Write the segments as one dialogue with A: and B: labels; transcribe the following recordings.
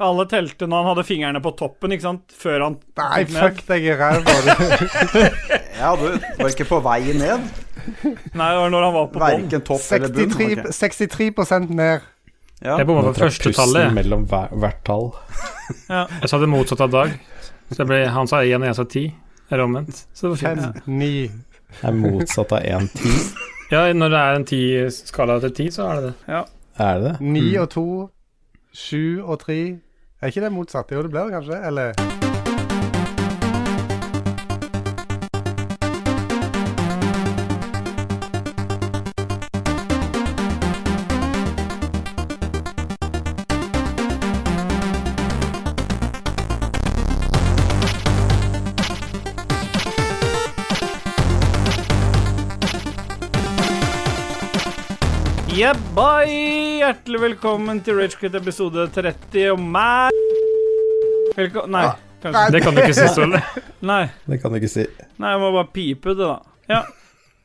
A: Alle telte når han hadde fingrene på toppen, ikke sant? Før han
B: Nei,
A: tok ned.
B: fuck deg i ræva. du.
C: Ja, du var ikke på vei ned.
A: Nei, det var når han var på bånn.
C: Verken topp eller bunn.
B: 63,
C: ok.
B: 63 ned.
C: Ja.
D: Jeg bomma på første tallet. jeg.
E: mellom hver, hvert tall.
D: Jeg sa det motsatte av Dag. Så det ble, han sa én, og jeg sa ti. Eller omvendt. Så det var
B: 5,
D: fint.
B: 9
E: Det er motsatt av 1-10.
D: Ja, når det er en ti-skala til ti, så er det det.
E: Er det det?
B: 9 og 2, 7 og 3 Er ikke det motsatt? Jo, det blir det kanskje? Eller
A: Yeah, bye! Hjertelig velkommen til Ragequit episode 30 og meg Velko... Nei,
D: Ah.
A: kanskje
D: Det kan du ikke si, Ståle.
A: Nei.
E: Det kan du ikke si.
A: Nei, jeg må bare pipe ut det, da. Ja.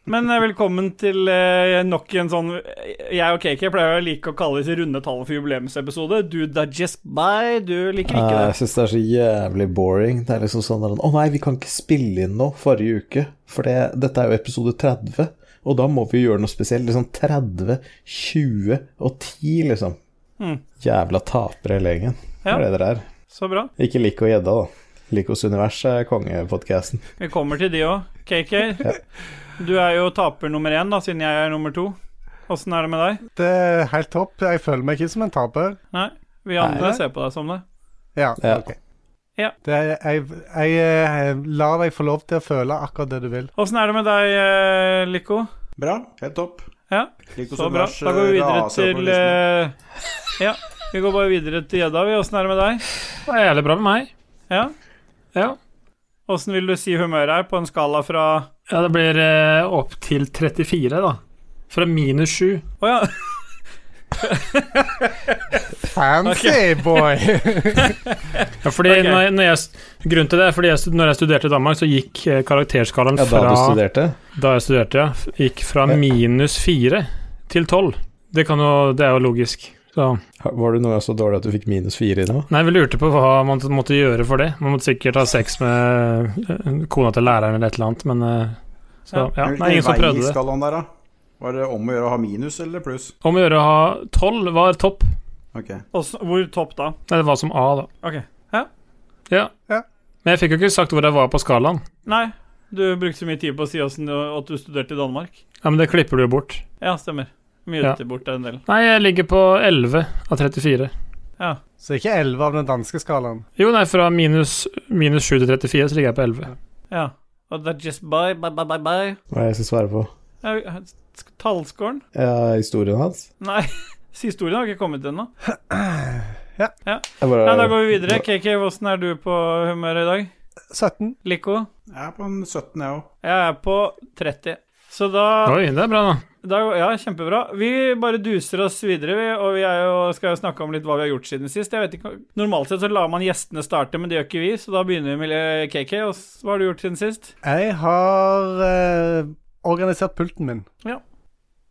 A: Men eh, velkommen til eh, nok en sånn Jeg og KK pleier å like å kalle disse runde tallene for jubileumsepisode. Du digest by, du liker
D: Ah,
A: ikke
E: jeg
A: det.
E: syns det er så jævlig boring. Det er liksom sånn der, Å nei, vi kan ikke spille inn noe forrige uke, for det, dette er jo episode 30. Og da må vi gjøre noe spesielt. Liksom 30, 20 og 10, liksom.
A: Mm.
E: Jævla tapere hele gjengen. Det
A: Ja.
E: er det dere er.
A: Så bra.
E: Ikke lik og gjedda, da. Likos univers er kongepodkasten.
A: Vi kommer til de òg. KK, du er jo taper nummer én, da, siden jeg er nummer to. Åssen er det med deg?
B: Det er helt topp. Jeg føler meg ikke som en taper.
A: Nei? Vi andre ser på deg som det.
B: Ja,
E: Ja.
B: ok.
A: Ja.
B: Det er, jeg, jeg, eh, lar deg få lov til å føle akkurat det du vil.
A: Åssen er det med deg, eh, Lico?
C: Bra. Helt topp.
A: Ja,
C: Likos
A: Så bra.
C: univers,
A: Da går vi videre
C: eh, raser på
A: til
C: listen.
A: eh, Ja, vi går bare videre til Gjedda. vi. Åssen er det med deg?
D: Det er jævlig bra med meg.
A: Ja?
D: Ja.
A: Åssen vil du si humøret er på en skala fra
D: ja det blir eh, opp til 34, da. Fra minus 7.
A: Å ja.
B: Fancy, boy!
D: Ja, fordi
A: Ok.
D: når jeg, når jeg, st- grunnen til det er fordi jeg, stu- når jeg studerte i Danmark, så gikk eh, karakterskalaen
E: Ja, da
D: fra
E: du studerte?
D: Da jeg studerte, ja. f- Gikk fra
E: Ja.
D: minus 4 til 12. Det, kan jo, det er jo logisk. Så.
E: Var du noen gang så dårlig at du fikk minus fire i noe?
D: Nei, vi lurte på hva man måtte gjøre for det. Man måtte sikkert ha sex med eh, kona til læreren eller et eller annet, men eh, så, ja.
C: Hvilken
D: Nei, ingen som
C: vei
D: prøvde det.
C: skal han der, da? Var det om å gjøre å ha minus eller pluss?
D: Om å gjøre å ha 12 var topp.
C: Ok.
A: Åssen- Hvor topp da?
D: Nei, det var som A, da.
A: Ok.
D: Ja.
B: Ja.
D: Men jeg fikk jo ikke sagt hvor jeg var på skalaen.
A: Nei, du brukte så mye tid på å si åssen du, at du studerte i Danmark.
D: Ja, Men det klipper du jo bort.
A: Ja, stemmer. Mye
D: Ja.
A: til bort en del.
D: Nei, jeg ligger på 11 av 34.
A: Ja.
B: Så ikke 11 av den danske skalaen.
D: Jo, nei, fra minus, minus 7 til 34 så ligger jeg på 11.
A: ja. Og det er just bye, bye, bye, bye, bye.
E: Hva er det jeg skal svare på?
A: Ja, sk- Tallskåren?
E: Ja, historien hans?
A: Nei, historien har ikke kommet ennå.
E: Jeg bare-
A: Nei, da går vi videre. KK, åssen er du på humøret i dag?
B: 17.
A: Lico?
C: Jeg er på en 17, jeg òg.
A: Jeg er på 30. Så da
D: Oi, det er bra, da.
A: Da, ja, kjempebra. Vi bare duser oss videre, vi, og vi er jo, skal jo snakke om litt hva vi har gjort siden sist. Jeg vet ikke, Normalt sett så lar man gjestene starte, men det gjør ikke vi, så da begynner vi med eh, KK. Og s- hva har du gjort siden sist?
B: Jeg har eh, organisert pulten min.
A: Ja.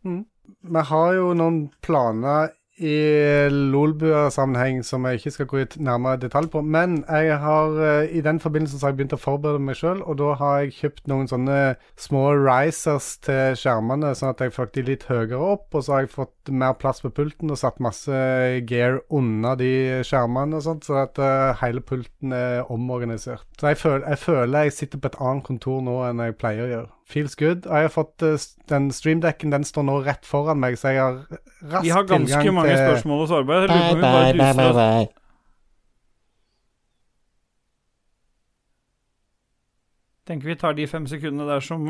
B: Mm. Vi har jo noen planer i Lolbua-sammenheng som jeg ikke skal gå i t- nærmere detalj på, men jeg har eh, i den forbindelse så har jeg begynt å forberede meg sjøl, og da har jeg kjøpt noen sånne små risers til skjermene, sånn at jeg fikk de litt høyere opp, og så har jeg fått mer plass på pulten og satt masse gear unna de skjermene og sånt, så at eh, hele pulten er omorganisert. Så jeg føler, jeg føler jeg sitter på et annet kontor nå enn jeg pleier å gjøre. Feels good. Og jeg har fått eh, s- den streamdekken, den står nå rett foran meg, så jeg har rask
A: Vi har ganske mange spørsmål hos Arbeid. Jeg lurer på om vi bare duser oss. Tenker vi tar de fem sekundene der som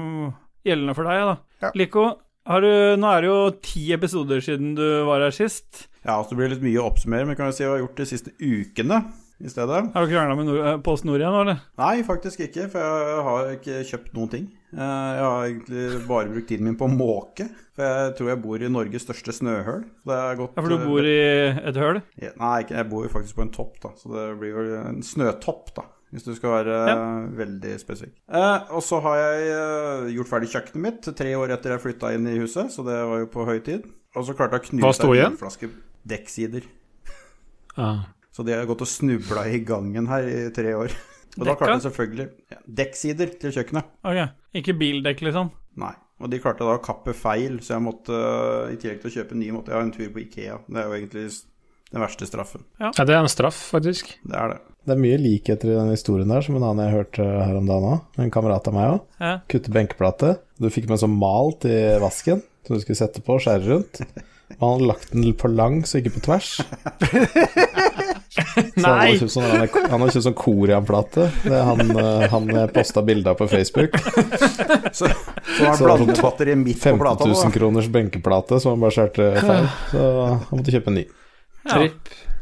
A: gjeldende for deg, da.
B: Ja.
A: Lico, har du, nå er det jo ti episoder siden du var her sist.
C: Ja, altså det blir litt mye å oppsummere, men kan jo si hva jeg har gjort de siste ukene i stedet.
A: Har du krangla med Nor- eh, Post Nord igjen nå, eller?
C: Nei, faktisk ikke, for jeg har ikke kjøpt noen ting. Eh, Jeg har egentlig bare brukt tiden min på å måke, for jeg tror jeg bor i Norges største snøhøl. Det er godt,
A: Ja, for du bor i et høl?
C: Nei, ikke- jeg bor jo faktisk på en topp, da, så det blir jo en snøtopp, da. Hvis du skal være eh, veldig spesifikk. Eh, og så har jeg eh, gjort ferdig kjøkkenet mitt tre år etter jeg flytta inn i huset, så det var jo på høy tid. Og så klarte jeg å
D: Hva
C: knuse
D: sto
C: ei
D: igjen?
C: vinflaske dekksider.
D: Ja.
C: Så de har gått og snubla i gangen her i tre år. Og da
A: Dekka?
C: klarte de selvfølgelig ja, dekksider til kjøkkenet.
A: Ok, Ikke bildekk, liksom?
C: Nei. Og de klarte da å kappe feil, så jeg måtte, eh, i tillegg til å kjøpe ny, måtte jeg ha en tur på Ikea. Det er jo egentlig s- den verste straffen.
D: Ja, det er en straff, faktisk.
C: Det er det.
E: Det er mye likheter i den historien der, som en annen jeg hørte her om dagen òg. En kamerat av meg òg.
A: Ja.
E: Kutte benkeplate. Du fikk med en sånn mal til vasken som du skulle sette på og skjære rundt. Og han hadde lagt den på langs og ikke på tvers. Så han
D: Nei!
E: hadde kjøpt sånn, han hadde kjøpt sånn Korean-plate. Det er han, eh, han jeg posta bilde av på Facebook.
C: Så, så han
E: Så-
C: blandet batteriet midt på
E: 15
C: plata. nå,
E: 000
C: da.
E: kroners benkeplate som han bare skjærte feil. Så han måtte kjøpe en ny.
A: Ja.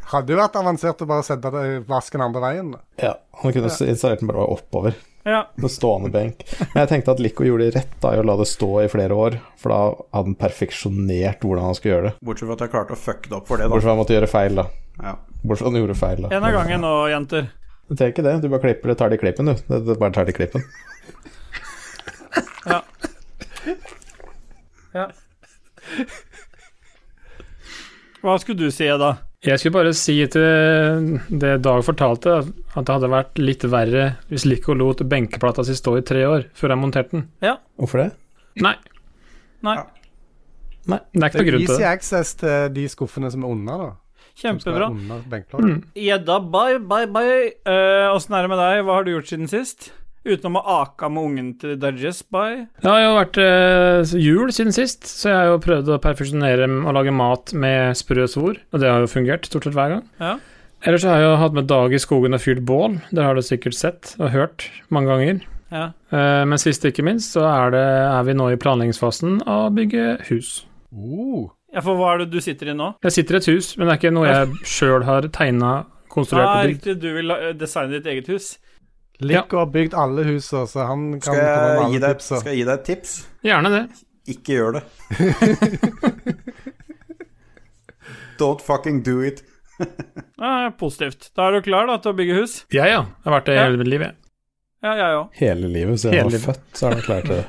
B: Hadde jo vært avansert å bare sende det- vasken andre veien.
E: Ja, Han kunne installert den bare oppover.
A: ja.
E: På stående benk. Men jeg tenkte at Lico gjorde rett da i å la det stå i flere år, for da hadde han perfeksjonert hvordan han skulle gjøre det.
C: Bortsett fra at jeg klarte å fucke det opp for det,
E: Bortsett
C: da.
E: fra han måtte gjøre feil, da.
C: Ja.
E: Bortsett fra han gjorde feil, da.
A: En av gangen nå, jenter.
E: Du trenger ikke det, du bare klipper det, tar det i klippen, du. Det, det bare tar det i klippen.
A: Ja. ja. Hva skulle du si, da?
D: Jeg skulle bare si til det Dag fortalte, at det hadde vært litt verre hvis Lico lot benkeplata si stå i tre år før han monterte den.
E: Hvorfor det?
D: Nei.
A: Nei,
E: Nei.
D: Det er ikke noe grunn til
B: Easy
D: det.
B: access til de skuffene som er unna, da. Som skal
A: kjempebra.
B: være Under benkplaten.
D: Mm.
A: Gjedda, bye, bye, bye. Eh, Åssen er det med deg? Hva har du gjort siden sist? Utenom å aka med ungen til Dudges, bye.
D: Det har jo vært eh, jul siden sist, så jeg har jo prøvd å perfeksjonere og lage mat med sprø svor, og det har jo fungert stort sett hver gang.
A: Ja.
D: Ellers så har jeg jo hatt med Dag i skogen og fyrt bål, det har du sikkert sett og hørt mange ganger.
A: Ja.
D: Eh, Men sist ikke minst, så er, det, er vi nå i planleggingsfasen av å bygge hus.
B: Oh.
A: ja, for hva er det du sitter i nå?
D: Jeg sitter i et hus, men det er ikke noe jeg sjøl har tegna, konstruert
A: Ah,
D: og bygd.
A: riktig, du vil eh, designe ditt eget hus?
B: Lico har bygd alle husa, så han kan
C: Skal
B: komme
C: jeg,
B: med
C: gi
B: alle altså.
C: deg,
B: tipsa.
C: skal jeg gi deg et tips?
D: Gjerne det.
C: Ikke gjør det. Don't fucking do it.
A: Ja, positivt. Da er du klar da, til å bygge hus?
D: Jeg, ja. Jeg har vært det
A: Ja.
D: hele mitt liv, jeg.
A: Ja, jeg òg.
E: Hele livet siden han
D: Hele
E: var
D: livet.
E: født, så er han klar til det.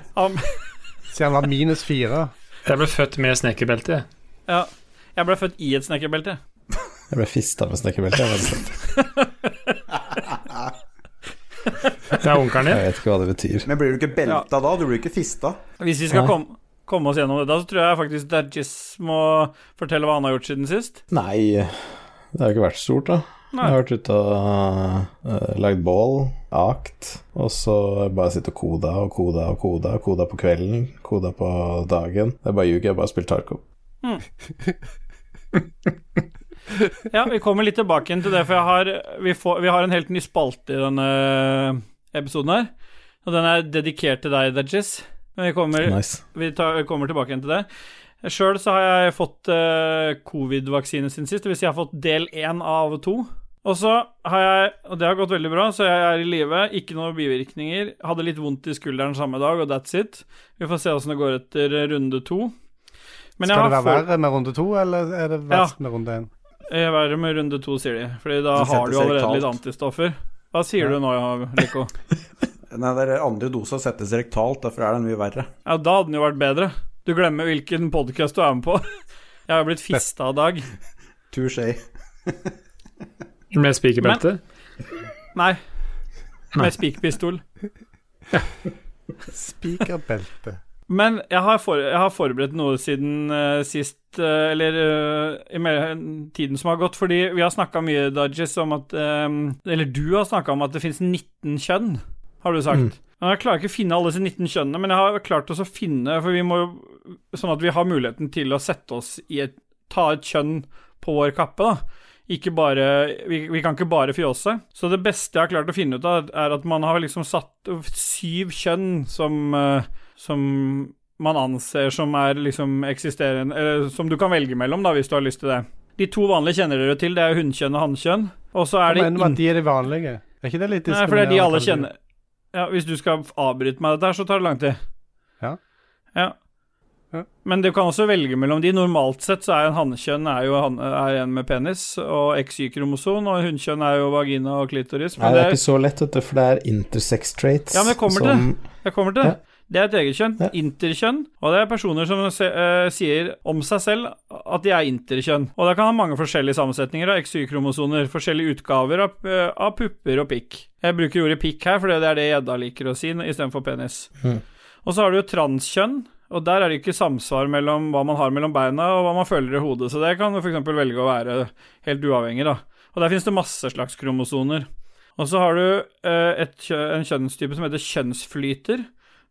B: Siden han var minus fire.
D: Jeg ble født med snekkerbelte. jeg.
A: Ja. Jeg ble født i et snekkerbelte.
E: Jeg ble fista med snekkerbelte. Jeg, altså. vet ikke-
D: Det er onkelen
E: jeg
D: din.
E: vet ikke hva det betyr.
C: Men blir du ikke belta da? Du blir ikke fista?
A: Hvis vi skal
E: Ja.
A: komme, komme oss gjennom dette, så tror jeg faktisk Dudges må fortelle hva han har gjort siden sist.
E: Nei, det har jo ikke vært stort, da.
A: Nei.
E: Jeg har vært ute og øh, lagd bål, akt, og så bare sitte og koda og koda og koda. Koda på kvelden, koda på dagen. Det er bare ljug, jeg har bare spilt Tarko.
A: Ja, vi kommer litt tilbake igjen til det, for jeg har, vi, får, vi har en helt ny spalte i denne episoden her. Og den er dedikert til deg, Dudges. Men vi kommer,
E: Nice.
A: vi tar, kommer tilbake igjen til det. Sjøl så har jeg fått eh, covid-vaksine siden sist, det vil Si jeg har fått del én av to. Og så har jeg, og det har gått veldig bra, så jeg er i live, ikke noen bivirkninger. Hadde litt vondt i skulderen samme dag, og that's it. Vi får se åssen det går etter eh, runde to. Men
B: Skal det være
A: fått-
B: verre med runde to, eller er det verst med runde én?
A: Eh, Verre med runde to, sier de. Fordi da
C: Den
A: har
C: setter
A: du
C: seg
A: allerede
C: kaldt.
A: litt antistoffer. Hva sier du nå, ja, Lico?
C: Nei, det er andre dosa settes rektalt, derfor er den mye verre.
A: Ja, da hadde den jo vært bedre. Du glemmer hvilken podkast du er med på. Jeg har blitt fista av Dag.
C: Touché.
D: Med spikerbelte.
A: Nei.
D: Nei.
A: Med spikerpistol.
B: Spikerbelte.
A: Men jeg har, for, jeg har forberedt noe siden eh, sist, eh, eller eh, i mell- tiden som har gått, fordi vi har snakka mye, Dodges, om at eh, Eller du har snakka om at det fins 19 kjønn, har du sagt.
B: Mm.
A: Men Jeg klarer ikke å finne alle disse 19 kjønnene, men jeg har klart oss å finne For vi må jo Sånn at vi har muligheten til å sette oss i et Ta et kjønn på vår kappe, da. Ikke bare Vi, vi kan ikke bare fjåse. Så det beste jeg har klart å finne ut av, er at man har liksom satt syv kjønn som eh, som man anser som er liksom eksisterende Eller som du kan velge mellom, da, hvis du har lyst til det. De to vanlige kjenner dere til, det er hunnkjønn og hannkjønn. Og så er det
B: Men
A: in...
B: at de er de vanlige. Er ikke det litt
A: Nei,
B: diskriminerende?
A: for det er de alle
B: kanskje?
A: kjenner Ja, hvis du skal avbryte meg dette her, så tar det lang tid.
B: Ja.
A: Ja.
B: Ja.
A: Men du kan også velge mellom de. Normalt sett så er en hannkjønn er jo han, er en med penis og XY-kromoson, og hunnkjønn er jo vagina og klitoris.
E: Nei,
A: Men
E: det
A: det
E: er ikke så lett, vet du, for det er intersex traits
A: Ja, men jeg kommer til
E: som
A: jeg kommer til det. Det er et eget kjønn.
E: Ja.
A: Interkjønn. Og det er personer som se, eh, sier om seg selv at de er interkjønn. Og det kan ha mange forskjellige sammensetninger av XY-kromosoner. Forskjellige utgaver av, eh, av pupper og pikk. Jeg bruker ordet pikk her, for det er det gjedda liker å si istedenfor penis.
E: Mhm.
A: Og så har du jo transkjønn. Og der er det ikke samsvar mellom hva man har mellom beina og hva man føler i hodet, så det kan du f.eks. velge å være helt uavhengig, da. Og der finnes det masse slags kromosoner. Og så har du eh, et, kjø- en kjønnstype som heter kjønnsflyter.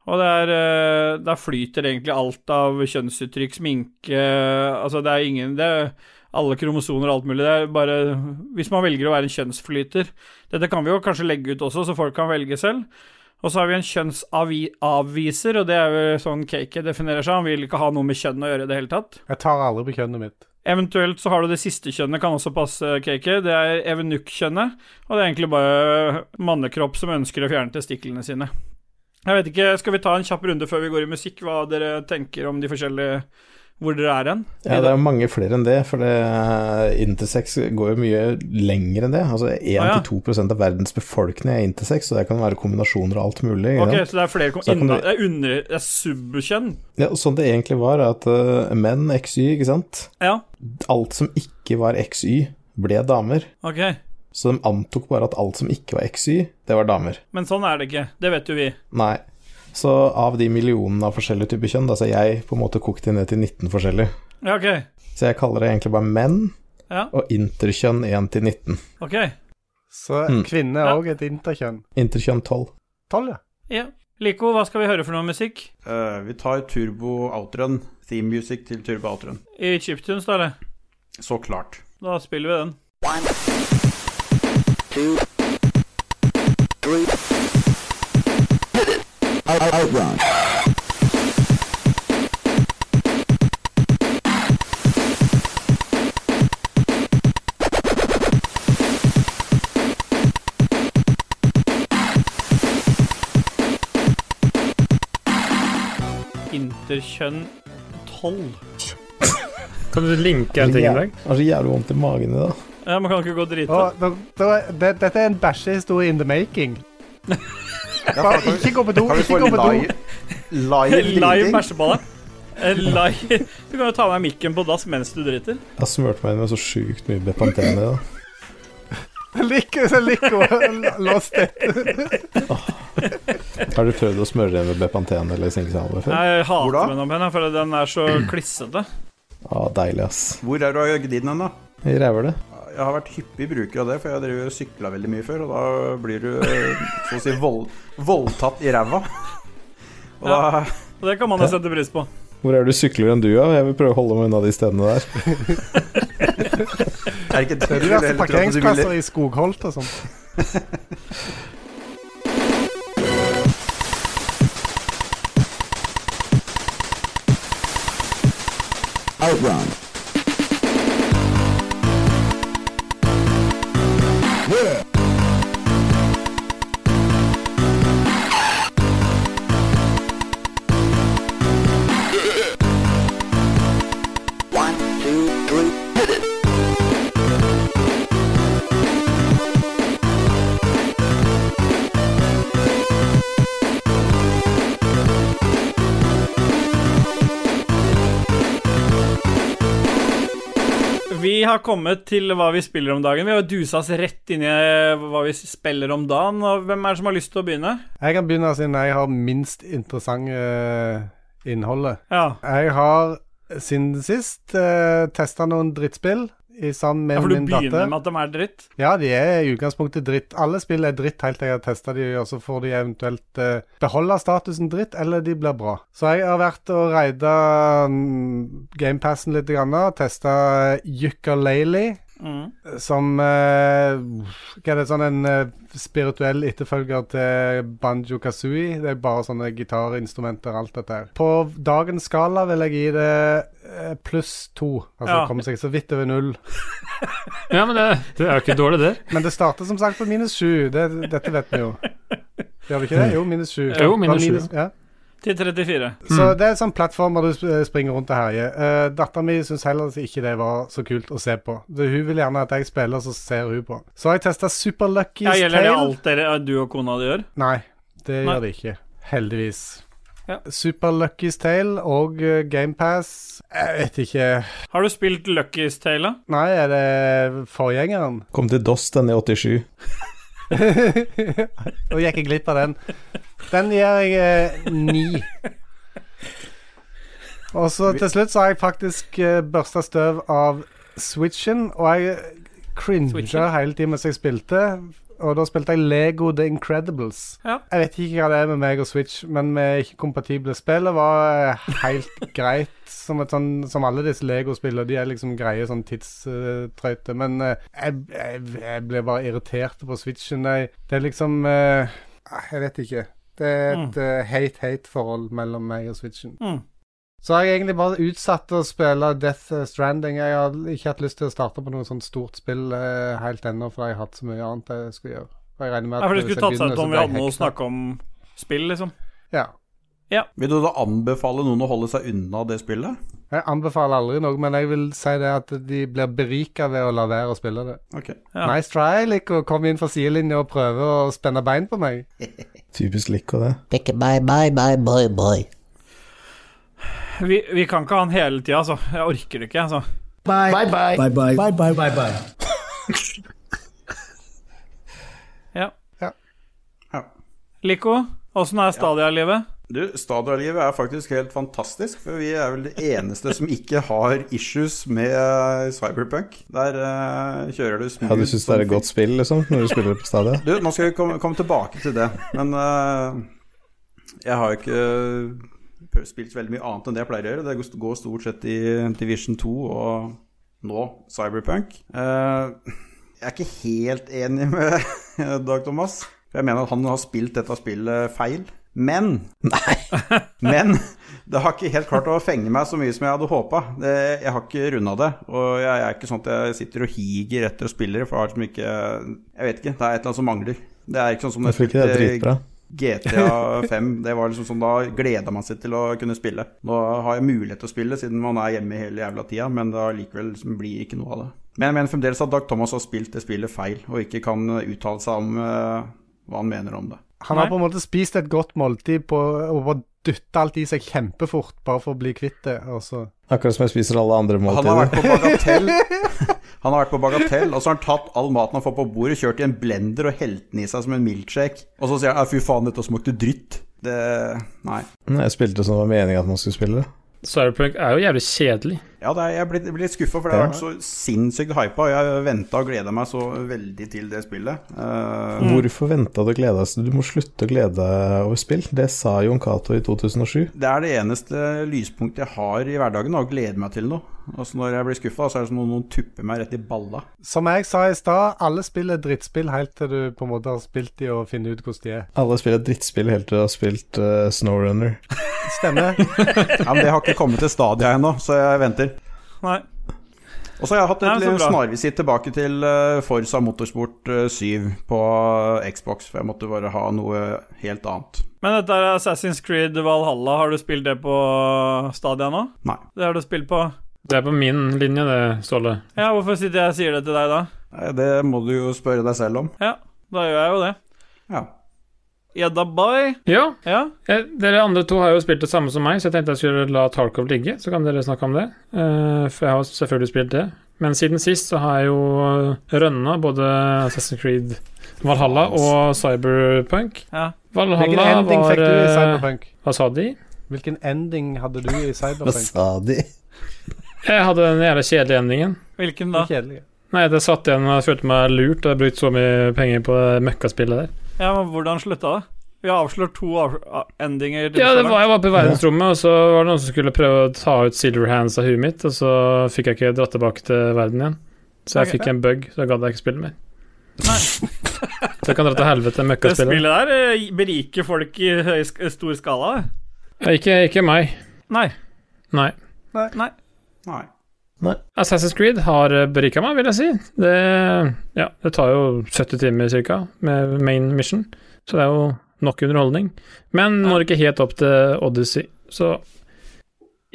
A: Og det er, eh, der flyter egentlig alt av kjønnsuttrykk, sminke Altså, det er ingen det er Alle kromosoner og alt mulig. Det er bare Hvis man velger å være en kjønnsflyter Dette kan vi jo kanskje legge ut også, så folk kan velge selv. Og så har vi en kjønnsavviser, og det er jo sånn Kake definerer seg. Han vil ikke ha noe med kjønn å gjøre i det hele tatt.
B: Jeg tar aldri på kjønnet mitt.
A: Eventuelt så har du det siste kjønnet, kan også passe KK. Det er evenukk-kjønnet, og det er egentlig bare mannekropp som ønsker å fjerne testiklene sine. Jeg vet ikke, Skal vi ta en kjapp runde før vi går i musikk, hva dere tenker om de forskjellige Hvor dere er hen?
E: Ja, det er mange flere enn det, for det, intersex går jo mye lenger enn det. Altså 1-2
A: Ah, ja.
E: av verdens befolkning er intersex, og det kan være kombinasjoner av alt mulig. ikke
A: Ok,
E: sant?
A: Så det er flere kom
E: Så kan
A: inna,
E: du-
A: det er under, det er subkjønn?
E: Ja, og sånn det egentlig var, er at eh, menn, XY, ikke sant
A: Ja,
E: Alt som ikke var XY, ble damer.
A: ok.
E: Så de antok bare at alt som ikke var XY, det var damer.
A: Men sånn er det ikke. Det vet jo vi.
E: Nei. Så av de millionene av forskjellige typer kjønn, da så er jeg på en måte kokt det ned til 19 forskjellige.
A: Ja, ok.
E: Så jeg kaller det egentlig bare menn,
A: Ja.
E: og interkjønn 1 til 19.
A: ok.
B: Så
E: Mm.
B: kvinne er
A: Ja.
B: òg et interkjønn.
E: Interkjønn 12.
B: Tolv, ja.
A: Ja. Lico, hva skal vi høre for noe musikk?
C: Eh, vi tar Turbo Outrun. Theme music til Turbo Outrun.
A: I Chiptunes, da, eller?
C: Så klart.
A: Da spiller vi den. Interkjønn 12.
D: Kan du linke en ting i dag?
E: Jeg har så jævlig vondt i magen i dag.
A: Ja, man kan ikke gå drita.
B: Og, da, da, det, dette er en bæsjehistorie in the making. Bare ikke gå på do,
C: Kan vi få
B: ikke gå på do.
C: live, live
A: Live
C: leading?
A: bæsjeballer. Eh, Live. Du kan jo ta med mikken på dass mens du driter.
E: Jeg har smurt meg inn med så sjukt mye Bepantene i dag.
B: Lico, så Lico lost it.
E: Har du prøvd å smøre deg med Bepantene eller sinkesalve før?
A: Jeg
C: Hvor da?
A: hater den om henne, for den er så klissete.
E: Ja, Ah, deilig, ass.
C: Hvor er du av øyediden hen, da?
E: Jeg ræver det.
C: Jeg har vært hyppig bruker av det, for jeg driver og sykla veldig mye før, og da blir du eh, så å si vold, voldtatt i ræva. Og da
A: Og det kan man jo sette pris på.
E: Hvor er du sykler enn du av? Jeg vil prøve å holde meg unna de stedene der.
C: er ikke det
B: Det er diverse
C: du heller tror at du ville
B: parkeringsplasser i skogholt og sånn.
A: Vi har kommet til hva vi spiller om dagen. Vi har dusa oss rett inn i eh, hva vi spiller om dagen. Og hvem er det som har lyst til å begynne?
B: Jeg kan begynne siden jeg har minst interessant eh, innholdet.
A: Ja.
B: Jeg har siden sist uh, testa noen drittspill i sammen med
A: ja for du
B: min
A: begynner
B: datter.
A: med at de er dritt?
B: Ja, de er i utgangspunktet dritt. Alle spill er dritt helt til jeg har testa de, og så får de eventuelt eh, beholde statusen dritt, eller de blir bra. Så jeg har vært og raida mm, GamePassen litt, grann, testa Yooka-Laylee,
A: Mm.
B: som eh, Hva er det sånn en eh, spirituell etterfølger til Banjo Kazooie? Det er bare sånne gitarinstrumenter og alt dette her. På dagens skala vil jeg gi det eh, pluss to. Altså
A: Ja.
B: det kommer seg så vidt over null.
D: Ja, men det, det er jo ikke dårlig, det.
B: Men det starter som sagt på minus sju. Det, dette vet vi jo. Gjør det ikke det? Jo, minus sju.
D: Jo, minus
B: Det var
D: sju. Hmm.
B: Ja.
A: Til 34.
B: Så det er sånn plattformer du sp- springer rundt og herjer. Uh, Dattera mi syns heller ikke det var så kult å se på. Det, hun vil gjerne at jeg spiller, så ser hun på. Så har jeg testa Super Lucky's
A: Ja, gjelder det eh,
B: Tale.
A: alt dere, du og kona di gjør?
B: Nei, det
A: Nei.
B: gjør det ikke. Heldigvis.
A: Ja.
B: Super Lucky's Tale og eh, Game GamePass. Jeg vet ikke
A: Har du spilt Lucky's Tale, da?
B: Nei, er det forgjengeren?
E: Kom til DOS, den i 87.
B: Nå gikk jeg glipp av den. Den gir jeg eh, ni. Og så til slutt så har jeg faktisk eh, børsta støv av switchen, og jeg cringa
A: Switchen?
B: hele tiden mens jeg spilte. Og da spilte jeg Lego The Incredibles.
A: Ja.
B: Jeg vet ikke hva det er med meg og Switch, men vi er ikke kompatible. Spillet var eh, helt greit, som, et sånn, som alle disse Lego-spillene. De er liksom greie sånn tidstrøyte. men eh, jeg, jeg, jeg ble bare irritert på Switchen. Jeg, det er liksom eh, Jeg vet ikke. Det er et eh, hate-hate-forhold mellom meg og Switchen.
A: Mm.
B: Så har jeg egentlig bare utsatt å spille Death Stranding. Jeg har ikke hatt lyst til å starte på noe sånt stort spill eh, helt ennå, for jeg har hatt så mye annet jeg skulle gjøre. Og jeg regner med
A: Ja,
B: at
A: for det
B: hvis
A: skulle
B: jeg
A: tatt seg ut
B: begynner,
A: om vi
B: så blir jeg
A: hadde noe å
B: hekta.
A: snakke om spill, liksom.
B: Ja.
C: Vil du da anbefale noen å holde seg unna det spillet?
B: Jeg anbefaler aldri noe, men jeg vil si det at de blir berika ved å la være å spille det.
C: Ok.
A: Ja.
B: Nice try, Lico. Kom inn fra sidelinja og prøve å spenne bein på meg.
E: Typisk Lico, det.
F: Pick it, bye, bye, bye, boy, boy.
A: Vi, vi kan ikke ha han hele tida, altså. Jeg orker det ikke, altså.
G: Bye bye. Bye bye. Bye bye.
A: Ja.
C: Ja.
A: Lico, åssen er Stadia-livet?
C: Du, Stadia-livet er faktisk helt fantastisk, for vi er vel det eneste som ikke har issues med eh, Cyberpunk. Der eh, kjører du smooth.
E: Ja, du syns det er et
C: som
E: godt spill, liksom, når du spiller det på stadion?
C: Du, nå skal vi komme, komme tilbake til det, men eh, jeg har jo ikke eh, spilt så veldig mye annet enn det jeg pleier å gjøre. Det går- går stort sett i Division 2 og nå Cyberpunk. Eh, jeg er ikke helt enig med Dag Thomas. For jeg mener at han har spilt dette spillet feil. Men Men det har ikke helt klart å fenge meg så mye som jeg hadde håpa. Jeg har ikke runda det. Og jeg er ikke sånn at jeg sitter og higer etter spillere, for jeg har liksom ikke Jeg vet ikke. Det er et eller annet som mangler. Det er ikke sånn som når
E: Jeg tror ikke det er
C: spilte
E: dritbra.
C: GTA 5. Det var liksom sånn, da gleda man seg til å kunne spille. Nå har jeg mulighet til å spille siden man er hjemme hele jævla tida, men det allikevel liksom blir ikke noe av det. Men jeg mener fremdeles at Dag Thomas har spilt det spillet feil, og ikke kan uttale seg om eh, hva han mener om det.
B: Han
A: Nei.
B: har på en måte spist et godt måltid på, og bare dytta alt i seg kjempefort bare for å bli kvitt det. Og så
E: Akkurat som jeg spiser alle andre
C: Han har
E: måltider.
C: vært på bagatell. Han har vært på bagatell, og så har han tatt all maten han får på bordet, kjørt i en blender og helt den i seg som en milkshake. Og så sier han «Nei, 'fy faen, dette smakte dritt'. Det Nei.
E: Nei, Mm, Jeg spilte som det var meninga at man skulle spille det.
D: Cyberpunk er jo jævlig kjedelig.
C: Ja, det er, jeg blir, blir litt skuffa, for det har vært så sinnssykt hypa, og jeg venta og gleda meg så veldig til det spillet. Eh,
A: Mm.
E: Hvorfor venta du å glede deg? Du må slutte å glede deg over spill. Det sa Jon Cato i 2007.
C: det er det eneste lyspunktet jeg har i hverdagen, da, å glede meg til noe. Og så når jeg blir skuffa, så er det som om noen tupper meg rett i balla.
B: Som jeg sa i stad, alle spill er drittspill helt til du på en måte har spilt de og finner ut hvordan de er.
E: Alle spiller drittspill helt til du har spilt eh, Snowrunner.
B: Stemmer.
C: Ja, Men det har ikke kommet til stadia ennå, så jeg venter.
A: Nei.
C: Og så har jeg hatt
A: Nei,
C: et
A: men så
C: lite
A: bra.
C: snarvisitt tilbake til eh, Forza Motorsport eh, 7 på eh, Xbox, for jeg måtte bare ha noe helt annet.
A: Men dette er Assassin's Creed Valhalla. Har du spilt det på Stadia nå?
C: Nei.
A: Det har du spilt på
D: Det er på min linje, det, Ståle.
A: Ja, hvorfor sitter jeg og sier det til deg da?
C: Nei, Eh, Det må du jo spørre deg selv om.
A: Ja, da gjør jeg jo det.
C: Ja.
A: Jedda boy.
D: Ja,
A: Ja.
D: eh, dere andre to har jo spilt det samme som meg, så jeg tenkte jeg skulle la Tarkov ligge, så kan dere snakke om det. Eh, For jeg har selvfølgelig spilt det. Men siden sist så har jeg jo rønna både Assassin's Creed Valhalla og Cyberpunk.
A: Ja.
B: Hvilken
D: Valhalla
B: ending
D: var
B: fikk du i
D: eh,
B: Cyberpunk?
D: Hva sa de?
B: Hvilken ending hadde du i
E: Hva
B: Cyberpunk?
E: sa de?
D: Jeg hadde den jævla kjedelige endingen.
A: Hvilken da?
B: Det er Kjedelig.
D: Nei, jeg satt igjen og jeg følte meg lurt. og Jeg har brukt så mye penger på det møkkaspillet der.
A: Ja, men Hvordan slutta det? Vi har avslørt to av av- endinger. til
D: Ja,
A: så
D: det
A: langt.
D: var, jeg var på verdensrommet, og så var det noen som skulle prøve å ta ut silver hands av huet mitt, og så fikk jeg ikke dratt tilbake til verden igjen. Så jeg
A: Ok.
D: fikk en bug, så jeg gadd jeg ikke spille mer.
A: Nei.
D: så jeg kan dra til helvete,
A: Det
D: møkkaspillet.
A: spillet der eh, beriker folk i høy, sk- stor skala. det.
D: Ja, Ikke, ikke meg.
A: Nei.
D: Nei.
C: Nei.
D: Assassin's Creed har berika meg, vil jeg si. Det, ja, det tar jo 70 timer ca. med main mission, så det er jo nok underholdning. Men når ikke helt opp til Odyssey, så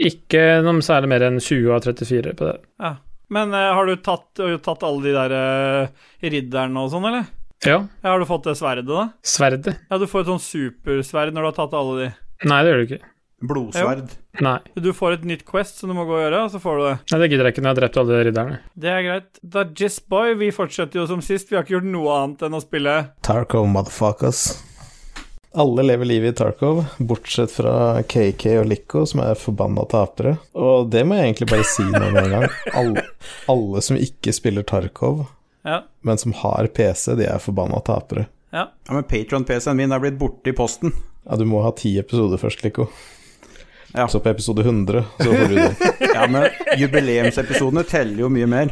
D: ikke noe særlig mer enn 20 av 34 på det.
A: Men eh, har du tatt, har du tatt alle de der eh, ridderne og sånn, eller?
D: Ja,
A: Ja, har du fått det sverdet, da?
D: sverdet.
A: Ja, du får et sånn supersverd når du har tatt alle de.
D: Nei, det gjør du ikke.
C: Blodsverd.
D: Nei.
A: Du får et nytt Quest som du må gå og gjøre, og så får du det.
D: Nei, det gidder jeg ikke når jeg har drept alle ridderne.
A: Det er greit. Da Jizz Boy, vi fortsetter jo som sist. Vi har ikke gjort noe annet enn å spille
E: Tarkov motherfuckers. Alle lever livet i Tarkov, bortsett fra KK og Lico, som er forbanna tapere. Og det må jeg egentlig bare si nå med en gang. Alle, alle som ikke spiller Tarkov,
A: Ja.
E: men som har PC, de er forbanna tapere.
C: Ja, men Patron-PC-en min er blitt borte i posten.
E: Ja, du må ha ti episoder først, Lico.
C: Ja.
E: Så på episode 100, så får du den.
C: Ja, men jubileumsepisodene teller jo mye mer.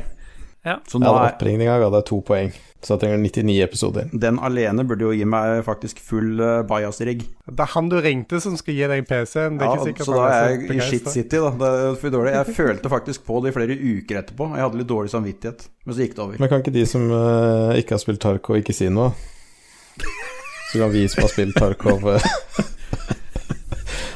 A: Ja.
C: Så
E: Ja,
C: nå
E: den
C: er
E: oppringninga ga deg to poeng, så da trenger du 99 episoder.
C: den alene burde jo gi meg faktisk full eh, bias-rigg.
B: Det er han du ringte som skal gi deg PC-en. Det er
C: Ja,
B: ikke sikkert
C: så da
B: han så
C: er jeg i shit
B: begeistret.
C: city, da. Det er for dårlig. Jeg følte faktisk på det i flere uker etterpå. Jeg hadde litt dårlig samvittighet, men så gikk det over.
E: Men kan ikke de som eh, ikke har spilt Tarkov, ikke si noe? Så kan vi som har spilt Tarkov, eh,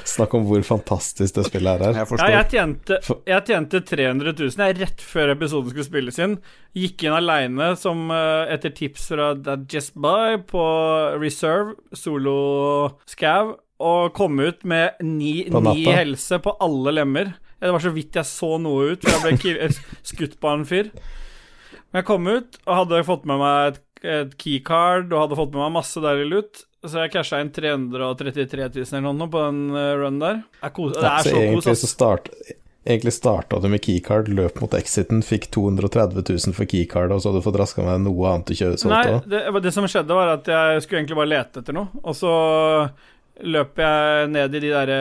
E: snakke om hvor fantastisk det spillet her er.
C: Jeg
A: Ja,
C: forstår.
A: jeg tjente, jeg tjente 300 000 jeg, rett før episoden skulle spilles inn. Gikk inn aleine som eh, etter tips fra That Just Buy på Reserve, solo scav, og kom ut med ni,
E: På
A: ni
E: natta?
A: helse på alle lemmer. Ja, Det var så vidt jeg så noe ut, for jeg ble kiv- skutt på av en fyr. Men jeg kom ut og hadde fått med meg et, et keycard og hadde fått med meg masse deilig lut. Så jeg casha inn 333 000 eller noe på den eh, runen der. Det er, kos, det
E: Ja,
A: er så
E: så
A: sånn- kos,
E: egentlig
A: ass.
E: så start, egentlig starta du med keycard, løp mot exiten, fikk 230 000 for keycard, og så hadde du fått raska med noe annet du kjøresolgte
A: Nei,
E: òg.
A: det, det som skjedde var at jeg skulle egentlig bare lete etter noe, og så løp jeg ned i de derre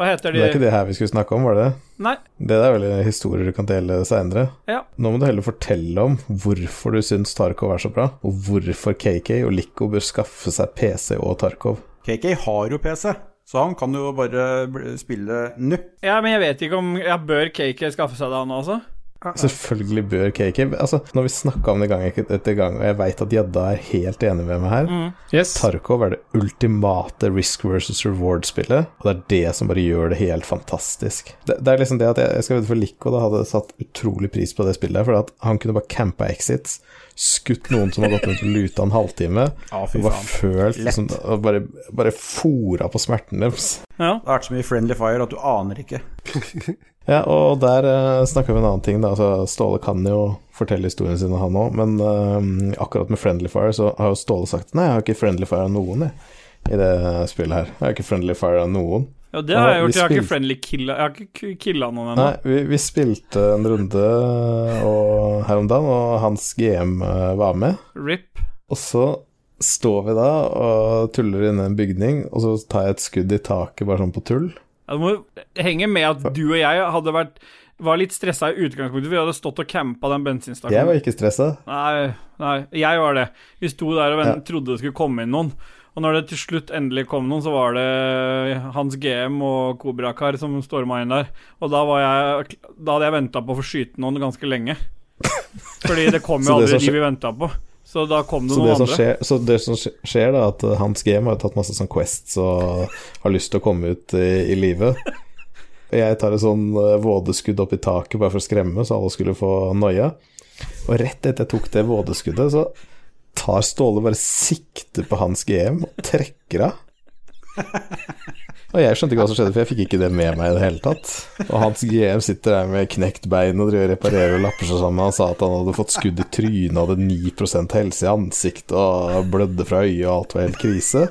A: Hva heter
E: Men det
A: de?
E: er ikke det her vi skulle snakke om, var det?
A: Nei.
E: Det er vel historier du kan dele seinere.
A: Ja.
E: Nå må du heller fortelle om hvorfor du syns Tarkov er så bra, og hvorfor KK og Lico bør skaffe seg PC og Tarkov.
C: KK har jo PC, så han kan jo bare bl- spille nå.
A: Ja, men jeg vet ikke om jeg Bør KK skaffe seg det, han også?
E: Selvfølgelig bør KK Altså, når vi snakka om det gang etter gang, og jeg veit at Jadda er helt enig med meg her
C: Mm.
D: Yes.
E: Tarkov er det ultimate risk versus reward-spillet, og det er det som bare gjør det helt fantastisk. Det, det er liksom det at jeg, jeg skal vite for Lico da hadde satt utrolig pris på det spillet, her, for at han kunne bare campa exits, skutt noen som hadde gått rundt og luta en halvtime,
C: Ja, fy
E: og bare
C: faen.
E: følt
C: Lett.
E: liksom, og bare, bare fora på smerten deres.
A: Ja.
C: Det har vært så mye friendly fire at du aner ikke.
E: Ja, og der uh, snakker vi om en annen ting, da. Altså, Ståle kan jo fortelle historien sin, han òg, men eh, akkurat med Friendly Fire så har jo Ståle sagt nei, jeg har ikke Friendly Fire av noen, jeg, i det spillet her. Jeg har ikke Friendly Fire av noen.
A: Jo, det har jeg
E: Ja, vi
A: gjort. Jeg har
E: spilte-
A: ikke friendly killa Jeg har ikke k- killa noen ennå.
E: Nei, vi, vi spilte en runde og, her om dagen, og hans GM eh, var med.
A: RIP.
E: Og så står vi da og tuller inne i en bygning, og så tar jeg et skudd i taket bare sånn på tull.
A: Ja, Det må henge med at du og jeg hadde vært var litt stressa i utgangspunktet. Vi hadde stått og campa den
E: Jeg
A: bensinstasjonen.
E: var ikke stressa.
A: Nei, nei, jeg var det. Vi sto der og vent, trodde det skulle komme inn noen. Og når det til slutt endelig kom noen, så var det Hans GM og Kobrakar som storma inn der. Og da, var jeg, da hadde jeg venta på å få skyte noen ganske lenge. Fordi det kom jo
E: Så det
A: aldri
E: som
A: de vi venta på. Så da kom det
E: Så det,
A: noen
E: som
A: andre.
E: skjer, så det som skje- skjer, da, at eh, hans game har jo tatt masse sånn quests og har lyst til å komme ut i, i livet. Og jeg tar et sånn eh, vådeskudd opp i taket bare for å skremme, så alle skulle få noia. Og rett etter jeg tok det vådeskuddet, så tar Ståle bare sikte på hans GM og trekker av. Og jeg skjønte ikke hva som skjedde, for jeg fikk ikke det med meg i det hele tatt. Og hans GM sitter der med knekt bein og driver og reparerer og lapper seg sammen. Han sa at han hadde fått skudd i trynet, hadde 9 helse i ansiktet og blødde fra øyet, og alt var helt krise.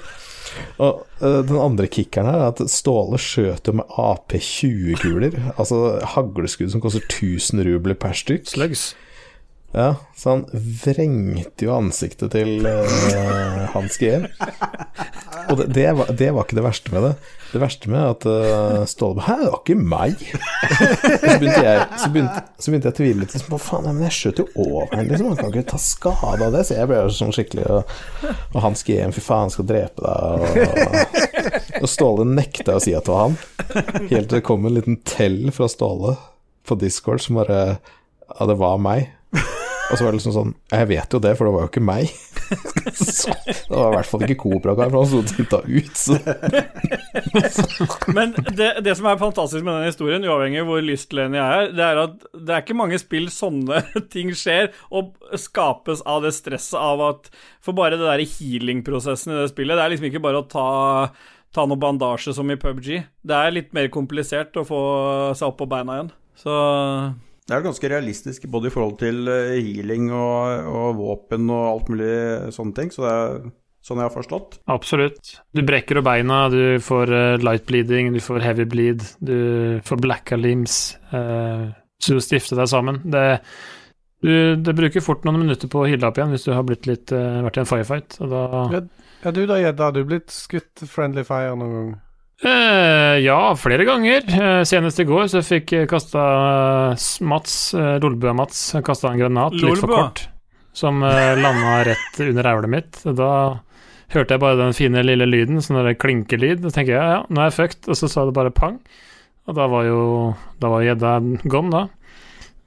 E: Og eh, den andre kickeren her er at Ståle skjøt jo med AP20-kuler, altså hagleskudd som koster 1000 rubler per stykk.
D: Slugs.
E: Ja, så han vrengte jo ansiktet til eh, hans GM. Og det, det, var, det var ikke det verste med det. Det verste med at eh, Ståle bare Hæ, det var ikke meg! Og så begynte jeg, så begynte, så begynte jeg å tvile litt. Liksom, «Hva faen, nei, men jeg skjøt jo over ham, liksom. Han kan ikke ta skade av det. Så jeg ble jo sånn skikkelig Og, og hans GM, fy faen, han skal drepe deg. Og, og Ståle nekta å si at det var han. Helt til det kom en liten tell fra Ståle på Discord som bare Ja, det var meg. Og så var det liksom sånn Jeg vet jo det, for det var jo ikke meg. Så Det var i hvert fall ikke Cobra-kar, for han sto og titta ut. Så.
A: Men det, det som er fantastisk med den historien, uavhengig av hvor lystløgn jeg er, det er at det er ikke mange spill sånne ting skjer, og skapes av det stresset av at For bare det derre healing-prosessen i det spillet, det er liksom ikke bare å ta Ta noe bandasje som i PubG. Det er litt mer komplisert å få seg opp på beina igjen. Så
C: Det er jo ganske realistisk både i forhold til eh, healing og, og våpen og alt mulig sånne ting. Så det er sånn jeg har forstått.
D: Absolutt. Du brekker jo beina, du får eh, light bleeding, du får heavy bleed, du får blacka limbs, eh, så du stifter deg sammen. Det, du, det bruker fort noen minutter på å heale opp igjen hvis du har blitt litt, eh, vært i en firefight, og da
B: Ja, du da, Gjedda. Har du blitt skutt friendly fire noen gang?
D: Eh, ja, flere ganger. Eh, senest i går så fikk jeg kasta eh, s- Mats, eh, Lolbø-Mats, kasta en granat litt for
A: Lolbø?
D: kort. Som eh, landa rett under rævlet mitt. Da hørte jeg bare den fine lille lyden, sånn der klinkelyd. Da tenker jeg ja, ja, nå er jeg fucked, og så sa det bare pang. Og da var jo Da var gjedda gone, da.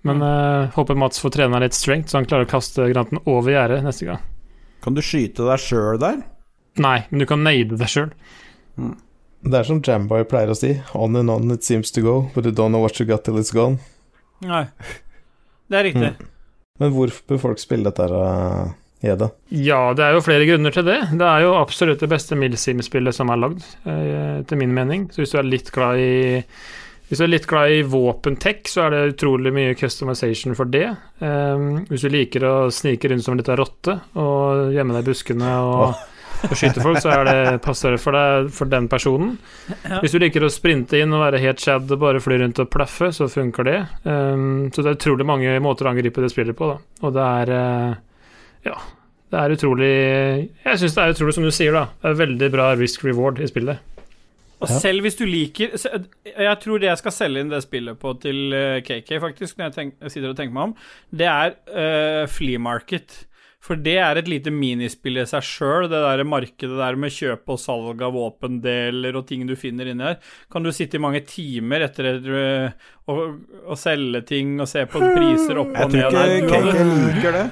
D: Men eh, håper Mats får trena litt strength, så han klarer å kaste granaten over gjerdet neste gang.
C: Kan du skyte deg sjøl der?
D: Nei, men du kan nade deg sjøl.
E: Det er som Jamboy pleier å si, on and on it seems to go, but you don't know what you got till it's gone.
A: Nei. Det er riktig.
E: Men hvorfor bør folk spille dette her, eh, Gjede?
D: Ja, det er jo flere grunner til det. Det er jo absolutt det beste Milsim-spillet som er lagd, eh, til min mening. Så hvis du er litt glad i hvis du er litt glad i våpentech, så er det utrolig mye customization for det. Eh, hvis du liker å snike rundt som en liten rotte og gjemme deg i buskene og, og skyte folk, så er det, passer det for deg for den personen. Hvis du liker å sprinte inn og være helt shad og bare fly rundt og plaffe, så funker det. Eh, så det er utrolig mange måter å angripe det spillet på, da. Og det er eh, det er utrolig Jeg syns det er utrolig, som du sier, da. Det er veldig bra risk reward i spillet.
A: Og
E: Ja.
A: selv hvis du liker se- Jeg tror det jeg skal selge inn det spillet på til eh, KK, faktisk, når jeg tenk, sitter og tenker meg om, det er eh, flea market. For det er et lite minispill i seg sjøl, det der markedet der med kjøp og salg av våpendeler og ting du finner inni her. Kan du sitte i mange timer etter eh, å å selge ting og se på priser opp
C: Jeg
A: og ned
C: tror
A: der?
C: ikke
A: Du hadde-
C: KK liker det.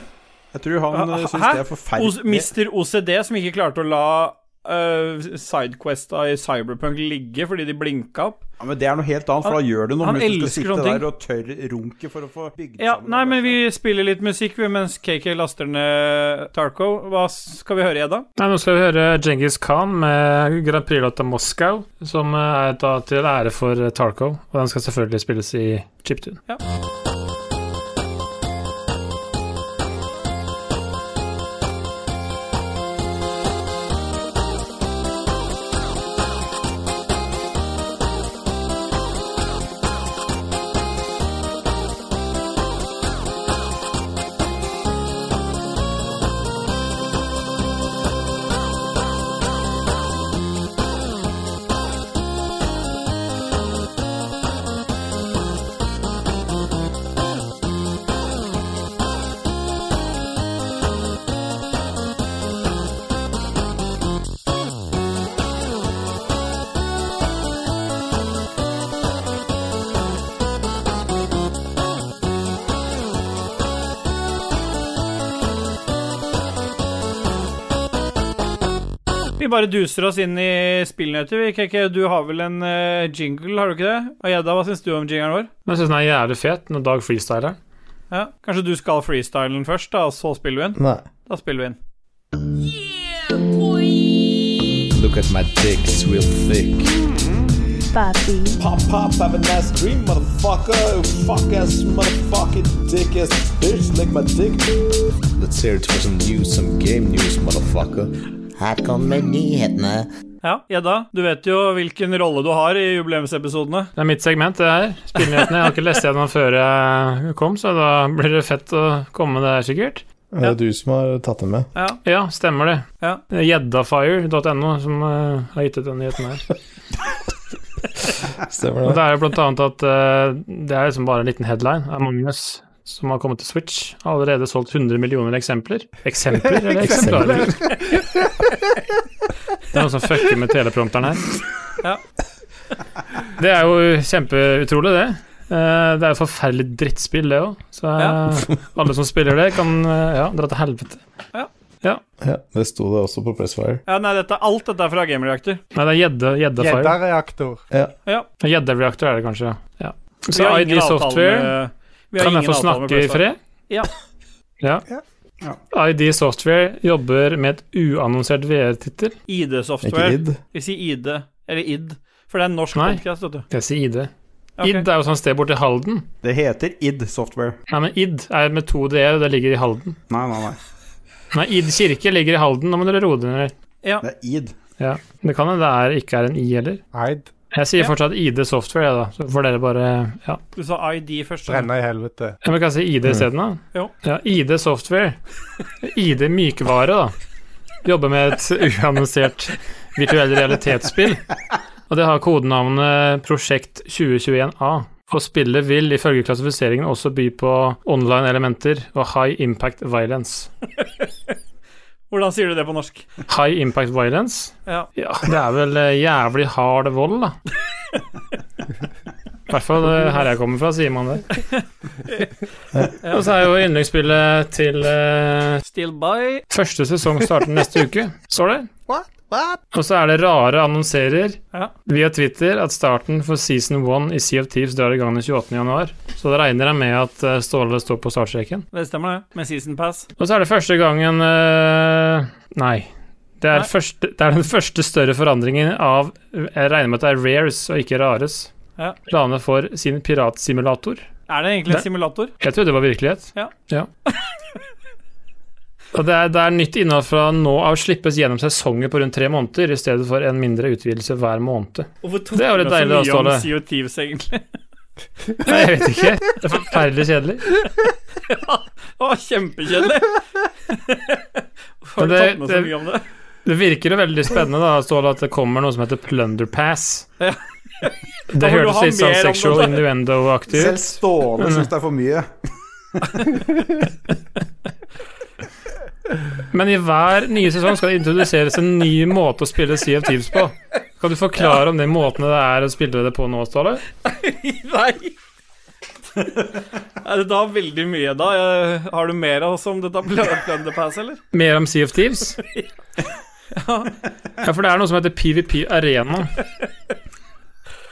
C: Jeg tror han
A: Hæ?
C: eh, syns det er
A: Os-
C: forferdelig.
A: Mr. OCD som ikke klarte å la øh, sidequesta i Cyberpunk ligge fordi de blinka opp.
C: Ja, men Det er noe helt annet, for da gjør du noe.
A: han
C: men hvis du
A: elsker
C: skal
A: sånne
C: sitte
A: ting.
C: der og tørr runke for å få bygd
A: Ja,
C: sammen
A: nei,
C: noe.
A: men vi spiller litt musikk vi, mens KK laster ned Tarko. Hva skal vi høre, Edda?
D: Nei, nå skal vi høre Djengis Khan med Grand Prix-låta 'Moskau', som eh, er da til ære for eh, Tarco. Og den skal selvfølgelig spilles i chiptune.
A: Vi bare duser oss inn i spillnyheter. vi, KK, du har vel en øh, jingle, har du ikke det? Og Edda, hva syns du om jingelen vår?
D: Men jeg syns den er jævlig fet når Dag freestyler.
A: Ja, Kanskje du skal freestylen først, da, og så spiller vi inn?
E: Nei.
A: Da spiller vi inn.
E: Look at my dick, it's real thick. Pop, pop, have a nice dream, motherfucker. Fuck ass, motherfucking dick ass bitch, lick my dick. Let's hear it for some news, some game news, motherfucker.
F: Her kommer nyhetene.
A: Ja, Edda, du vet jo hvilken rolle du har i jubileumsepisodene.
D: Det er mitt segment, det her. Spillnyhetene. Jeg har ikke lest gjennom før jeg kom, så da blir det fett å komme med det her, sikkert.
E: Er det du som har tatt det med?
A: Ja,
D: Ja, stemmer det.
A: Ja.
D: Gjeddafire.no som eh, har gitt ut den nyheten her.
E: Stemmer det?
D: Og det er jo blant annet at eh, det er liksom bare en liten headline. Among Us som har kommet til Switch, har allerede solgt 100 millioner eksempler. Eksempler eller eksemplarer? Det er noen som fucker med teleprompteren her.
A: Ja.
D: Det er jo kjempeutrolig, det. Eh, det er jo forferdelig drittspill, det òg. Så eh, alle som spiller det, kan eh, ja, dra til helvete.
A: Ja.
D: Ja.
E: Ja, det sto det også på Pressfire.
A: Ja, nei, dette, alt dette er fra Game Reactor.
D: Nei, det er gjedde- gjeddefire.
B: Gjeddareaktor.
D: Gjeddereaktor er det kanskje, ja.
A: Vi
D: Så
A: har
D: ID
A: ingen avtale
D: Software,
A: med- vi har
D: kan jeg
A: ingen
D: få
A: avtale med
D: snakke i
A: Pressfire.
D: fred?
A: Ja.
D: Ja.
B: Ja.
D: ID Software jobber med et uannonsert VR-tittel.
A: ID
E: Ikke
A: Software.
E: id.
A: Vi sier ID, eller ID, for det er en norsk
D: Nei.
A: podcast, vet du.
D: Jeg sier ID.
A: Ok.
D: ID er jo sånn sted borti Halden.
C: Det heter ID Software.
D: Nei, men ID er med to d-er, og det ligger i Halden.
C: Nei, nei, nei.
D: Nei, ID kirke ligger i Halden, nå må dere roe dere ned.
C: Det er ID.
D: Ja. Det kan hende det er, ikke er en I heller.
B: Eid.
D: Jeg sier
A: Ja.
D: fortsatt ID Software, jeg, da. Så får dere bare Ja.
A: Du sa ID først. så-
B: Brenne i helvete.
D: Ja, Men kan jeg si ID isteden, da?
A: Jo.
D: Ja, ID Software. ID Mykvare, da. Jobber med et uannonsert virtuell realitetsspill. Og det har kodenavnet Prosjekt 2021A. Og spillet vil ifølge klassifiseringen også by på online elementer og high impact violence.
A: Hvordan sier du det på norsk?
D: High impact violence?
A: Ja.
D: Ja, det er vel eh, jævlig hard vold, da. I hvert fall eh, her jeg kommer fra, sier man det. Og så er jo yndlingsspillet til eh,
A: Still by.
D: første sesong starter neste uke, står det.
B: What? What?
D: Og så er det rare annonserer
A: Ja.
D: via Twitter at starten for season one i Sea of Thieves drar i gang den 28. januar. Så da regner jeg med at eh, Ståle står på startstreken.
A: Det stemmer, det. Med season pass.
D: Og så er det første gangen eh, Nei. Det er,
A: Nei.
D: Første, det er den første større forandringen av Jeg regner med at det er Rares og ikke Rares.
A: Ja.
D: Planene for sin piratsimulator.
A: Er det egentlig en
D: Det-
A: simulator?
D: Jeg trodde det var virkelighet.
A: Ja.
D: Og det er, det er nytt innhold fra nå av slippes gjennom sesonger på rundt tre måneder, i stedet for en mindre utvidelse hver måned.
A: Hvorfor tok
D: Det er jo litt
A: du så
D: deilig, da,
A: mye om
D: Ståle.
A: Sea of Thieves, egentlig?
D: Nei, Jeg vet ikke. Det er forferdelig kjedelig.
A: Å, kjempekjedelig! Har
D: Men
A: du
D: det-
A: tatt med så
D: det-
A: mye om det?
D: Det virker jo veldig spennende da, Ståle, at det kommer noe som heter Plunder Pass.
A: Ja.
D: Det
A: må du ha
D: hørtes litt
A: mer
D: sånn
A: om det,
D: sexual
A: da.
D: innuendo-aktig
C: Selv
D: ut.
A: Mm.
C: Ståle syns det er for mye.
D: Men i hver nye sesong skal det introduseres en ny måte å spille Sea of Thieves på. Kan du forklare om den måten det er å spille det på nå, Ståle?
A: Nei. Er det da veldig mye, da? Eh, Har du mer av oss om dette Plunder Pass, eller?
D: Mer om Sea of Thieves? Ja, for det er noe som heter PVP Arena.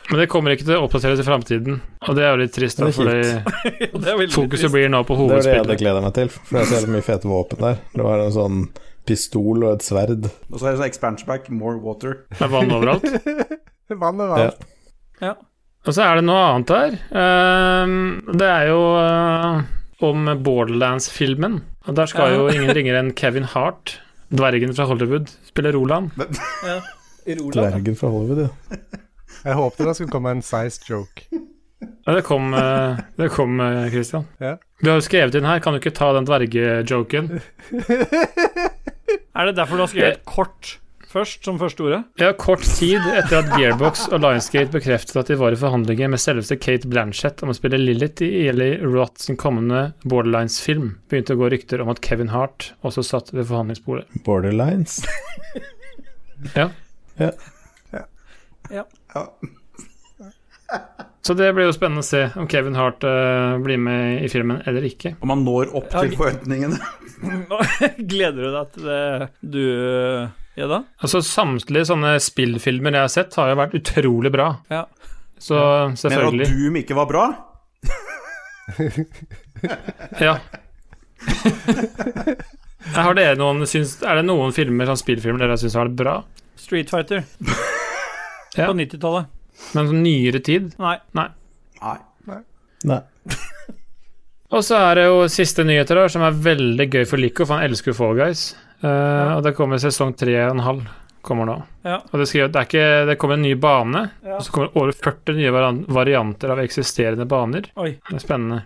D: Men det kommer ikke til å oppdateres i framtiden, og det er jo litt trist, da,
E: Det er
D: fordi
A: Det er veldig
D: fokuset
A: trist.
D: blir nå på
E: Det var det jeg hadde
D: hovedspillet.
E: gleda meg til, for det er så jævlig mye fete våpen der. Det var en sånn pistol og et sverd.
C: Og så er det sånn expansion back, more water.
D: Det er vann overalt.
B: Vannet var alt.
D: Og så er det noe annet her. Ehm, det er jo eh, om Borderlands-filmen. Og der skal
A: Ja.
D: jo ingen ringere enn Kevin Hart, dvergen fra Hollywood, spille Roland.
E: Dvergen fra Hollywood, ja.
B: Jeg håpte det skulle komme en size joke.
D: Ja, det kom, eh, det kom eh, Christian.
B: Ja.
D: Du har jo skrevet inn her, kan du ikke ta den dvergejoken?
A: Er det derfor du har skrevet kort først, som første ordet?
D: Ja, kort tid etter at Gearbox og Lionsgate bekreftet at de var i forhandlinger med selveste Kate Blanchett om å spille Lilith i Eli Roth sin kommende Borderlines-film, begynte å gå rykter om at Kevin Hart også satt ved forhandlingsbordet.
E: Borderlines.
D: Så det blir jo spennende å se om Kevin Hart eh, blir med i filmen eller ikke.
C: Om man når opp til forventningene.
A: Gleder du deg til det du eh, Gjedda?
D: Altså Samtlige sånne spillfilmer jeg har sett, har jo vært utrolig bra.
A: Ja.
D: Så
C: Mener du
D: selvfølgelig.
C: at Doom ikke var bra?
D: Ja. har dere noen, syns, er det noen filmer, sånn spillfilmer dere syns har vært bra?
A: Street Fighter.
D: Ja.
A: På 90-tallet.
D: Men sånn nyere tid?
A: Nei.
C: Nei.
E: Nei.
D: Og så er det jo siste nyheter her, som er veldig gøy for Lico, for han elsker jo Fall Guys. Eh, Og det kommer sesong tre og en halv. Kommer nå.
A: Ja.
D: Og det, skriver, at det, er ikke, det kommer en ny bane,
A: Ja.
D: og så kommer det over 40 nye varan- varianter av eksisterende baner.
A: Oi.
D: Det er spennende.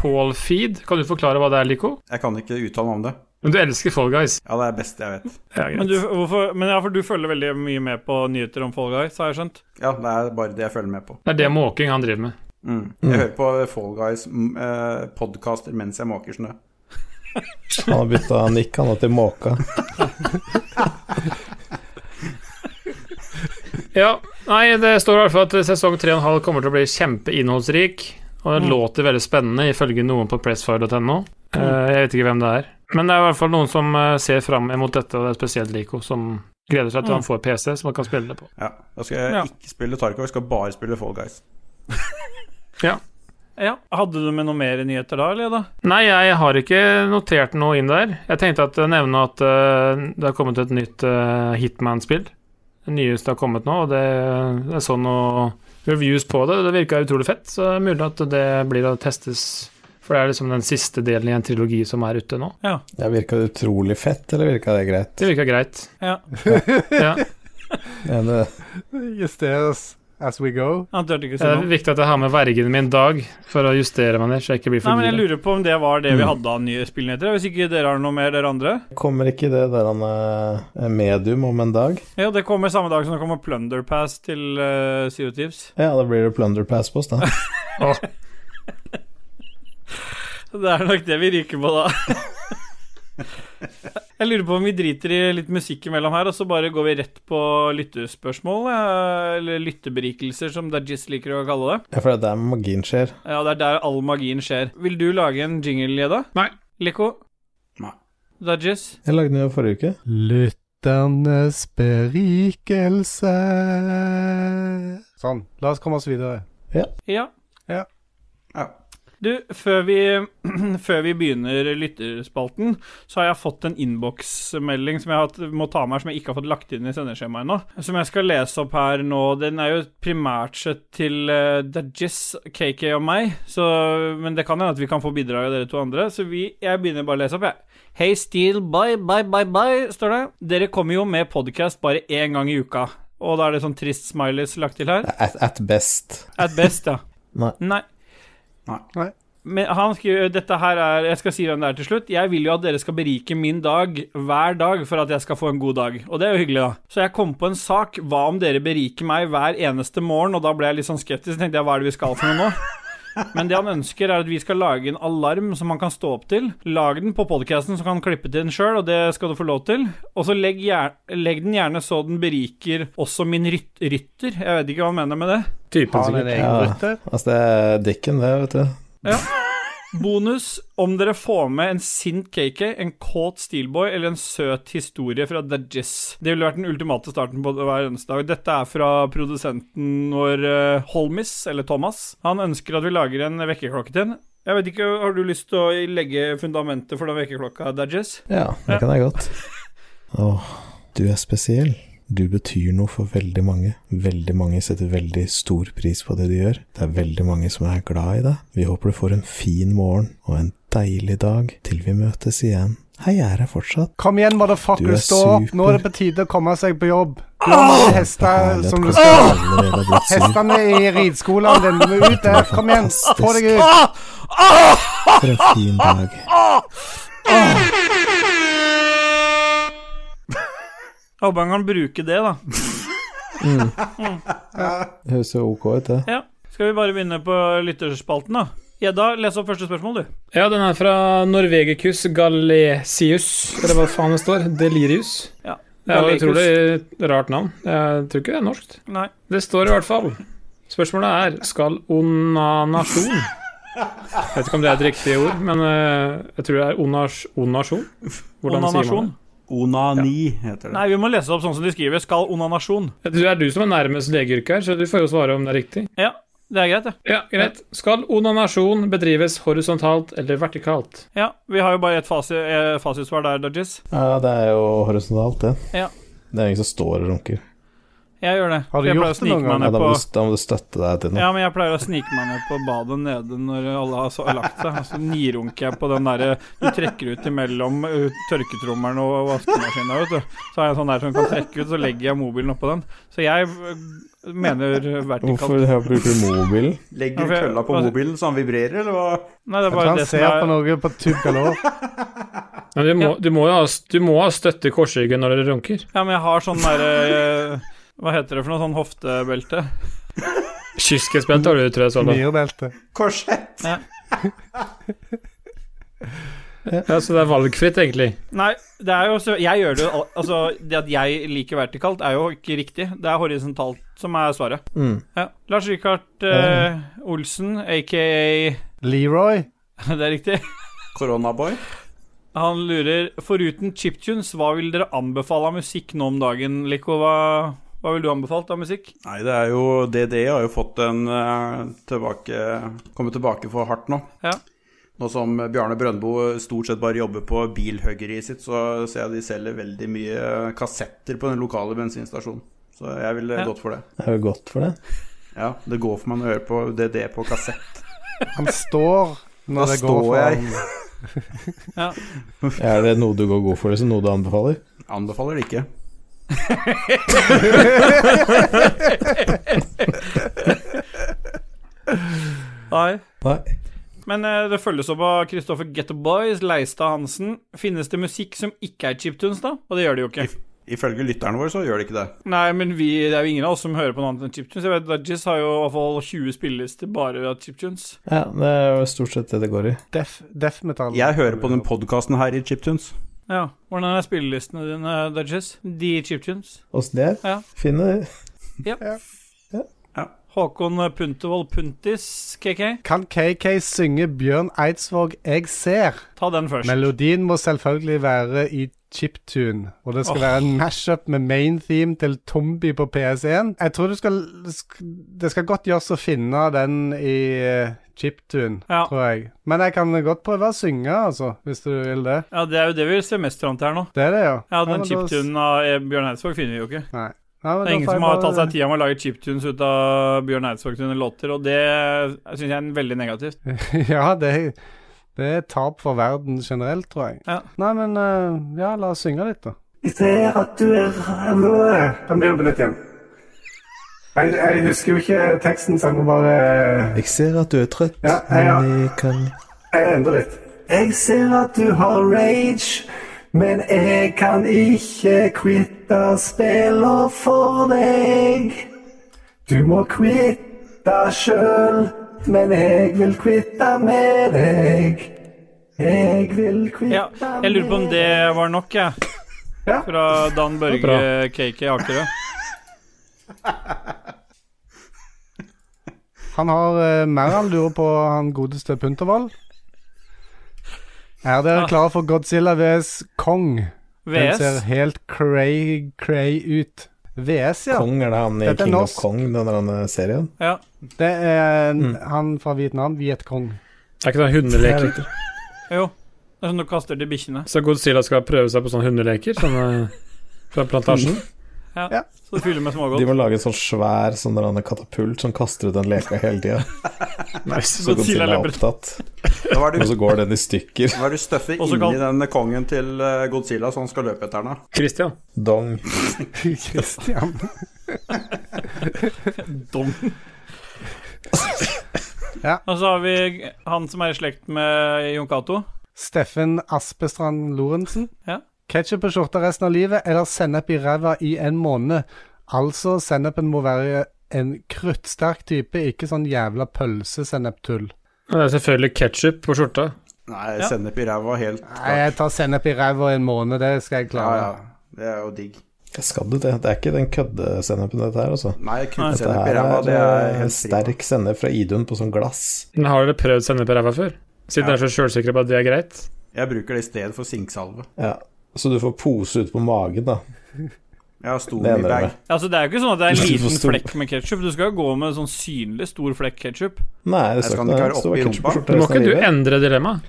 D: Fall feed, kan du forklare hva det er, Lico?
C: Jeg kan ikke uttale meg om det.
D: Men du elsker Fall Guys.
C: Ja, det er best jeg vet.
D: Ja, greit.
A: Men, du, hvorfor, men ja, for du følger veldig mye med på nyheter om Fall Guys, har jeg skjønt?
C: Ja, det er bare det jeg følger med på.
D: Det er det måking han driver med.
C: Mm. Jeg hører på Fall Guys-podkaster mens jeg måker snø.
E: Han har bytta nikk, han har til måka.
D: Ja, nei, det står i hvert fall at sesong 3,5 kommer til å bli kjempeinnholdsrik, og den låter veldig spennende, ifølge noen på pressfire.no. Eh, jeg vet ikke hvem det er. Men det er i hvert fall noen som eh, ser fram mot dette, og det er spesielt Lico, som gleder seg til han får PC som han kan spille det på.
C: Ja. Da skal jeg
A: Ja.
C: ikke spille Tarkov, jeg skal bare spille Fall Guys.
A: Ja. Hadde du med noe mer nyheter da, eller? da?
D: Nei, jeg har ikke notert noe inn der. Jeg tenkte at jeg nevne at eh, det har kommet et nytt eh, Hitman-spill. Det nyeste har kommet nå, og det det er sånn noe reviews på det. Det virka utrolig fett, så det er mulig at det blir å testes. For det er liksom den siste delen i en trilogi som er ute nå.
E: Ja, Virka det utrolig fett, eller virka det greit?
D: Det virka greit.
A: Ja.
D: Ja.
E: Ja, det,
B: Justeres as we go.
A: Han turte ikke å
D: Det
A: si
D: er
A: noe.
D: viktig at jeg har med vergen min Dag for å justere meg ned, så jeg ikke blir
A: Nei,
D: for
A: men Jeg
D: gira.
A: lurer på om det var
D: Mm.
A: det vi hadde av nye spillnyheter. Hvis ikke dere har noe mer, dere andre?
E: kommer ikke det der han er medium om en dag?
A: Ja, det kommer samme dag som det kommer Plunder Pass til uh, Sea of Thieves.
E: Ja, da blir det plunder pass på oss, da.
A: Det er nok det vi ryker på da. Jeg lurer på om vi driter i litt musikk imellom her, og så bare går vi rett på lyttespørsmål, eh, eller lytteberikelser, som Dajis liker å kalle det.
E: Ja, for det er der magien skjer.
A: Ja, det er der all magien skjer. Vil du lage en jingle, Jedda?
D: Nei.
A: Lico?
C: Nei.
A: Dajis?
E: Jeg lagde den jo forrige uke.
B: Lytternes berikelse. Sånn. La oss komme oss videre.
A: Ja.
C: Ja.
A: Du, før vi, før vi begynner lytterspalten, så har jeg fått en innboksmelding som jeg har, hatt- må ta med her, som jeg ikke har fått lagt inn i sendeskjemaet ennå. Som jeg skal lese opp her nå. Den er jo primært sett til uh, Dajis, KK og meg, så, men det kan hende at vi kan få bidrag av dere to andre. Så vi, jeg begynner bare å lese opp, jeg. Hei, Steel, bye, bye, bye, bye, står det. Dere kommer jo med podkast bare én gang i uka. Og da er det sånn trist smileys lagt til her.
E: At, at best.
A: At best, ja.
E: Nei.
A: Nei.
C: Nei.
B: Nei.
A: Men han skriver øh, dette her er Jeg skal si hvem det er til slutt. Jeg vil jo at dere skal berike min dag hver dag for at jeg skal få en god dag. Og det er jo hyggelig, da. Så jeg kom på en sak. Hva om dere beriker meg hver eneste morgen? Og da ble jeg litt sånn skeptisk. Tenkte jeg, hva er det vi skal for noe nå? Men det han ønsker, er at vi skal lage en alarm som han kan stå opp til. Lag den på podkasten, så kan han klippe til den sjøl, og det skal du få lov til. Og så legg, gjer legg den gjerne så den beriker også min ryt rytter. Jeg vet ikke hva han mener med det.
D: Typen
B: Har han en
D: sikkert.
B: egen
E: Ja.
B: rytter?
E: Altså, det er dikken, det, vet du.
A: Bonus om dere får med en sint KK, en kåt Steelboy eller en søt historie fra The Jizz. Det ville vært den ultimate starten på hver eneste dag. Dette er fra produsenten vår eh, Holmis, eller Thomas. Han ønsker at vi lager en vekkerklokke til en. Jeg vet ikke, Har du lyst til å legge fundamentet for den vekkerklokka, Dajis?
E: Ja, det kan jeg godt. Åh, du er spesiell. Du betyr noe for veldig mange. Veldig mange setter veldig stor pris på det du gjør. Det er veldig mange som er glad i deg. Vi håper du får en fin morgen og en deilig dag til vi møtes igjen. Hei, jeg er her fortsatt.
B: Kom igjen,
E: Du
B: motherfucker,
E: er
B: stå opp! Nå er det på tide å komme seg på jobb. Du har mange hester
C: Ah,
E: Herlighet,
B: som du
E: hvordan
B: skal
E: jeg allerede har blitt sur.
B: Hestene i ridskolen din, du må ut der! Kom igjen, få deg
A: Ah,
B: ut!
E: For en fin dag.
A: Håper han kan bruke det, da.
E: Det høres jo ok ut, det.
A: Ja. Skal vi bare begynne på lytterspalten, da? Gjedda, les opp første spørsmål, du.
D: Ja, den er fra Norvegicus galesius, eller hva faen det står. Delirius.
A: Ja.
D: Det er jo et
A: Gallicus.
D: utrolig rart navn. Jeg tror ikke det er norskt.
A: Nei.
D: Det står i hvert fall. Spørsmålet er skal onanasjon Jeg vet ikke om det er et riktig ord, men eh, jeg tror det er onas, onasjon. Hvordan sier man
A: Onanasjon.
D: det?
C: Onani heter det.
A: Nei, vi må lese opp sånn som de skriver. Skal onanasjon.
D: Jeg tror Det er du som er nærmest legeyrket her, så du får jo svare om det er riktig.
A: Ja, det er greit, det.
D: Ja, greit. Skal onanasjon bedrives horisontalt eller vertikalt?
A: Ja, vi har jo bare ett fasi, eh, fasitsvar der, Dodges.
E: Ja, det er jo horisontalt, det.
A: Ja.
E: Det er ingen som står og runker.
A: Jeg gjør det.
B: Har du
A: jeg
B: gjort
A: pleier å
B: det noen
A: snike meg
B: gang?
E: Ja,
A: ned på
E: da, må du, da må du støtte deg til noe.
A: ja, men jeg pleier å snike meg ned på badet nede når alle har så- lagt seg. og Så nirunker jeg på den derre du trekker ut imellom eh, tørketrommelen og vaskemaskina, vet du. Så har jeg en sånn der som kan trekke ut, så legger jeg mobilen oppå den. Så jeg eh, mener vertikalt.
E: Hvorfor bruker du mobilen?
C: Legger
A: Ja, for jeg-
C: kølla på
A: altså-
C: mobilen så han vibrerer, eller hva?
A: Nei, det er
B: Jeg tror
A: bare
B: han
A: det som
B: ser
A: er
B: på noe på Tugalore.
D: Men du må, du må jo ha, du må ha støtte i korsryggen når du runker.
A: Ja, men jeg har sånn derre Hva heter det for noe? Sånn hoftebelte?
D: Kyskhetsbelt har du, tror jeg. Sånn.
B: Nyrebelte.
C: Korsett!
D: Ja, så det er valgfritt, egentlig.
A: Nei, det er jo så Jeg gjør det jo al- Altså, det at jeg liker vertikalt, er jo ikke riktig. Det er horisontalt som er svaret.
E: Mm.
A: Ja. Lars Rikard eh, Olsen, aka
B: Leroy.
A: Det er riktig.
C: Koronaboy.
A: Han lurer Foruten chiptunes, hva vil dere anbefale av musikk nå om dagen, Lico? Hva, hva vil du anbefalt av musikk?
C: Nei, det er jo DDE har jo fått en eh, tilbake Kommet tilbake for hardt nå.
A: Ja.
C: Nå som Bjarne Brøndbo stort sett bare jobber på bilhuggeriet sitt, så ser jeg de selger veldig mye kassetter på den lokale bensinstasjonen. Så jeg ville
A: Ja.
C: gått for det.
E: Det er jo godt for det.
C: Ja, det går for meg å høre på DDE på kassett.
B: Han står når
C: Da
B: det går
C: står
B: for
C: jeg.
B: ham.
E: Er det noe du går god for, liksom? Noe du anbefaler?
C: Anbefaler det ikke.
A: Nei.
E: Nei.
A: Men eh, det følges opp av Kristoffer Gettoboys, Leistad Hansen. Finnes det musikk som ikke er chiptunes, da? Og det gjør det jo ikke.
C: Ifølge lytterne våre så gjør det ikke det.
A: Nei, men vi, det er jo ingen av oss som hører på noe annet enn chiptunes. Jeg vet Dudgies har jo i hvert fall 20 spillelister bare av chiptunes.
E: Ja, det er jo stort sett det det går i.
B: Death, death metal.
C: Jeg hører på den podkasten her i Chiptunes.
A: Ja. Hvordan er spillelistene dine, Dudgies? De chiptunes?
E: Åssen det
A: Ja.
E: er? Fine det.
A: Håkon Puntervold Puntis, KK?
B: Kan KK synge Bjørn Eidsvåg 'Jeg ser'?
A: Ta den først.
B: Melodien må selvfølgelig være i chiptune, og det skal
A: Åh.
B: være en mashup med main theme til Tombi på PS1. Jeg tror du skal, sk- det skal godt gjøres å finne den i eh, chiptune,
A: Ja.
B: tror jeg. Men jeg kan godt prøve å synge, altså, hvis du vil det.
A: Ja, det er jo det vi ser mest fram til her nå.
B: Det er det, ja.
A: Ja, den
B: men da s-
A: chiptunen av eh, Bjørn Eidsvåg finner vi jo ikke.
B: Nei. Nei, men
A: Det
B: da
A: er ingen
B: får jeg
A: som har
B: bare-
A: tatt seg tida med å lage chiptunes ut av Bjørn Eidsvåg sine låter, og det syns jeg er veldig negativt.
B: ja, det, er- det er tap for verden generelt, tror jeg.
A: Ja.
B: Nei, men eh, ja, la oss synge litt, da.
H: Jeg ser at du er
B: Da begynner vi på nytt igjen. eh, Jeg, husker jo ikke teksten, så jeg må bare eh,
E: Jeg ser at du er trøtt,
B: Ja, jeg- ja.
E: men jeg kan
B: Jeg endrer litt.
H: Jeg ser at du har rage, men jeg kan ikke quitte spiller for deg. Du må quitte sjøl, men jeg vil quitte med deg. Jeg vil quitte
A: Ja, jeg lurer på om det var nok, jeg.
B: Ja.
A: Fra Dan Børge
D: Bra.
A: KK Akerø.
B: Han har eh, mer han lurer på, han godeste Puntervold. Er
A: Ah.
B: dere klare for Godzilla vs. Kong? Den ser
A: VS.
B: helt cray, cray ut. VS, ja.
E: Kong er det han i
B: Dette er
E: King of
B: norsk.
E: Kong, den der han, eh, serien?
A: Ja.
B: Det er en,
C: Mm.
B: han fra Vietnam, Vietkong.
D: Det er ikke sånn hundeleker.
A: Jo. Det er sånn du kaster til bikkjene.
D: Så Godzilla skal prøve seg på sånne hundeleker sånne, fra plantasjen.
A: Så du fyller med
E: De
A: smågodt.
E: må lage en sånn svær sånn der han er katapult som kaster ut den leka hele tida. Så
A: Godzilla
E: Godzilla er
A: løper.
E: opptatt,
C: Da var
E: og
C: det
E: så går den i stykker.
C: hva er det du støffer
A: Også kalt-
C: inni den kongen til eh, Godzilla, så han skal løpe etter den? da?
D: Christian.
E: Dong.
B: Christian.
A: Dong.
B: Ja.
A: Og så har vi han som er i slekt med Jon Cato.
B: Steffen Aspestrand Lorentzen.
A: Ja.
B: Ketchup på skjorta resten av livet, eller sennep i ræva i en måned. Altså, sennepen må være en kruttsterk type, ikke sånn jævla pølsesenneptull.
D: Og det er selvfølgelig ketsjup på skjorta.
C: Nei,
A: Ja.
C: sennep i ræva helt
B: Nei, jeg tar sennep i ræva i en måned, det skal jeg
C: Ja,
B: klare.
C: ja. Det er jo digg.
E: Skal du det? Det er ikke den køddesennepen, dette her, altså.
C: Nei,
E: Dette
C: kuttsennep i
E: her
C: ræva, det er
E: er eh,
C: helt sterk.
E: sterk sennep fra Idun på sånn glass.
D: Men har dere prøvd sennep i ræva før?
C: Ja.
D: Siden dere er så sjølsikre på at det er greit.
C: Jeg bruker det i stedet for sinksalve.
E: Ja. Så du får pose ut på magen, da.
C: Jeg har stor
E: Det
C: i
E: ender det
C: bag.
E: med.
A: Altså, det er jo ikke sånn at det er en
E: Du får
A: liten
E: stor-
A: flekk med ketsjup. Du skal jo gå med en sånn synlig stor flekk ketsjup.
E: Nei, det
C: Jeg
E: skal
C: skal ikke
E: ikke være
C: være oppi rumpa.
D: Men Må ikke du endre dilemmaet?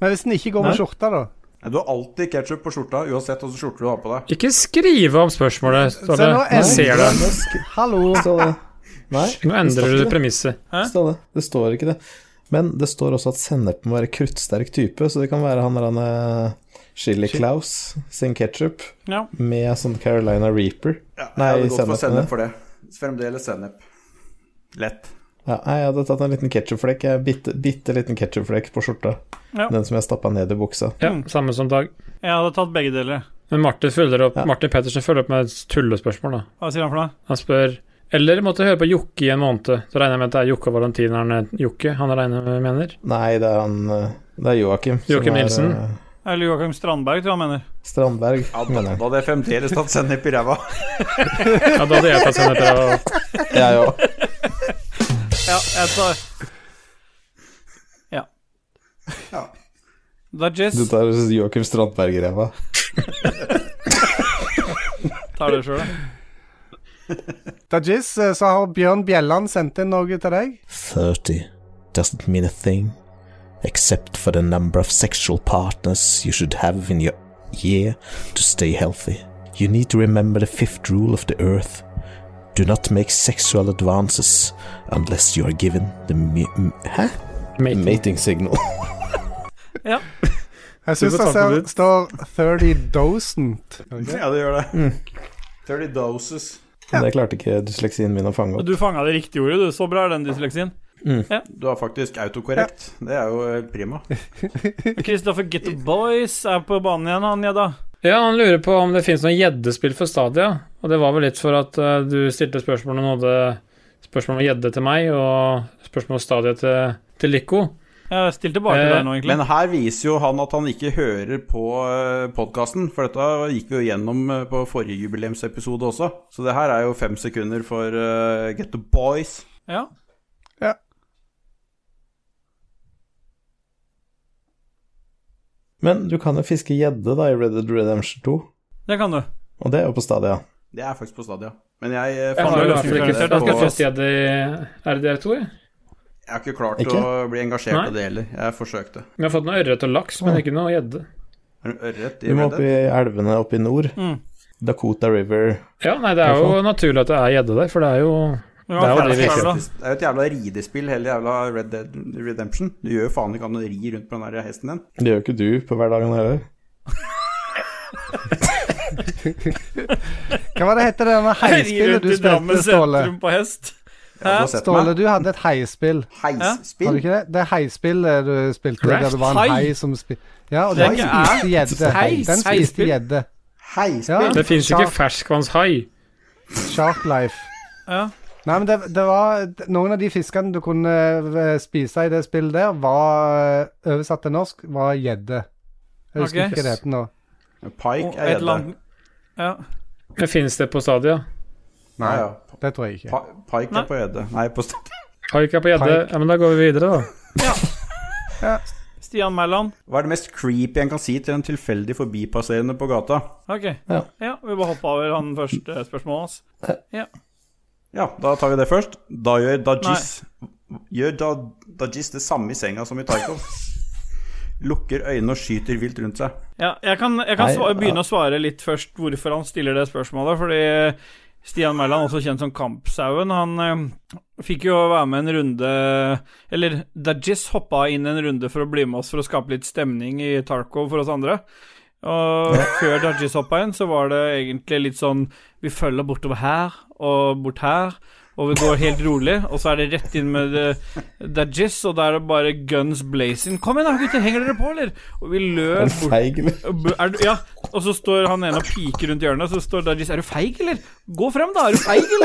B: Men hvis den ikke går med
E: Nei.
B: skjorta, da?
C: Nei, Du har alltid ketsjup på skjorta, uansett hvilken skjorte du har på deg.
D: Ikke skrive om spørsmålet,
B: Se,
D: Ståle.
B: nå
D: Jeg
B: endrer
D: ser det.
B: Hallo!
E: Ståle. Nei,
D: Nå endrer du premisset.
A: Hæ?
E: Ståle. Det står ikke det. Men det står også at sennepen må være kruttsterk type, så det kan være han der han eh, Chili Claus sin ketsjup
A: Ja.
E: med sånn Carolina Reaper.
C: Ja,
E: Nei,
C: jeg hadde gått for
E: sennep,
C: sennep
E: mener.
C: for det. Fremdeles sennep. Lett.
E: Ja, nei, jeg hadde tatt en liten ketsjupflekk, en bitte, bitte liten ketsjupflekk på skjorta.
A: Ja.
E: Den som jeg stappa ned i buksa.
D: Ja,
B: Mm.
D: samme som Dag.
A: Jeg hadde tatt begge deler.
D: Men Martin, følger opp,
E: Ja.
D: Martin Pettersen følger opp med et tullespørsmål, da.
A: Hva sier han for noe?
D: Han spør Eller måtte høre på Jokke i en måned. Så regner jeg med at det er Jokke og Valentineren Jokke han regner med mener.
E: Nei, det er han eh, Det er Joakim. som er,
D: Joakim Nielsen.
E: eh,
A: Eller Joakim Strandberg, tror jeg han mener.
E: Strandberg,
C: Ja, da,
E: mener jeg.
C: da hadde jeg fremdeles tatt sennep i ræva.
D: Ja, da hadde jeg tatt sennep i ræva.
E: Jeg òg.
A: Ja, jeg tar Dodges
E: Du tar Joakim Strandberg-ræva.
A: tar det sjøl, da.
B: Dajis, eh, så har Bjørn Bjelland sendt inn noe til deg.
F: 30 doesn't mean a thing, except for the number of sexual partners you should have in your year to stay healthy. You need to remember the fifth rule of the earth do not make sexual advances unless you are given the. Mi m- Hæ?
D: Mate.
E: Mating signal.
B: Jeg syns
D: Super
B: det
D: tanke,
B: ser-
D: dude.
B: står 30 dosent.
C: Ja, det gjør det.
E: Mm.
C: 30 doses.
E: Men det klarte ikke dysleksien min å fange
A: Og
E: opp.
A: du fanga det riktige ordet, du. Så bra er den dysleksien.
C: Du har faktisk autokorrekt. Det er jo helt prima.
A: Kristoffer Get the Boys er på banen igjen, han, ja da.
D: Ja, han lurer på om det finnes noen gjeddespill for Stadia. Og det var vel litt for at eh, du stilte spørsmål om du hadde spørsmål om gjedde til meg, og spørsmål om Stadia til, til Lico.
A: Jeg stilte tilbake
D: Eh,
A: der nå, egentlig.
C: Men her viser jo han at han ikke hører på podkasten, for dette gikk vi jo gjennom eh, på forrige jubileumsepisode også. Så det her er jo fem sekunder for eh, Get the Boys.
A: Ja.
E: Men du kan jo fiske gjedde da i Red Dead Redemption 2,
A: Det kan du.
E: og det er jo på Stadia.
C: Det er faktisk på Stadia. Men jeg, eh,
D: Jeg
A: Faen,
C: fant
D: har
A: det
D: jo
A: er
D: i hvert fall ikke
A: ganske
D: sett at jeg
C: på,
D: har sett gjedde i RDR2, jeg.
C: jeg har ikke klart
E: Ikke?
C: å bli engasjert
D: Nei.
C: i det heller. Jeg forsøkte.
D: Vi har fått noe ørret og laks, men ikke noe gjedde.
C: Er det ørret
E: Du
C: i Red
E: må opp i
C: Dead?
E: elvene oppe i nord.
A: Mm.
E: Dakota River.
D: Ja, nei, det er jo naturlig at det er gjedde der, for det er jo
A: Men
D: Det er
A: hva
D: jo
A: faen
D: det vi
A: skal
D: kjøper.
A: da?
C: Det er jo et jævla ridespill, hele jævla Red Dead Redemption. Du gjør jo faen ikke annet enn å ri rundt på den der hesten din.
E: Det gjør jo ikke du på hverdagen heller.
B: Hva var det heter det denne heispillet
A: Rundt
B: du
A: i Drammen
B: spilte, Ståle?
A: sentrum på hest.
C: Ja, du har sett
B: Ståle,
C: meg.
B: du hadde et heispill. Har
C: Heisspill?
B: du ikke det? Det heispillet du spilte,
D: Craft
B: der det var en
A: Hei?
B: hei som spilte Ja, og
A: Det er
B: den
A: ikke
B: spiste gjedde.
A: Heis.
B: Den spiste
A: Heispill.
B: gjedde.
C: Heispill?
B: Ja.
D: Det fins ikke ferskvannshai.
B: Shark Life.
A: Ja.
B: Nei, men det, det var Noen av de fiskene du kunne eh, spise i det spillet der, var eh, oversatt til norsk, var gjedde. Jeg husker
A: Ok.
B: ikke hva det heter nå.
C: Pike er
A: Et eller
C: gjedde.
A: annet ja.
D: Men Fins det på Stadia?
C: Nei,
B: Nei,
C: ja.
B: det tror jeg ikke.
C: Pa- Pike
A: Nei.
C: er på gjedde. Nei, på st
D: Haik er på gjedde.
B: Haik.
D: Ja, men da går vi videre, da.
A: Stian Mæland.
C: Hva er det mest creepy en kan si til en tilfeldig forbipasserende på gata?
A: Ok.
E: Ja.
A: Ja, vi bare hoppa over han første spørsmålet hans.
C: Ja, da tar vi det først. Da gjør Dajis Gjør da, Dajis det samme i senga som i Taiko. Lukker øynene og skyter vilt rundt seg.
A: Ja, jeg kan, jeg kan
E: Nei,
A: svare,
E: ja.
A: begynne å svare litt først hvorfor han stiller det spørsmålet. Fordi Stian Mæland, også kjent som Kampsauen, han eh, fikk jo være med en runde Eller Dajis hoppa inn en runde for å bli med oss for å skape litt stemning i Tarkov for oss andre. Og før Dajis hoppa inn, så var det egentlig litt sånn Vi følger bortover her og bort her. Og vi går helt rolig, og så er det rett inn med eh, Dajis, og da er det bare guns blazing. Kom igjen, da, gutter, henger dere på, eller? Og vi løp
E: En
A: bort
E: feig eller?
A: B- Er du, ja, og så står han ene og piker rundt hjørnet, og så står Dajis Er du feig, eller? Gå frem, da! Er du feig,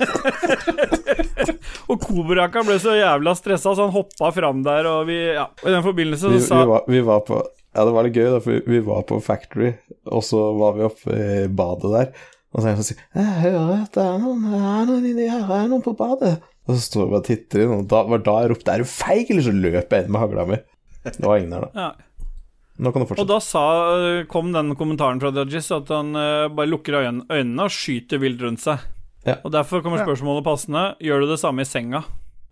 A: eller? og Kobraka ble så jævla stressa, så han hoppa fram der, og vi Ja. Og i den forbindelse
E: Vi,
A: så sa
E: vi, var, vi var på Ja, det var litt gøy, da, for vi, vi var på Factory, og så var vi oppe i badet der. Og så er det en som sier Jeg hører at det er noen, det er noen inni her, det er noen på badet. Og så står vi og titter inn, og da var da jeg ropte 'er du feig', eller så løp jeg inn med hagla mi. Det var ingen der, da.
A: ja.
E: Nå kan du
A: Og
E: fortsette.
A: da sa, eh, kom den kommentaren fra Dajis at han eh, bare lukker øyn- øynene og skyter vilt rundt seg.
E: Ja.
A: Og derfor kommer spørsmålet passende. Gjør du det samme i senga?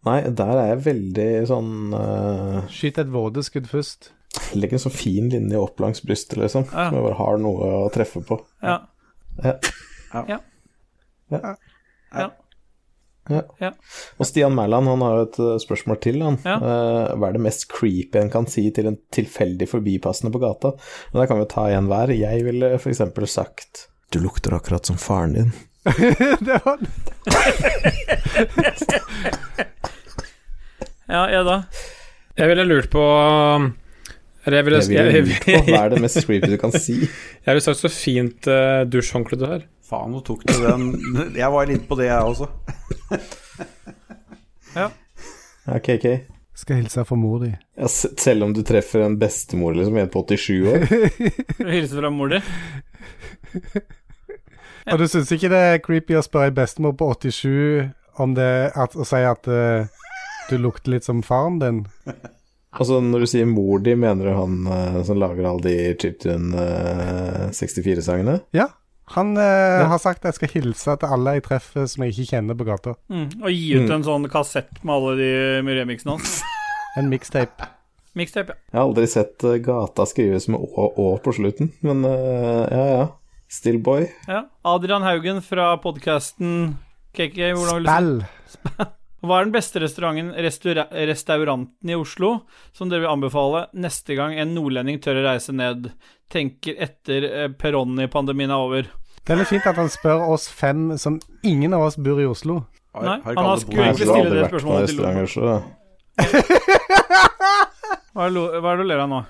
E: Nei, der er jeg veldig sånn eh,
B: Skyt et vådeskudd først.
E: Legg en sånn fin linje opp langs brystet, liksom.
A: Ja.
E: Som jeg bare har noe å treffe på.
A: Ja.
E: Ja.
A: Ja. Ja.
E: Ja.
A: Ja.
E: Ja.
A: Ja.
E: Og Stian Mæland han har jo et eh, spørsmål til. Han.
A: Ja.
E: Eh, Hva er det mest creepy en kan si til en tilfeldig forbipassende på gata? Men Der kan vi jo ta en hver. Jeg ville f.eks. sagt Du lukter akkurat som faren din.
B: det var
A: Ja, jeg da.
D: Jeg ville lurt på Eller jeg ville,
E: Jeg ville
D: jeg,
E: lurt på hva er det mest creepy du kan si.
D: jeg ville sagt så fint eh, dusjhåndkle du har.
C: Faen, nå tok du den Jeg var litt på det, jeg også.
E: Ok, ok.
B: Skal hilse fra mor di.
E: Ja, s- selv om du treffer en bestemor liksom, en på 87 år.
A: Hilser fra mor di.
B: Og du syns ikke det er creepy å spørre ei bestemor på 87 om det at, og si at eh, du lukter litt som faren din?
E: Altså, når du sier mor di, mener du han eh, som lager alle de Chiptune eh, 64-sangene?
B: Ja. Han eh, har sagt jeg skal hilse til alle jeg treffer som jeg ikke kjenner på gata.
A: Mm. Og gi ut en sånn kassett med alle de remixene hans.
B: En mixtape.
A: Mixtape, ja.
E: Jeg har aldri sett eh, gata skrives med å, å på slutten, men eh, ja, ja. Stillboy.
A: ja. Adrian Haugen fra podkasten KK, hvordan vil du si
B: Ball.
A: Hva er den beste restauranten, restaura, restauranten i Oslo som dere vil anbefale neste gang en nordlending tør å reise ned? Tenker etter eh, Peroni-pandemien er over.
B: Det er litt fint at han spør oss fem som ingen av oss bor i Oslo.
C: Har-
A: Nei,
C: har
A: han har
C: Kalle
A: skru-
C: bodd-
A: Skulle egentlig
E: Jeg har
A: stille
E: aldri
A: det
E: vært på
A: spørsmålet
E: noen
A: til
E: restauranter, så
A: Hva er det lo- hva er det du ler av nå?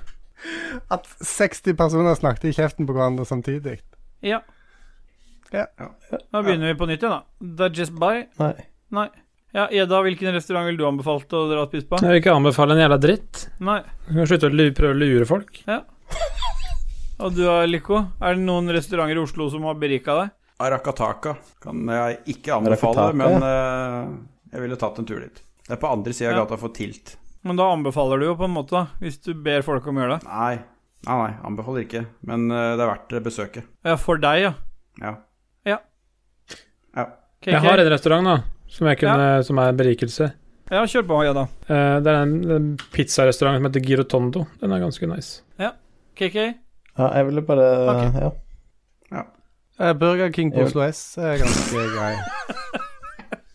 B: At 60 personer snakket i kjeften på hverandre samtidig.
A: Ja.
B: Ja.
A: Da begynner vi på nytt igjen, da. That just by?
E: Nei.
A: Nei. Ja, Eda, hvilken restaurant vil du anbefalt å dra og spise på?
D: Jeg vil ikke anbefale en jævla dritt.
A: Nei.
D: Du kan slutte å lu- prøve å lure folk.
A: Og du da, Lico? Er det noen restauranter i Oslo som har berika deg?
C: Arakataka kan jeg ikke anbefale,
E: Arakataka,
C: men eh, jeg ville tatt en tur dit. Det er på andre sida av
A: Ja.
C: gata for Tilt.
A: Men da anbefaler du jo, på en måte, da, hvis du ber folk om å gjøre det.
C: Nei, nei, nei anbefaler ikke. Men eh, det er verdt besøket.
A: Ja, for deg, ja.
C: Ja.
A: KK.
D: Jeg har en restaurant nå, som, jeg kunne, som er en berikelse.
A: Ja, kjør på, Eda.
D: Eh, det er en, en pizzarestaurant som heter Girotondo. Den er ganske nice.
A: KK?
E: Ja, jeg ville bare
A: Ok.
E: Ja.
B: Eh, Burger King på
E: Jeg-
B: Oslo S er ganske grei.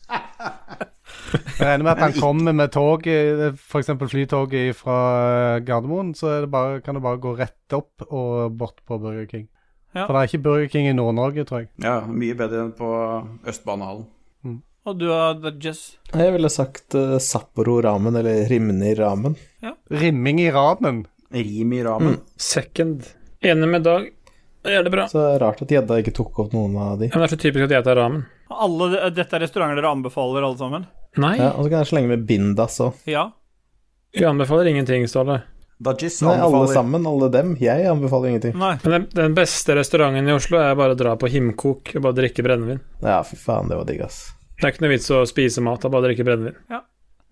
B: Jeg regner med at han kommer med tog, f.eks. flytoget fra eh, Gardermoen, så er det bare, kan det bare gå rett opp og bort på Burger King.
A: Ja.
B: For det er ikke Burger King i Nord-Norge, tror jeg.
C: ja, mye bedre enn på Østbanehallen.
A: Og du har The Jess.
E: Jeg ville sagt eh, Sapporo Ramen, eller Rimni Ramen.
B: Rimming i ramen.
C: Rim i ramen.
D: Mm. Second. Enig med Dag. Det gjør det bra.
E: Så det er rart at gjedda ikke tok opp noen av de.
D: Ja, men det er så typisk at jeg tar ramen.
A: Alle, dette er restauranter dere anbefaler, alle sammen?
D: Nei,
E: Ja, og så kan jeg slenge med Bindas òg.
A: Ja.
D: vi anbefaler ingenting, Ståle.
C: Dajis
E: Nei, alle
C: anbefaler
E: sammen, alle dem. Jeg anbefaler ingenting.
A: Nei.
D: Men den, den beste restauranten i Oslo er bare å dra på Himkok og bare drikke brennevin.
E: Ja, fy faen, det var digg, ass.
D: Det er ikke noe vits å spise mat, det er bare å drikke brennevin.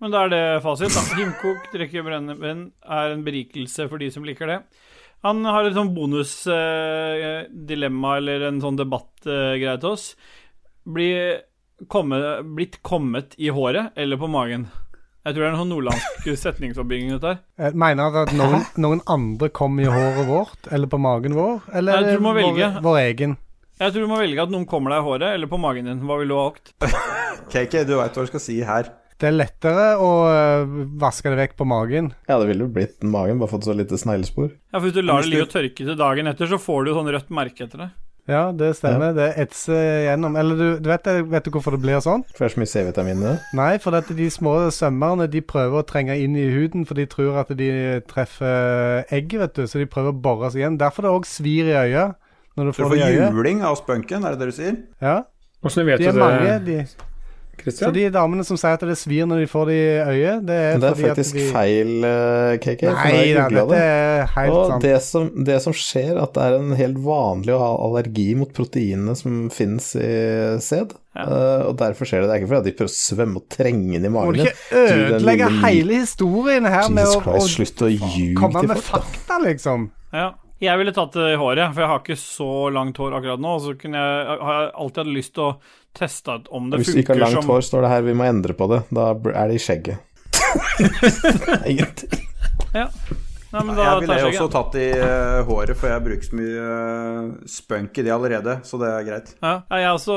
A: Men da er det fasit. da. Himkok, drikke brennevin er en berikelse for de som liker det. Han har et sånn bonusdilemma eller en sånn debattgreie til oss. Bli komme, blitt kommet i håret eller på magen. Jeg tror det er en sånn nordlandsk setningsoppbygging, dette her.
B: Eh, Mener han at noen, noen andre kom i håret vårt, eller på magen vår, eller
A: Nei, du må
B: vår,
A: velge.
B: vår egen?
A: Jeg tror du må velge at noen kommer deg i håret eller på magen din. Hva ville du ha valgt?
C: KK, du veit hva du skal si her.
B: Det er lettere å eh, vaske det vekk på magen.
E: Ja, det ville jo blitt magen, bare fått så lite sneglespor.
A: Ja, for Hvis du lar
C: Hvis
A: det
C: du-
A: ligge og tørke til dagen etter, så får du jo sånn rødt merke etter det.
B: Ja, det stemmer. Det etser gjennom. Eller du, du vet, vet du hvorfor det blir sånn?
E: For det er så mye C-vitamin i det.
B: Nei, for at de små svømmerne de prøver å trenge inn i huden, for de tror at de treffer egg, vet du, så de prøver å bore seg igjen. Derfor det òg svir i øyet når du
C: Du
B: får
C: får
B: det i øyet.
C: juling av spunken, er det det du sier?
B: Ja,
D: Åssen vet
B: de er
D: du
B: mange,
D: det,
B: de. Så
D: Christian?
B: de damene som sier at det svir når de får det i øyet, det er,
E: Men det er
B: fordi
E: faktisk
B: at de...
E: feil, eh, KK. for nå har
B: Nei,
E: jeg
B: da,
E: googlet
B: dette er helt
E: Og
B: sant.
E: det som, det som skjer, at det er en helt vanlig å ha allergi mot proteinene som finnes i sæd. Eh, og derfor skjer det. Det er ikke fordi at de prøver å svømme og trenge den i
B: Må du
E: magen.
B: ikke
E: Du, den
B: ødelegge
E: lille-
B: hele historien her med
E: Jesus
B: å,
E: Christ,
B: å
E: slutt å ljuge
B: komme
E: til
B: med
E: folk. da.
B: fakta, liksom?
A: Ja. Jeg ville tatt det i håret, for jeg har ikke så langt hår akkurat nå. Og så kunne jeg, har jeg alltid hatt lyst til å teste at om det
E: Hvis du ikke har
A: funker
E: langt
A: som
E: hår, står det her vi må endre på det. Da er det i skjegget. Ingenting.
A: Nei, men da
C: Jeg ville
A: tar jeg
C: også
A: ikke.
C: tatt i eh, håret, for jeg bruker så mye eh, spunk i det allerede, så det er greit.
A: Ja, Ja, jeg også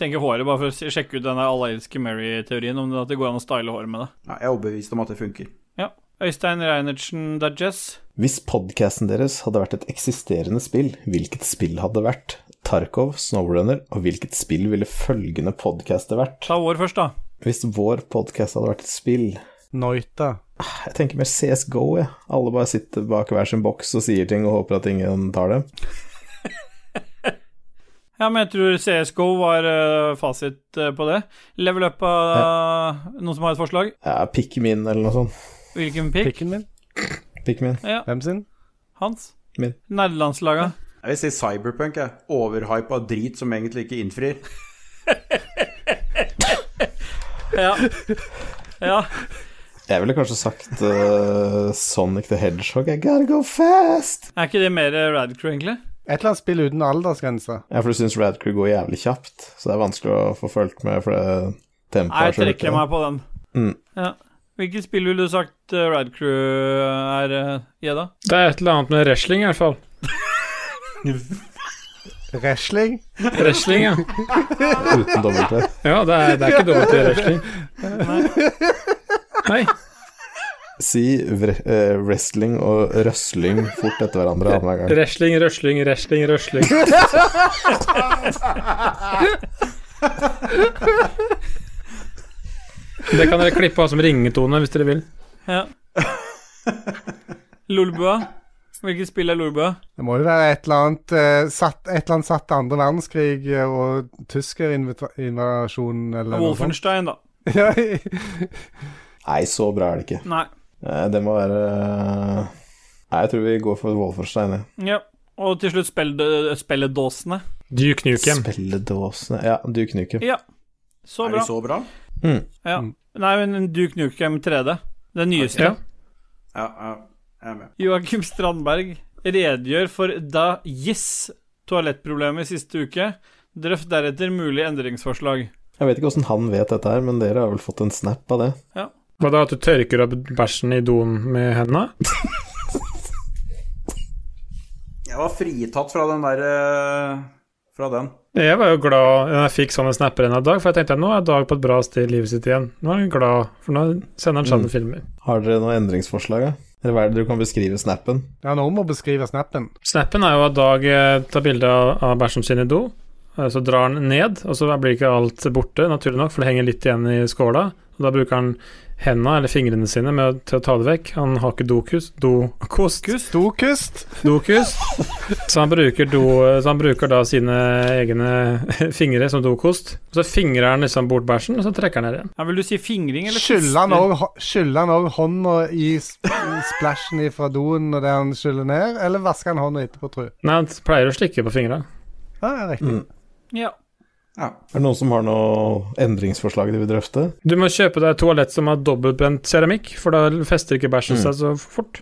A: tenker håret, bare for å sjekke ut den der Alla elsker Mary-teorien, om det at det går an å style håret med det.
C: Ja, jeg er overbevist om at det funker.
A: Ja. Øystein Reinertsen Dajess.
E: Hvis podcasten deres hadde vært et eksisterende spill, hvilket spill hadde det vært? Tarkov, Snowrunner, og hvilket spill ville følgende podcaster vært?
A: Ta vår først, da.
E: Hvis vår podcast hadde vært et spill
B: Noita.
E: Jeg tenker mer CSGO, jeg. Alle bare sitter bak hver sin boks og sier ting og håper at ingen tar dem.
A: Ja, men jeg tror CSGO var eh, fasit eh, på det. Level up av Noen som har et forslag?
E: Ja, Pikmin eller noe sånt.
A: Hvilken pick?
B: Pikken min?
E: Pikmin.
A: Ja,
B: Hvem sin?
A: Hans?
E: Min.
A: Nerdelandslaga.
C: Jeg vil si cyberpunk, jeg. Overhypa drit som egentlig ikke innfrir.
A: Ja. ja.
E: Jeg ville kanskje sagt eh, Sonic the Hedgehog. I gotta go fast!
A: Er ikke det mer eh, Radcrew, egentlig?
B: Et eller annet spill uten aldersgrense.
E: Ja, for du syns Radcrew går jævlig kjapt, så det er vanskelig å få fulgt med, for det
A: Nei,
E: tempoet
A: jeg trekker meg på den.
E: Mm.
A: Ja. Hvilket spill ville du sagt eh, Radcrew er, eh, Gjedda?
D: Det er et eller annet med wrestling, i hvert fall.
B: Wrestling?
D: Wrestling, ja.
E: uten dobbelt T.
D: Ja, det er, det er ikke dumt i wrestling. Nei.
E: Si vre, eh, wrestling og røsling fort etter hverandre annenhver gang.
D: Wrestling, røsling, wrestling, røsling. Det kan dere klippe av som ringetone hvis dere vil.
A: Ja. Lolbua? Hvilket spill er Lolbua?
B: Det må jo være et eller annet eh, satt, et eller annet satt til andre verdenskrig eh, og tyskerinvasjonen eller noe sånt.
A: Wolfenstein, da.
B: Ja,
E: Nei, så bra er det ikke.
A: Nei.
E: Eh, Det må være eh, Nei, jeg tror vi går for Wolfenstein. jeg.
A: Ja. Og til slutt spell- eh, spilledåsene.
D: Duke Nukem.
E: Spilledåsene Ja, Duke Nukem.
A: Ja. Så
C: Er
A: bra.
C: de så bra?
A: Ja. Nei, men Duke Nukem 3D. Den nyeste.
D: Ja.
C: Ja, ja, jeg er med.
A: Joakim Strandberg redegjør for da Giss toalettproblemet siste uke. Drøft deretter mulige endringsforslag.
E: Jeg vet ikke åssen han vet dette her, men dere har vel fått en snap av det?
D: Hva da, at du tørker opp bæsjen i doen med hendene?
C: Jeg var fritatt fra den der eh, Fra den.
D: Jeg var jo glad da jeg fikk sånne snapper en av Dag, for jeg tenkte at nå er Dag på et bra sted i livet sitt igjen. Nå er han glad, for nå sender han sånne filmer.
E: Har dere noen endringsforslag, da? Eller hva er det du kan beskrive snappen?
B: ja nå må vi beskrive snappen.
D: Snappen er jo at Dag eh, tar bilde av, av bæsjen sin i do, eh, så drar han ned, og så blir ikke alt borte, naturlig nok, for det henger litt igjen i skåla. Og da bruker han hendene eller fingrene sine med, å- til å ta det vekk. Han har ikke dokust, dokost,
B: Dokust.
D: dokust. Så han bruker, do, så han bruker da sine egne fingre som dokost. Og så fingrer han liksom bort bæsjen, og så trekker han ned igjen.
A: Ja, vil du si fingring eller
B: Skyller han
A: koster?
B: òg hå- skyller han òg hånda i s- i splashen fra doen når det han skyller ned, eller vasker han hånda etterpå, tru?
D: Nei, han pleier å slikke på fingra.
B: Ja, ja, riktig.
A: Ja.
C: Ja.
E: Er det noen som har noe endringsforslag de vil drøfte?
D: Du må kjøpe deg et toalett som har dobbeltbrent keramikk, for da fester ikke bæsjen seg så fort.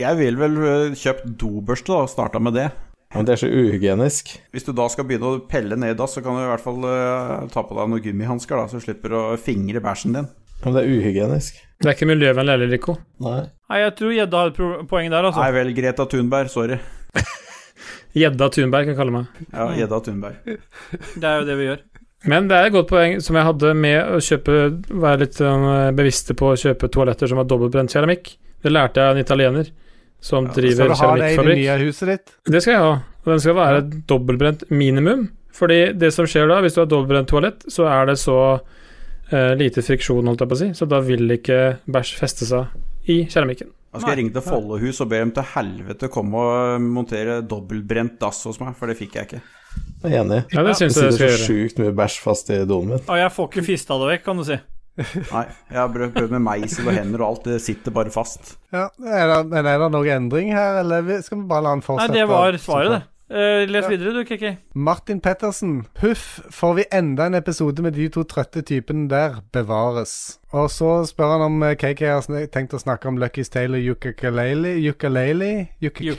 C: Jeg vil vel eh, kjøpt dobørste da, og starta med det.
E: Ja, Men det er så uhygienisk.
C: Hvis du da skal begynne å pelle ned i dass, så kan du i hvert fall eh, ta på deg noen gummihansker, da, så du slipper å fingre bæsjen din.
E: Ja, Men det er uhygienisk.
D: Det er ikke miljøvennlig heller, Rico.
E: Nei.
A: Nei, jeg tror gjedda har et pro- poeng der, altså.
C: Nei vel, Greta Thunberg. Sorry.
D: Gjedda Thunberg kan jeg kalle meg.
C: Ja, Gjedda Thunberg.
A: Det er jo det vi gjør.
D: Men det er et godt poeng som jeg hadde med å kjøpe Være litt eh, bevisste på å kjøpe toaletter som har dobbeltbrent keramikk. Det lærte jeg av en italiener som
B: Skal
D: driver
B: du ha det i det
D: keramikkfabrikk.
B: nye huset ditt?
D: Det skal jeg ha. Og den skal være dobbeltbrent minimum. Fordi det som skjer da, hvis du har dobbeltbrent toalett, så er det så eh, lite friksjon, holdt jeg på å si, så da vil ikke bæsj feste seg i keramikken.
C: Da skal jeg ringe til Follohus og be dem til helvete komme og eh, montere dobbeltbrent dass hos meg, for det fikk jeg ikke.
E: Jeg er enig.
D: Ja, det syns
E: sitter
D: jeg det skal
E: så
D: gjøre.
E: sjukt mye bæsj fast i doen min.
A: Og jeg får ikke fista det vekk, kan du si.
C: Nei, jeg har prøvd prøvd med meisel og hender og alt, det sitter bare fast.
B: Ja, er det, Men er det noen endring her, eller vi- skal vi bare la han
A: Nei,
B: fortsette?
A: det var svaret,
B: Sånn.
A: det. Eh, les videre, du, Kiki.
B: Martin Pettersen. Huff, får vi enda en episode med de to trøtte typene der? Bevares. Og så spør han om eh, KK har sn- tenkt å snakke om Lucky's Tale og Yukakalele Yukalele?
A: Yuka-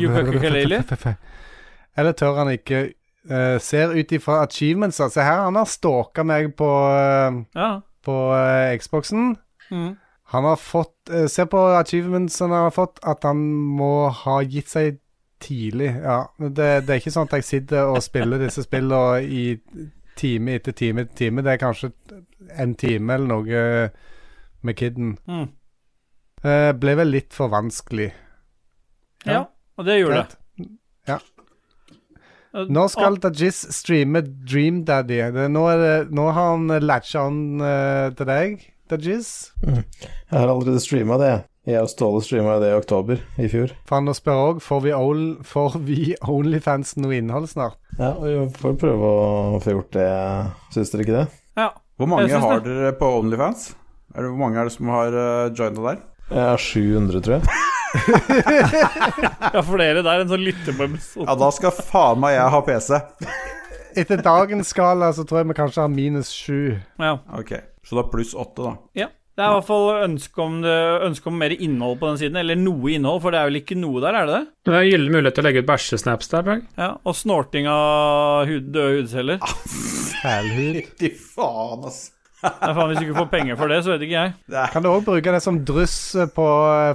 A: Yukakalele?
B: Eller tør han ikke? eh, ser ut ifra achievements Se her, han har stalka meg på, eh,
A: Ja.
B: på eh, Xboxen.
A: Mm.
B: Han har fått eh, Se på achievements han har fått, at han må ha gitt seg tidlig. Ja, men det, det er ikke sånn at jeg sitter og spiller disse spillene i time etter time etter time. Det er kanskje en time eller noe med kiden.
A: Mm.
B: Eh, ble vel litt for vanskelig.
A: ja. Og det gjorde det. Eh,
B: Nå skal Dajis streame Dream Daddy. Det, nå, er det, nå har han latcha on eh, til deg, Dajis.
E: Jeg har allerede streama det. Jeg og Ståle streama det i oktober i fjor.
B: For han spør òg får vi, ol- får vi Onlyfans noe innhold snart.
E: Ja, og vi får prøve å få gjort det. Syns dere ikke det?
A: Ja.
C: Hvor
A: Jeg
C: mange
A: syns
C: har
A: det.
C: dere på Onlyfans? Er det, hvor mange er det som har uh, joina der?
E: Jeg er 700, tror jeg.
A: ja, for dere der, en sånn lytter på episoden.
C: Ja, da skal faen meg jeg ha PC.
B: Etter dagens skala så tror jeg vi kanskje har minus sju.
A: Ja.
C: Ok, så da pluss åtte, da.
A: ja. Det er i hvert fall ønske om, det, ønske om mer innhold på den siden, eller noe innhold, for det er vel ikke noe der, er det det?
D: Det er gyllen mulighet til å legge ut bæsjesnaps der, Brag.
A: Ja, Og snorting av hud, døde hudceller.
B: Fælhud.
C: Fy faen, ass.
A: Nei, faen, Hvis du ikke får penger for det, så vet ikke jeg.
C: Det er
B: Kan du òg bruke det som dryss på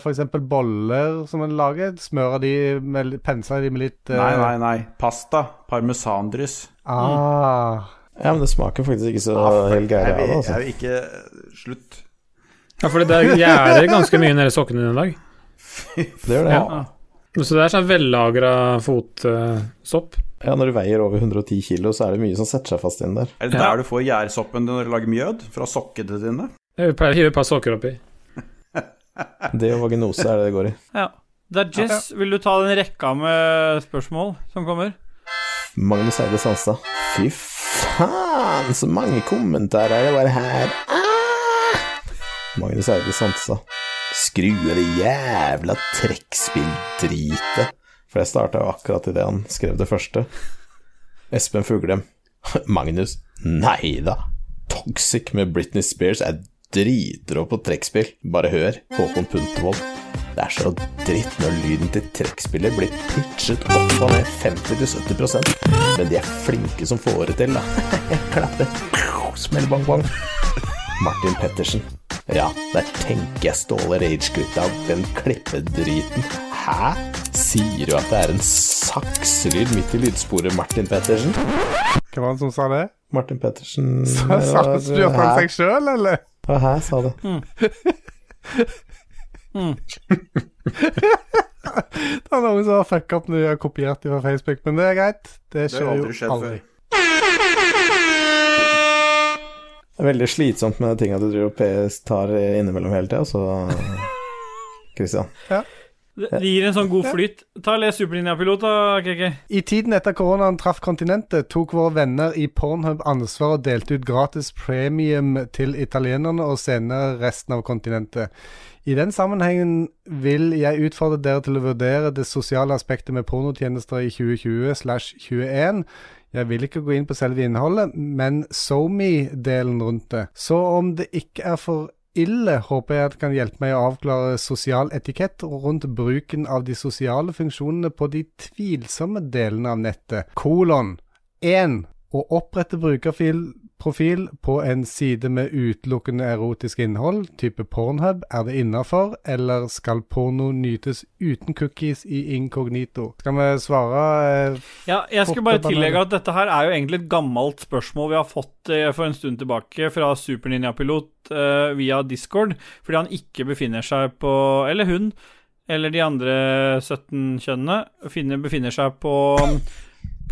B: f.eks. boller som en lager? Smøre de med litt- Pense de med litt eh,
C: Nei, nei, nei. Pasta. Parmesandryss.
B: Ah.
E: Ja, men det smaker faktisk ikke så helt
C: Jeg
E: greia.
C: vil-
E: Altså.
C: jeg vil ikke eh, Slutt.
D: Ja, for det gjærer ganske mye nedi sokkene dine i dag.
E: Det gjør det.
C: Faen.
D: Så det er sånn vellagra fotsopp.
E: Ja, Når du veier over 110 kilo, så er det mye som setter seg fast inn der.
C: Er det
D: Ja.
C: der du får gjærsoppen din når du lager mjød? Fra sokkene dine?
D: Jeg pleier å hive et par sokker oppi.
E: Det og vaginose er det det går i.
A: Ja. Det er Jess, vil du ta den rekka med spørsmål som kommer?
E: Magnus Eide Sandstad. Fy faen, så mange kommentarer det var her. Ah! Magnus Eide Sandstad. Skru av det jævla trekkspilldritet. For jeg starta jo akkurat idet han skrev det første. Espen Fuglem. Magnus. Nei da. Toxic med Britney Spears er dritrå på trekkspill. Bare hør. Håkon Puntervold. Det er så dritt når lyden til trekkspillet blir pitchet opp og ned 50-70 Men de er flinke som får det til, da. Klappe. Smell bang bang. Martin Pettersen. Ja, der tenker jeg Ståle Rage-gutta og den klippedriten. Hæ? Sier du at det er en sakselyd midt i lydsporet, Martin Pettersen?
B: Hvem var det som sa det?
E: Martin Pettersen
B: Sa- sa- Spurte han seg sjøl, eller?
E: Hæ? Hæ, sa det.
B: Det er noen som har fucka opp når de har kopiert de fra Facebook, men det er greit. Det
C: Det har
B: skjer
C: aldri
B: jo
C: skjedd
B: aldri.
C: før.
E: Det er veldig slitsomt med tinga du driver og PS tar innimellom hele tida, så Christian.
A: Det det gir en sånn god flyt. Ta og Les Superlinja-pilot, da, KK.
B: I tiden etter koronaen traff kontinentet, tok våre venner i Pornhub ansvar og delte ut gratis premium til italienerne og senere resten av kontinentet. I den sammenhengen vil jeg utfordre dere til å vurdere det sosiale aspektet med pornotjenester i 2020 slash 21. Jeg vil ikke gå inn på selve innholdet, men SoMe-delen rundt det. Så om det ikke er for ille, håper jeg at det kan hjelpe meg å avklare sosial etikett rundt bruken av de sosiale funksjonene på de tvilsomme delene av nettet. Kolon 1. Å opprette brukerfil profil på en side med utelukkende erotisk innhold, type Pornhub, er det innafor, eller skal porno nytes uten cookies i inkognito? Skal vi svare eh,
A: Ja, jeg skulle bare
B: Fort opp den
A: tillegge at dette her er jo egentlig et gammelt spørsmål vi har fått eh, for en stund tilbake fra Superninja-pilot eh, via Discord, fordi han ikke befinner seg på Eller hun, eller de andre 17 kjønnene, finner, befinner seg på,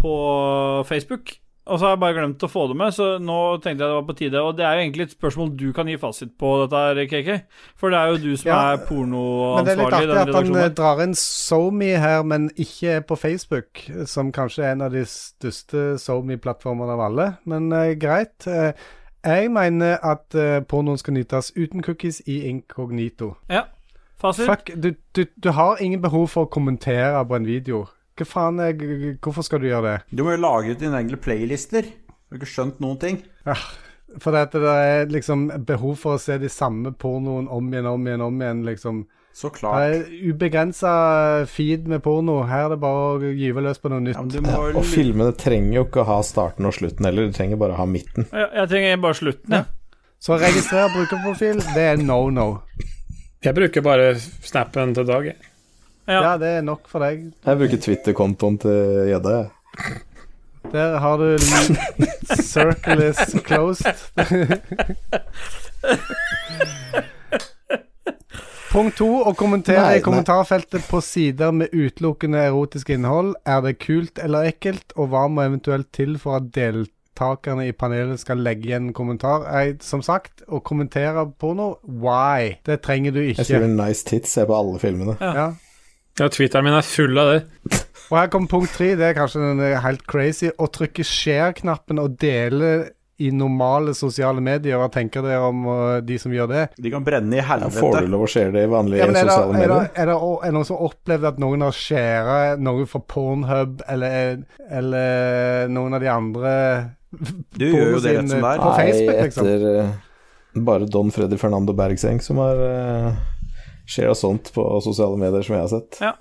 A: på Facebook. Og så har jeg bare glemt å få det med, så nå tenkte jeg det var på tide. Og det er jo egentlig et spørsmål du kan gi fasit på dette her, KK. For det er jo du som
B: Ja,
A: er
B: Men det er
A: pornoansvarlig i
B: litt artig
A: den
B: at han eh,
A: redaksjonen.
B: drar inn SoMe her, men ikke er på Facebook, som kanskje er en av de største SoMe-plattformene av alle. Men eh, greit. Eh, jeg mener at eh, pornoen skal nytes uten cookies i inkognito.
A: Ja. Fasit.
B: eh, Fuck, du, du, du har ingen behov for å kommentere på en video. Hva faen er, g- g- Hvorfor skal du gjøre det?
C: Du må jo lage ut dine egne playlister. Du har ikke skjønt noen ting.
B: Ah, Fordi at det er liksom behov for å se de samme pornoen om igjen, om igjen, om igjen, liksom.
C: Så
B: Det
C: klart.
B: er ubegrensa feed med porno. Her er det bare å gyve løs på noe nytt.
C: Ja, men du må
E: Og filmene trenger jo ikke å ha starten og slutten heller, de trenger bare å ha midten.
A: Jeg, jeg trenger bare slutten, jeg.
B: Så registrer brukerprofil, det er no no.
D: Jeg bruker bare snappen til Dag. jeg.
B: Ja,
A: Ja.
B: det er nok for deg.
E: Jeg bruker Twitter-kontoen til gjedda, jeg.
B: Der har du l- Circle is closed. Punkt to å kommentere
E: Nei,
B: i kommentarfeltet på sider med utelukkende erotisk innhold. Er det kult eller ekkelt, og hva må eventuelt til for at deltakerne i panelet skal legge igjen en kommentar? Jeg, som sagt, å kommentere porno, why? Det trenger du
E: Jeg
B: ikke.
E: skriver 'nice tits' jeg på alle filmene.
B: Ja.
D: Ja, Twitteren min er full av det.
B: Og her kommer punkt tre, det er kanskje den er helt crazy. Å trykke share-knappen og dele i normale sosiale medier, hva tenker dere om øh, de som gjør det?
C: De kan brenne i
E: Ja, får du
C: helvete.
E: lov å share det i vanlige
B: Ja, men er, det,
E: sosiale
B: er, det,
E: medier?
B: er, det, er det noen som har opplevd at noen har shara noe fra Pornhub eller, eller noen av de andre
C: Du gjør jo det rett som det er.
B: på Facebook, liksom?
E: etter eh, bare Don Freddy Fernando Bergseng som har uh, shara sånt på sosiale medier som jeg har sett.
A: Ja.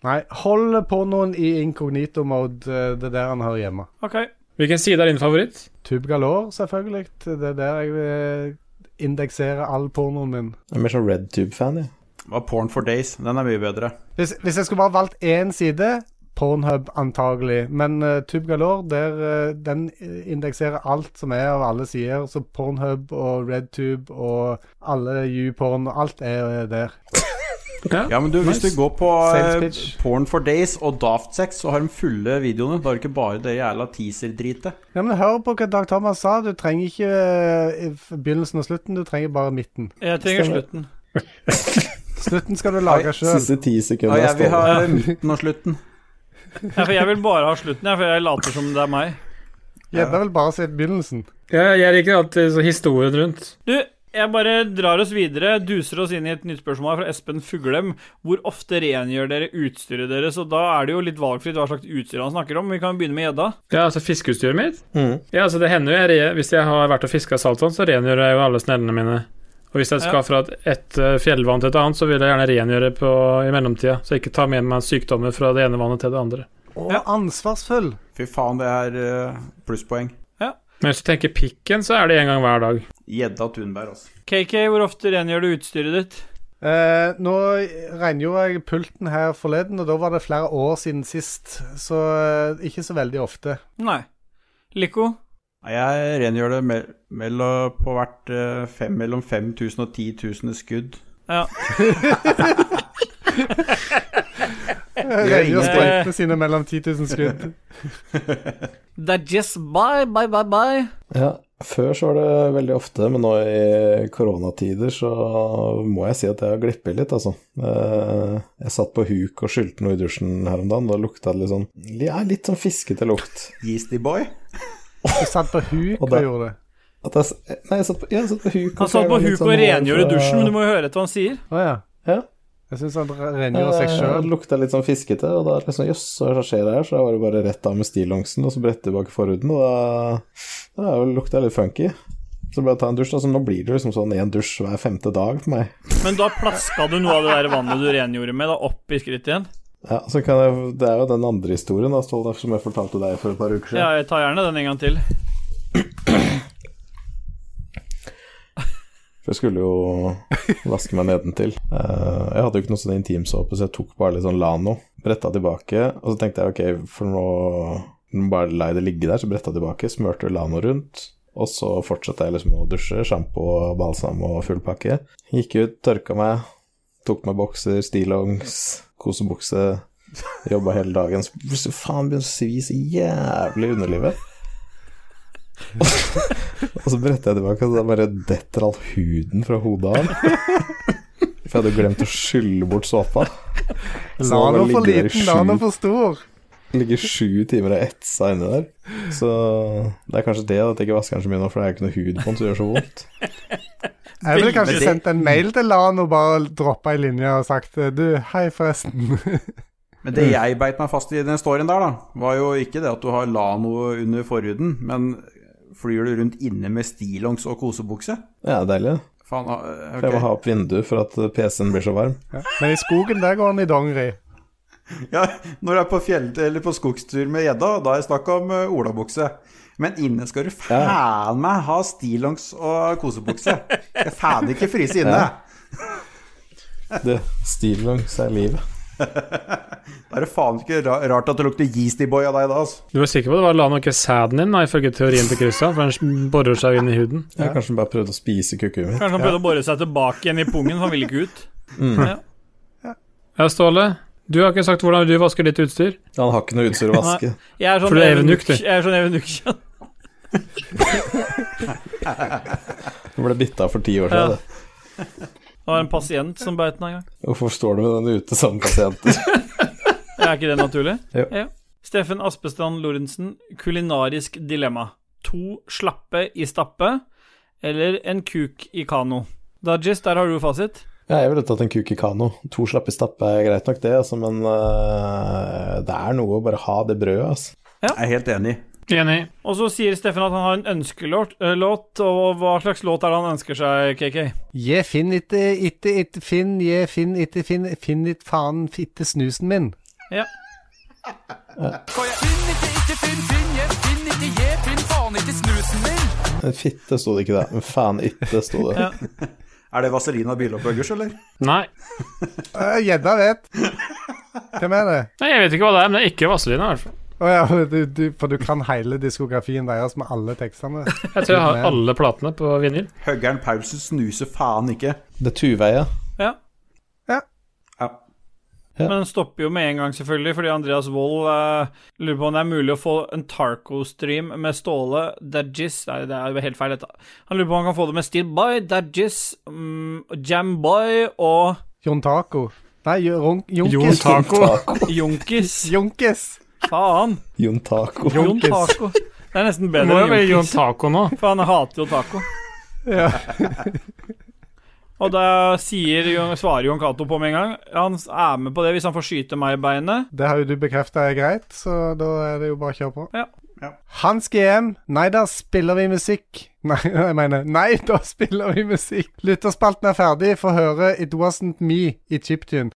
B: Nei, hold pornoen i incognito mode. eh, Det er der han hører hjemme.
A: OK.
D: Hvilken side er din favoritt?
B: Tube Galore, selvfølgelig. Det er der jeg vil indeksere all pornoen min.
E: Jeg er mer sånn RedTube-fan, jeg.
C: Hva, Porn for days. Den er mye bedre.
B: Hvis, hvis jeg skulle bare valgt én side, Pornhub antagelig. Men uh, Tube Galore, der, eh, den indekserer alt som er av alle sider. Så Pornhub og RedTube og alle YouPorn, alt er eh, der.
C: Ja, men du, Hvis
D: Nice.
C: du går på
B: Sales
C: eh,
B: pitch.
C: Porn for days og Daft Sex, så har de fulle videoene. Da er det ikke bare det jævla teaser-dritet.
B: Ja, men Hør på hva Dag Thomas sa. Du trenger ikke eh, i f- begynnelsen og slutten, du trenger bare midten.
A: Jeg trenger slutten.
B: Slutten skal du lage sjøl.
E: Siste ti
C: Ja,
E: sekundene
C: jeg vil ha
E: står det.
C: midten og slutten.
A: Ja, for jeg vil bare ha slutten, jeg, for jeg later som det er meg.
B: Gjedda vil bare si begynnelsen.
D: Ja, jeg liker alltid så historien rundt.
A: Du, jeg bare drar oss videre, duser oss inn i et nytt spørsmål fra Espen Fuglem. Hvor ofte rengjør dere utstyret deres? Og da er det jo litt valgfritt hva slags utstyr han snakker om. Vi kan begynne med gjedda.
D: Ja, altså fiskeutstyret mitt?
E: Mhm.
D: Ja, altså det hender jo jeg re Hvis jeg har vært og fiska saltvann, så rengjør jeg jo alle snellene mine. Og hvis jeg skal
A: Ja.
D: fra et, et eh, fjellvann til et annet, så vil jeg gjerne rengjøre på, i mellomtida, så jeg ikke tar med meg sykdommer fra det ene vannet til det andre.
B: Og
A: Ja.
B: ansvarsfull.
C: Fy faen, det er eh, plusspoeng.
D: Men hvis du tenker pikken, så er det en gang hver dag.
C: Gjedda Tunberg, altså.
A: KK, hvor ofte rengjør du utstyret ditt?
B: Eh, nå rengjorde jeg pulten her forleden, og da var det flere år siden sist. Så eh, ikke så veldig ofte.
A: Nei. Lico?
C: Nei, Jeg rengjør det mell mellom, på hvert eh, fem, mellom 5000 og 10 000 skudd.
A: Ja.
C: Eh,
B: Rengjør
A: ingen-
B: sprøytene sine mellom 10 000 skudd.
A: That just bye, bye, bye, bye.
E: Ja, før så var det veldig ofte, men nå i koronatider så må jeg si at jeg har glippet litt, altså. Eh, Jeg satt på huk og skylte noe i dusjen her om dagen, da lukta det litt sånn Ja, litt sånn fiskete lukt.
C: Yeasty boy.
B: Du satt på huk
E: Og
B: og
E: da-
B: gjorde det.
E: At jeg, s- eh, nei, jeg satt på, ja, jeg satt på huk. og
A: Han
E: så jeg
A: satt på
E: var litt
A: huk og
E: sånn
A: rengjorde
E: overfor-
A: dusjen, men du må jo høre etter hva han sier.
B: Å ja.
E: Ja.
B: Jeg syns han re- rengjorde seg
E: Eh,
B: sjøl.
E: Lukta litt sånn fiskete, og da liksom Jøss, hva er det som skjer her? Så da var det bare rett av med stillongsen, og så brette tilbake forhuden, og da, da lukta jeg litt funky. Så bare ta en dusj, da. Så nå blir det liksom sånn én dusj hver femte dag for meg.
A: Men da plaska du noe av det der vannet du rengjorde med, da opp i skrittet igjen?
E: Ja, så kan jeg, Det er jo den andre historien da, Ståle, som jeg fortalte deg for et par uker siden.
A: Ja, jeg tar gjerne den en gang til.
E: For jeg skulle jo vaske meg nedentil. Eh, jeg hadde jo ikke noe sånn intimsåpe, så jeg tok bare litt sånn Lano. Bretta tilbake, og så tenkte jeg ok, for nå nå bare la jeg det ligge der. Så bretta jeg tilbake, smurte Lano rundt. Og så fortsatte jeg liksom å dusje. Sjampo, balsam og full pakke. Gikk ut, tørka meg, tok meg bokser, stillongs, kosebukse. Jobba hele dagen. Så plutselig faen begynner å svi så jævlig i underlivet. Og så bretter jeg tilbake, og da bare detter all huden fra hodet av. For jeg hadde jo glemt å skylle bort såpa. Så
B: La
E: da
B: nå for
E: ligger det
B: liten, la
E: sju-
B: nå for stor.
E: Ligger sju timer og etsa inni der. Så det er kanskje det at jeg ikke vasker den så mye nå, for det er jo ikke noe hud på den som gjør så vondt.
B: Jeg ville kanskje
C: Veldig.
B: sendt en mail til Lan og bare droppa ei linje og sagt eh, Du, hei, forresten.
C: Men det jeg beit meg fast i den storyen der, da, var jo ikke det at du har Lano under forhuden, men flyr du rundt inne med stillongs og kosebukse?
E: Ja, det er deilig.
C: Faen, ah,
E: For jeg må
C: ok.
E: ha opp vinduet for at PC-en blir så varm.
B: Ja. Men i skogen, der går han i dongeri.
C: Ja, når du er på fjell eller på skogstur med gjedda, da er det snakk om eh, olabukse. Men inne skal du faen meg ha stillongs og kosebukse. Jeg faen ikke fryse inne.
E: Ja. Det Stillongs er livet.
C: Da er det faen ikke ra- rart at det lukter Yeasty Boy av deg da, altså.
D: Du var sikker på at det var Lano og ikke sæden din, da, ifølge teorien til Christian? For den borer seg jo inn i huden.
E: Jeg har kanskje bare prøvd å spise kukken min.
A: Kanskje han prøvde å bore seg tilbake igjen i pungen, for han ville ikke ut.
D: Ja, Ståle, du har ikke sagt hvordan du vasker ditt utstyr.
E: Han har ikke noe utstyr å vaske.
A: Jeg er sånn
D: For du er
A: evenuk,
D: evenuk, du.
A: Jeg er sånn evenuk.
E: Han ble bitt av for ti år siden. det.
A: Det var en pasient som beit den en gang.
E: Hvorfor står du med den ute sånn, sammen med pasienter?
A: Er ikke det naturlig?
E: Jo.
A: Ja. Steffen Aspestrand Lorentzen, kulinarisk dilemma. To slappe i stappe eller en kuk i kano? Dajis, der har du fasit.
E: Ja, jeg ville tatt en kuk i kano. To slappe stappe er greit eh, nok, det, altså, men øh, det er noe å bare ha det brødet, altså.
C: Jeg er helt enig.
D: Enig.
A: Og så sier Steffen at han har en ønskelåt, eh, låt, og hva slags låt er det han ønsker seg, KK?
B: Je finn itte, itte, itte, finn, je finn itte, finn, finn itte faen fitte snusen min.
A: Ja.
E: Fitte sto det ikke der, men faen itte sto det.
C: Er det Vaselina Bilopphøggers, eller?
D: Nei.
B: Øh, Gjedda vet. Hvem er det?
D: Nei, jeg vet ikke hva det er, men det er ikke Vazelina, i hvert fall.
B: Å ja, du, du, for du kan hele diskografien deres med alle tekstene.
D: Jeg tror jeg har alle platene på vinyl.
C: Høggern Paulsen snuser faen ikke.
E: Det er Tuveia.
A: Men den stopper jo med en gang, selvfølgelig, fordi Andreas Wold eh, lurer på om det er mulig å få en Tarco-stream med Ståle Dadgis Nei, det er jo helt feil, dette. Han lurer på om han kan få det med Steelboy, Dadgis, mm, Jamboy og
B: Jon Taco. Nei, Jo- Ron-
D: Jon
B: Jonkis.
D: Taco.
A: Jonkis.
B: Jonkis.
A: Faen.
E: Jon Taco.
A: Jon Taco. Det er nesten
D: Det må
A: bedre
D: jo være
A: enn
D: Jon
A: Jonkis,
D: Taco nå.
A: for han hater jo taco.
B: Ja.
A: Og da sier, Jon- svarer Jon Cato på med en gang. Han er med på det hvis han får skyte meg i beinet.
B: Det har jo du bekrefta er greit, så da er det jo bare å kjøre på.
A: Ja.
C: Ja.
B: Hans GM. Nei, da spiller vi musikk. Nei, jeg mener Nei, da spiller vi musikk. Lytterspalten er ferdig. Få høre It Wasn't Me i Chiptune.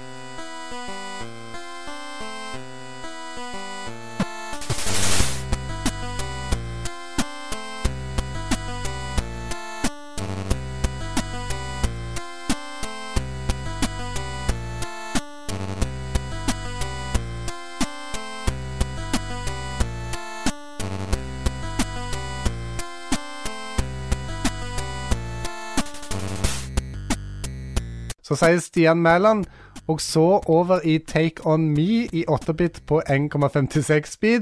B: Så sier Stian Mæland. Og så over i Take On Me i 8-bit på 1,56 speed.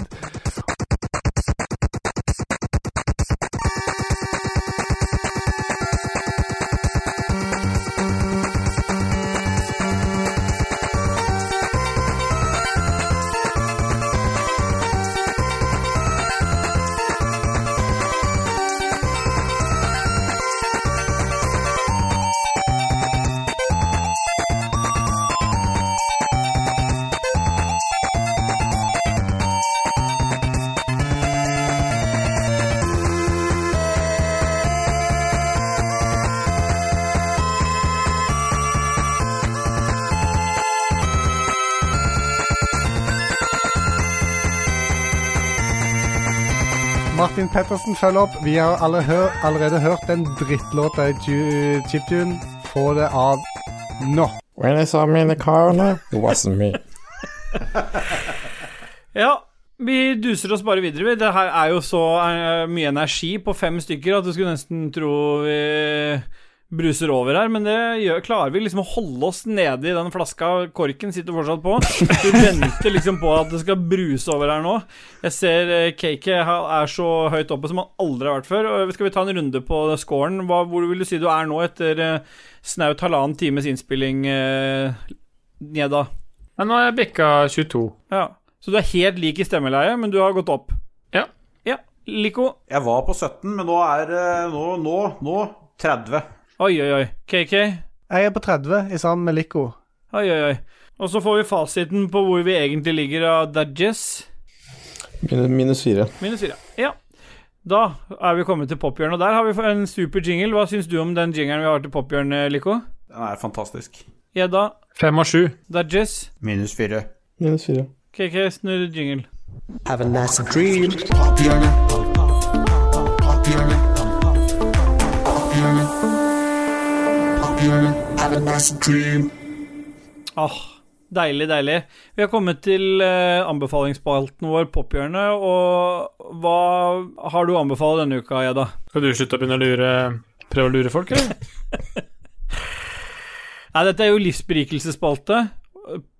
B: Martin Pettersen følger opp. Vi har alle hør, allerede hørt den drittlåta i Ju- Chiptune. Få det av nå.
E: When I saw me in the corner, it wasn't me.
A: Ja, vi duser oss bare videre. vi. Det her er jo så eh, mye energi på fem stykker at du skulle nesten tro vi bruser over her, men det gjør, klarer vi liksom å holde oss nede i den flaska. Korken sitter fortsatt på. Vi venter liksom på at det skal bruse over her nå. Jeg ser eh, KK her er så høyt oppe som han aldri har vært før. Og Skal vi ta en runde på scoren? Hva, hvor vil du si du er nå etter eh, snaut halvannen times innspilling, eh, Njeda?
D: Nei, nå har jeg bikka 22.
A: Ja, Så du er helt lik i stemmeleie, men du har gått opp?
D: Ja.
A: Ja, Liko.
C: Jeg var på 17, men nå er eh, Nå, nå, nå 30.
A: Oi, oi, oi. KK.
B: Jeg er på 30 i sammen med Lico.
A: Oi, oi, oi. Og så får vi fasiten på hvor vi egentlig ligger av Dudges.
E: Minus, minus fire.
A: Minus fire. Ja. Da er vi kommet til pophjørnet. Der har vi en super jingle. Hva syns du om den jingelen vi har til pophjørnet, Liko?
C: Den er fantastisk.
A: Gjedda,
D: 5 av 7.
A: Dudges.
C: Minus 4.
E: Minus fire.
A: KK, snurr jingle.
G: Have a nice dream. Pophjørnet. Pophjørnet. Pophjørnet. Pophjørnet. Have a nice dream.
A: Åh, Ah, deilig, deilig. Vi har kommet til eh, anbefalingsspalten vår, pophjørnet. Og hva har du å anbefale denne uka, Gjedda?
D: Skal du slutte å begynne å lure Prøve å lure folk, eller?
A: Nei, dette er jo livsberikelsesspalte.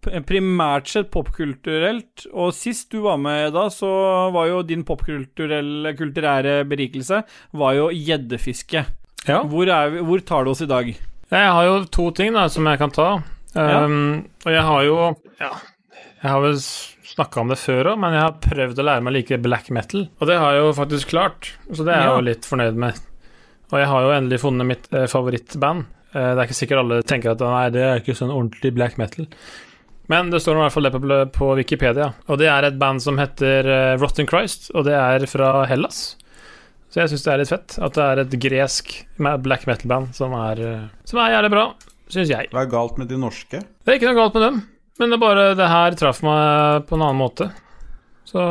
A: P- Primært sett popkulturelt. Og sist du var med, da, så var jo din popkulturelle kulturære berikelse var jo gjeddefiske.
D: Ja.
A: Hvor, er vi, hvor tar du oss i dag?
D: Ehm, Jeg har jo to ting da, som jeg kan ta. Um, Og jeg har jo ja, Jeg har vel snakka om det før òg, men jeg har prøvd å lære meg å like black metal. Og det har jeg jo faktisk klart, så det er jeg
A: Ja.
D: jo litt fornøyd med. Og jeg har jo endelig funnet mitt eh, favorittband. Eh, det er ikke sikkert alle tenker at nei, det er ikke sånn ordentlig black metal. Men det står i hvert fall det på, på Wikipedia. Og det er et band som heter eh, Rotten Christ, og det er fra Hellas. Så jeg syns det er litt fett at det er et gresk ma- black metal-band som er eh, Som er jævlig bra, syns jeg.
C: Hva er galt med de norske?
D: Det er ikke noe galt med dem, men det er bare det her traff meg på en annen måte. Så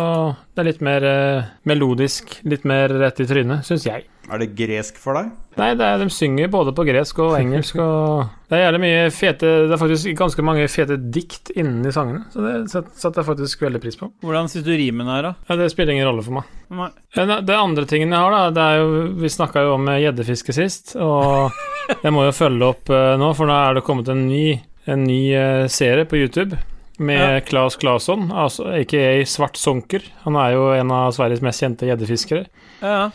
D: det er litt mer eh, melodisk, litt mer rett i trynet, syns jeg.
C: Er det gresk for deg?
D: Nei, det er, de synger både på gresk og engelsk og Det er jævlig mye fete Det er faktisk ganske mange fete dikt inni sangene, så det set- setter jeg faktisk veldig pris på.
A: Hvordan syns du rimen er, da?
D: Ja, det spiller ingen rolle for meg.
A: Nei.
D: Eh, nei, Det andre tingen jeg har, da, det er jo Vi snakka jo om eh, gjeddefiske sist, og jeg må jo følge opp eh, nå, for nå er det kommet en ny, en ny eh, serie på YouTube med Claes Claesson, altså aka Svart Sonker. Han er jo en av Sveriges mest kjente gjeddefiskere.
A: Ja, ja.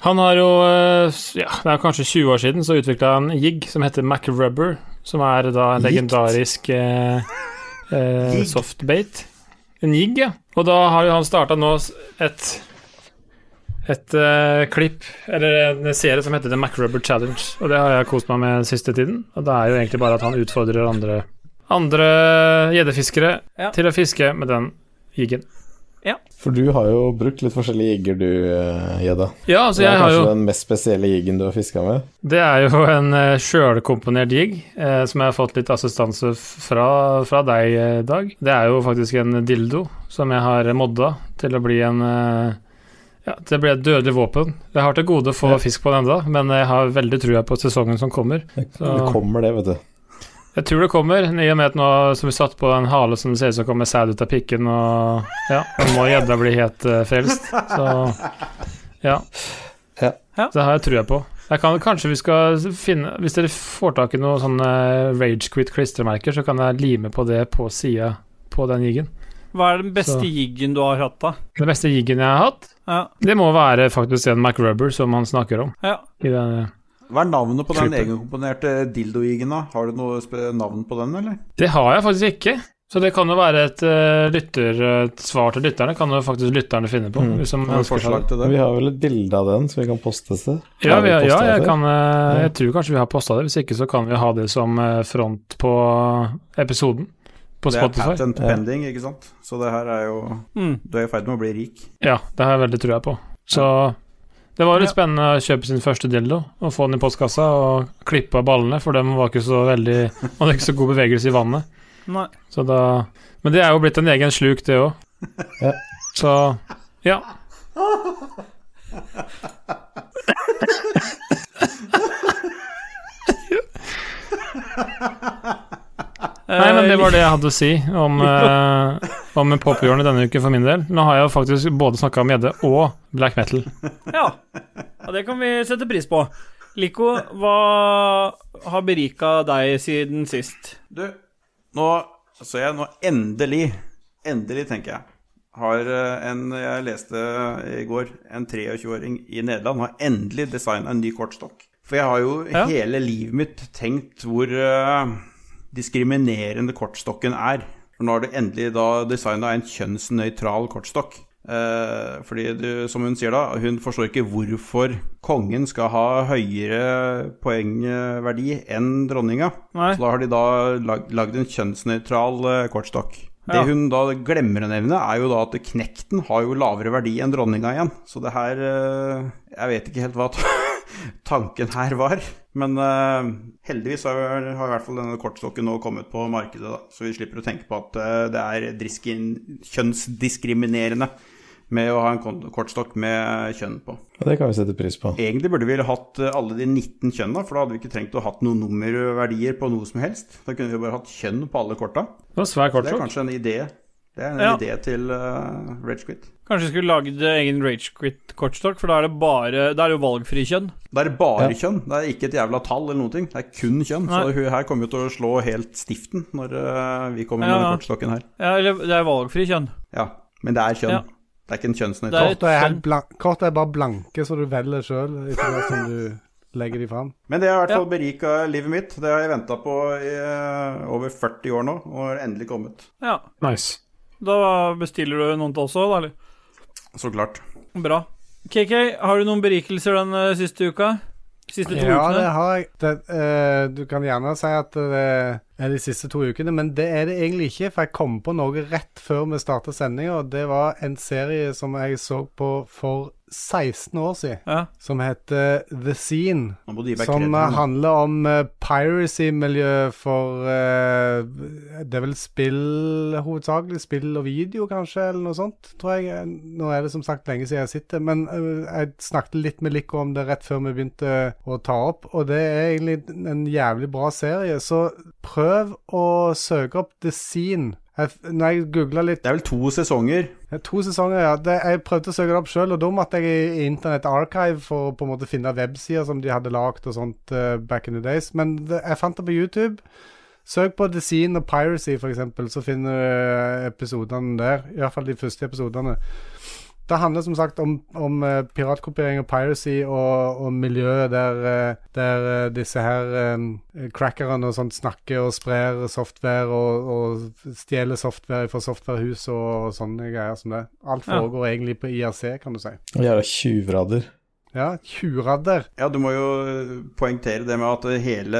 D: Han har jo eh, s- Ja, det er kanskje 20 år siden så utvikla han jig som heter MacRubber, som er da
E: Gikt?
D: en legendarisk eh, eh, softbait. En jig, ja. Og da har jo han starta nå s- et et eh, klipp, eller en serie som heter The MacRubber Challenge, og det har jeg kost meg med siste tiden. Og det er jo egentlig bare at han utfordrer andre andre gjeddefiskere
A: Ja.
D: til å fiske med den jiggen.
E: For du har jo brukt litt forskjellige jigger, du, eh, Gjedda.
D: Ja, altså
E: Det er
D: jeg har
E: kanskje
D: jo
E: den mest spesielle jiggen du har fiska med.
D: Det er jo en eh, sjølkomponert jig, eh, som jeg har fått litt assistanse f- fra, fra deg, eh, Dag. Det er jo faktisk en dildo som jeg har modda til å bli en eh, Ja, til å bli et dødelig våpen. Jeg har til gode å få
E: Ja.
D: fisk på den ennå, men jeg har veldig trua på sesongen som kommer. Så
E: Det kommer det, vet du.
D: jeg tror det kommer, i og med at nå som vi satt på en hale som ser ut som kommer sæd ut av pikken, og ja, nå må gjedda bli helt eh, frelst. Så ja.
E: Ja.
A: Ja.
D: Det har jeg trua på. Jeg kan, kanskje vi skal finne Hvis dere får tak i noen sånne Ragequit klistremerker, så kan jeg lime på det på sida på den jiggen.
A: Hva er den beste
D: Så.
A: jiggen du har hatt, da?
D: Den beste jiggen jeg har hatt,
A: Ja,
D: det må være faktisk den MacRubber som han snakker om.
A: ja.
D: I den,
C: Hva er navnet på den
D: Klippe.
C: egenkomponerte dildojigen, da? Har du noe spe- navn på den, eller?
D: Det har jeg faktisk ikke. Så det kan jo være et, eh, lytter, et svar til lytterne. Kan jo faktisk lytterne finne på.
E: Mm.
D: Hvis de
C: Har du
D: ønsker seg det.
C: forslag til
E: Vi
C: det?
E: har vel et bilde av den, så vi kan postes det.
D: Ja,
E: Har
D: vi,
E: vi
D: ja,
E: postet det
D: jeg,
E: før?
D: kan, eh,
E: Ja.
D: jeg tror kanskje vi har posta det. Hvis ikke så kan vi ha det som eh, front på episoden på
C: Det er
D: Spotify.
C: patent pending, ikke sant? Så det her er jo
A: Mm.
C: Du er i ferd med å bli rik.
D: Ja, det har jeg veldig trua på. Så det var litt
A: Ja.
D: spennende å kjøpe sin første dildo og få den i postkassa og klippe av ballene, for dem var ikke så veldig Man hadde ikke så god bevegelse i vannet.
A: Nei.
D: Så da Men det er jo blitt en egen sluk, det òg.
E: Ja.
D: Så ja. Nei, men det
A: eh,
D: var det jeg hadde å si om, eh, om pophjørnet denne uken for min del. Nå har jeg jo faktisk både snakka om gjedde og black metal.
A: Ja. ja, det kan vi sette pris på. Lico, hva har berika deg siden sist?
C: Du, nå så jeg nå endelig, endelig tenker jeg, har eh, en Jeg leste eh, i går en 23-åring i Nederland har endelig designa en ny kortstokk. For jeg har jo
A: Ja.
C: hele livet mitt tenkt hvor eh, diskriminerende kortstokken er. For nå har du endelig da designa en kjønnsnøytral kortstokk. Eh, fordi du, som hun sier da, hun forstår ikke hvorfor kongen skal ha høyere poengverdi enn dronninga.
A: Nei.
C: Så da har de da lag- lagd en kjønnsnøytral eh, kortstokk. Det
A: Ja.
C: hun da glemmer å nevne, er jo da at knekten har jo lavere verdi enn dronninga igjen. Så det her eh, Jeg vet ikke helt hva ta- tanken her var. Men eh, heldigvis har, har i hvert fall denne kortstokken nå kommet på markedet, da. Så vi slipper å tenke på at eh, det er driskin, kjønnsdiskriminerende med å ha en kon- kortstokk med kjønn på.
E: Og det kan vi sette pris på.
C: Egentlig burde vi hatt eh, alle de 19 kjønna, for da hadde vi ikke trengt å hatt noen nummerverdier på noe som helst. Da kunne vi bare hatt kjønn på alle korta.
D: Det var
C: Det
D: svær
C: er
D: kortsjokk.
C: kanskje en idé. Det er en
A: Ja.
C: idé til uh, Rage Quit.
A: Kanskje vi skulle lagd egen Ragequit-kortstokk, for da er det bare Da er det jo valgfri kjønn.
C: Det er bare
E: Ja.
C: kjønn, det er ikke et jævla tall eller noen ting. Det er kun kjønn.
A: Nei.
C: Så hun her kommer jo til å slå helt stiften når eh, vi kommer
A: Ja,
C: med
A: ja.
C: den kortstokken her.
A: Ja, eller det er valgfri kjønn.
C: Ja, men det er kjønn.
A: Ja.
C: Det er ikke en
A: Det
C: kjønnsnøytral.
A: er-
B: Kortet er, helt blan- kortet er bare blanke, så du velger sjøl etter hvert som du legger de fram.
C: Men det har i hvert
A: Ja.
C: fall berika livet mitt. Det har jeg venta på i eh, over 40 år nå, og har endelig kommet.
A: Ja.
D: Nice.
A: Da bestiller du noen til også, da, eller?
C: Så klart.
A: Bra. KK, har du noen berikelser den eh, siste uka? Siste to
B: Ja, det
A: ukene?
B: har jeg. Det, eh, du kan gjerne si at det er de siste to ukene, men det er det egentlig ikke. For jeg kom på noe rett før vi starta sendinga. Det var en serie som jeg så på for 16 år siden,
A: Ja.
B: som heter The Scene.
C: Nå må du gi meg
B: Som eh,
C: kreden.
B: handler om eh, piracy-miljø for eh, Det er vel spill hovedsakelig. Spill og video, kanskje, eller noe sånt, tror jeg. Nå er det som sagt lenge siden jeg sitter, men eh, jeg snakket litt med Lico om det rett før vi begynte å ta opp, og det er egentlig en jævlig bra serie. Så prøv å søke opp The Scene. Jeg, f- når jeg googla litt
C: Det er vel to sesonger.
B: ja, To sesonger, ja. Det, jeg prøvde å søke det opp sjøl, og da måtte jeg i Internett Archive for å på en måte finne websider som de hadde lagd og sånt eh, back in the days. Men det, jeg fant det på YouTube. Søk på The Scene og Piracy, f.eks., så finner du eh, episodene der. I hvert fall de første episodene. Det handler som sagt om, om eh, piratkopiering og piracy og, og miljøet der, eh, der eh, disse her eh, crackerne og sånt snakker og sprer software og, og stjeler software fra softwarehus og, og sånne greier som det. Alt
A: Ja.
B: foregår egentlig på IRC, kan du si.
E: Jævla tjuvradder.
B: Ja, tjuradder.
C: Ja, du må jo eh, poengtere det med at eh, hele,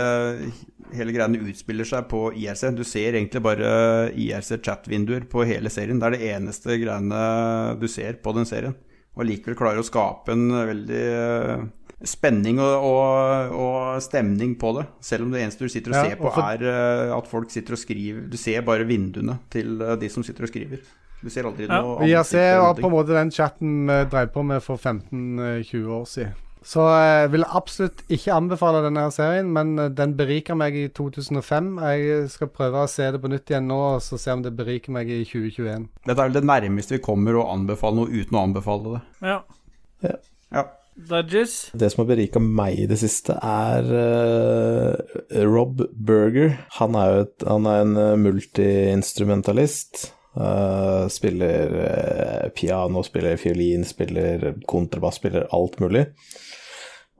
C: hele greiene utspiller seg på IRC. Du ser egentlig bare eh, IRC-chat-vinduer på hele serien. Det er det eneste greiene du ser på den serien. Og likevel klarer å skape en veldig eh, spenning og, og, og stemning på det. Selv om det eneste du sitter og
B: Ja,
C: ser på,
B: og for-
C: er eh, at folk sitter og skriver. Du ser bare vinduene til eh, de som sitter og skriver. Du ser aldri
A: Ja,
C: noe
B: Og IRC
C: ansikt eller
B: var
C: noe.
B: på en måte den chatten vi drev på med for 15-20 år siden. Så jeg vil absolutt ikke anbefale denne her serien, men eh, den beriker meg i 2005. Jeg skal prøve å se det på nytt igjen nå, og så se om det beriker meg i 2021.
C: Dette er vel det nærmeste vi kommer å anbefale noe uten å anbefale det.
A: ja.
C: Ja.
A: Dudges.
E: Det som har berika meg i det siste, er eh, Rob Berger. Han er jo et, han er en eh, multiinstrumentalist. Eh, spiller eh, piano, spiller fiolin, spiller kontrabass, spiller alt mulig.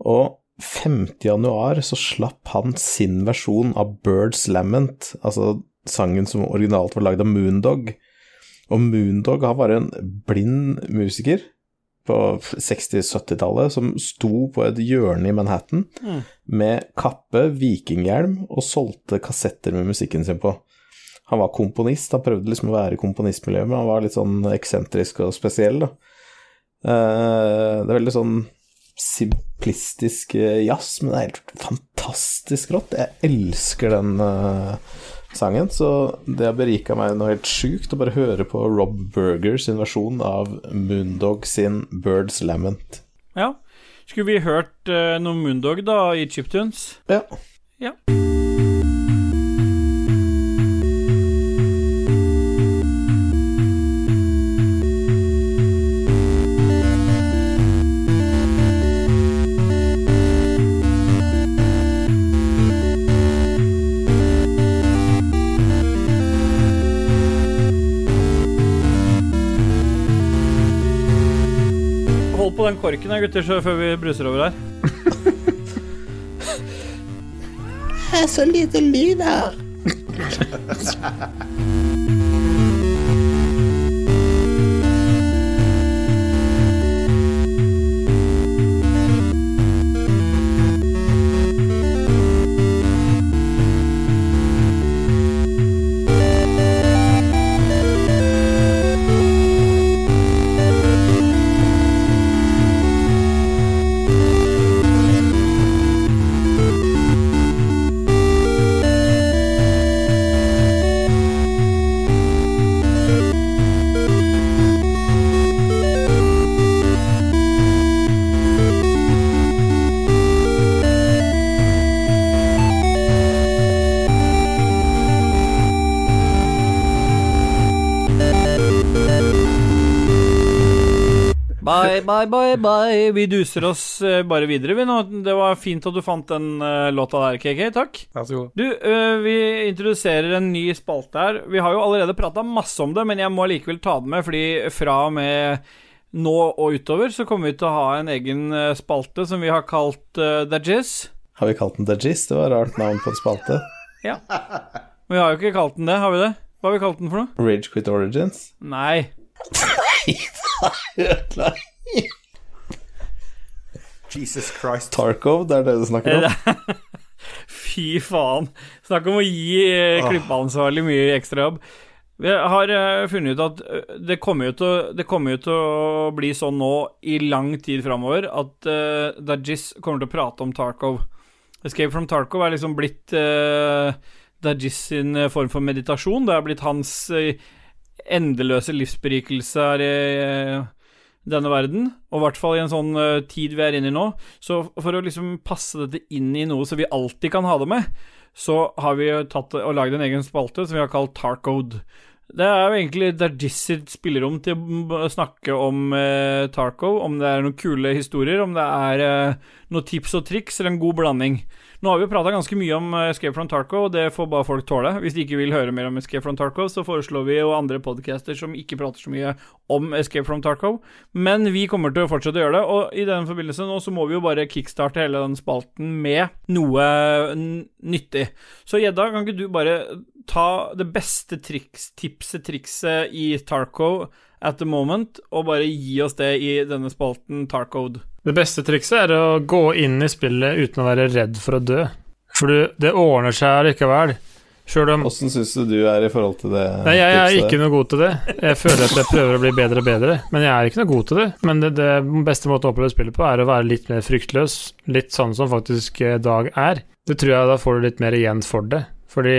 E: Og 5. januar så slapp han sin versjon av Birds Lament, altså sangen som originalt var lagd av Moondog. Og Moondog han var en blind musiker på 60-70-tallet som sto på et hjørne i Manhattan med kappe, vikinghjelm og solgte kassetter med musikken sin på. Han var komponist, han prøvde liksom å være i komponistmiljøet, men han var litt sånn eksentrisk og spesiell, da. Eh, Det er veldig sånn simplistisk eh, jazz, men det er helt fantastisk rått. Jeg elsker den eh, sangen, så det har berika meg noe helt sjukt å bare høre på Rob Burger sin versjon av Moondog sin Birds Lament.
A: Ja. Skulle vi hørt eh, noe Moondog, da, i Chiptunes?
E: Ja.
A: Ja. Hold på den korken, da, gutter, så- før vi bruser over her. Bye, bye, bye, bye. Vi duser oss eh, bare videre, vi nå. Det var fint at du fant den eh, låta der, KK. Takk.
B: Vær så god.
A: Du, eh, vi introduserer en ny spalte her. Vi har jo allerede prata masse om det, men jeg må allikevel ta det med, fordi fra og med nå og utover så kommer vi til å ha en egen eh, spalte som vi har kalt eh, The Jizz.
E: Har vi kalt den The Gist? Det var et rart navn på en spalte.
A: Vi har jo ikke kalt den det, har vi det? Hva har vi kalt den for noe?
E: Rage Quit Origins.
A: Nei.
C: Jesus Christ.
E: Tarkov, det er det du snakker om?
A: Fy faen. Snakk om å gi eh, klippeansvarlig mye ekstrajobb. Vi har eh, funnet ut at eh, det kommer jo til, å- det kommer jo til å bli sånn nå i lang tid framover at uh, Dajis kommer til å prate om Tarkov. Escape from Tarkov er liksom blitt uh, Dajis sin eh, form for meditasjon. Det er blitt hans eh, endeløse livsberikelse her i eh, denne verden, og i hvert fall i en sånn eh, tid vi er inne i nå. Så for å liksom passe dette inn i noe så vi alltid kan ha det med, så har vi jo tatt og lagd en egen spalte som vi har kalt Tarcode. Det er jo egentlig Dargis sitt spillerom til å b- snakke om eh, Tarkov, om det er noen kule historier, om det er eh, noen tips og triks, eller en god blanding. Nå har vi jo prata ganske mye om eh, Escape from Tarkov, og det får bare folk tåle. Hvis de ikke vil høre mer om Escape from Tarkov, så foreslår vi jo andre podcaster som ikke prater så mye om Escape from Tarkov. Men vi kommer til å fortsette å gjøre det, og i den forbindelse nå så må vi jo bare kickstarte hele den spalten med noe n- nyttig. Så Gjedda, kan ikke du bare ta det beste triks, tipset, trikset i Tarkov at the moment, og bare gi oss det i denne spalten Tarkode?
D: Det beste trikset er å gå inn i spillet uten å være redd for å dø. For du, det ordner seg likevel. Sjøl om
E: Åssen syns du du er i forhold til det?
D: Nei, jeg er
E: tipset?
D: ikke noe god til det. Jeg føler at jeg prøver å bli bedre og bedre, men jeg er ikke noe god til det. Men det, det beste måten å oppleve spillet på, er å være litt mer fryktløs. Litt sånn som faktisk eh, Dag er. Det tror jeg da får du litt mer igjen for det. Fordi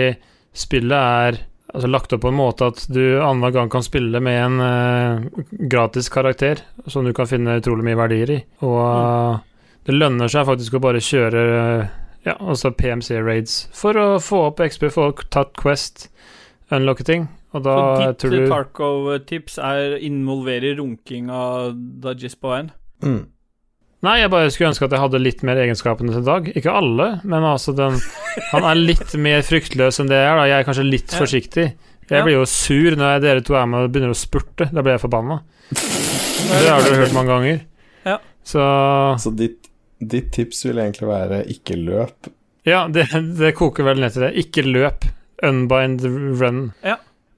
D: spillet er altså, lagt opp på en måte at du annenhver gang kan spille med en eh, gratis karakter, som du kan finne utrolig mye verdier i. Og
A: Mm.
D: eh, det lønner seg faktisk å bare kjøre eh, ja, altså PMC-raids for å få opp XP, få tatt Quest, unlocke ting. Og da
A: Så ditt
D: tror du
A: Tarkov-tips er involverer runking av Dajis på veien?
E: Mm.
D: Nei, jeg bare skulle ønske at jeg hadde litt mer egenskapene til Dag. Ikke alle, men altså den Han er litt mer fryktløs enn det jeg er, da. Jeg er kanskje litt
A: Ja.
D: forsiktig.
A: Ja.
D: Jeg blir jo sur når jeg, dere to er med og begynner å spurte. Da blir jeg forbanna. Det har du hørt mange ganger.
A: Ja.
D: Så
E: Så ditt, ditt tips vil egentlig være ikke løp.
D: Ja, det, det koker vel ned til det. Ikke løp. Unbind run.
A: Ja.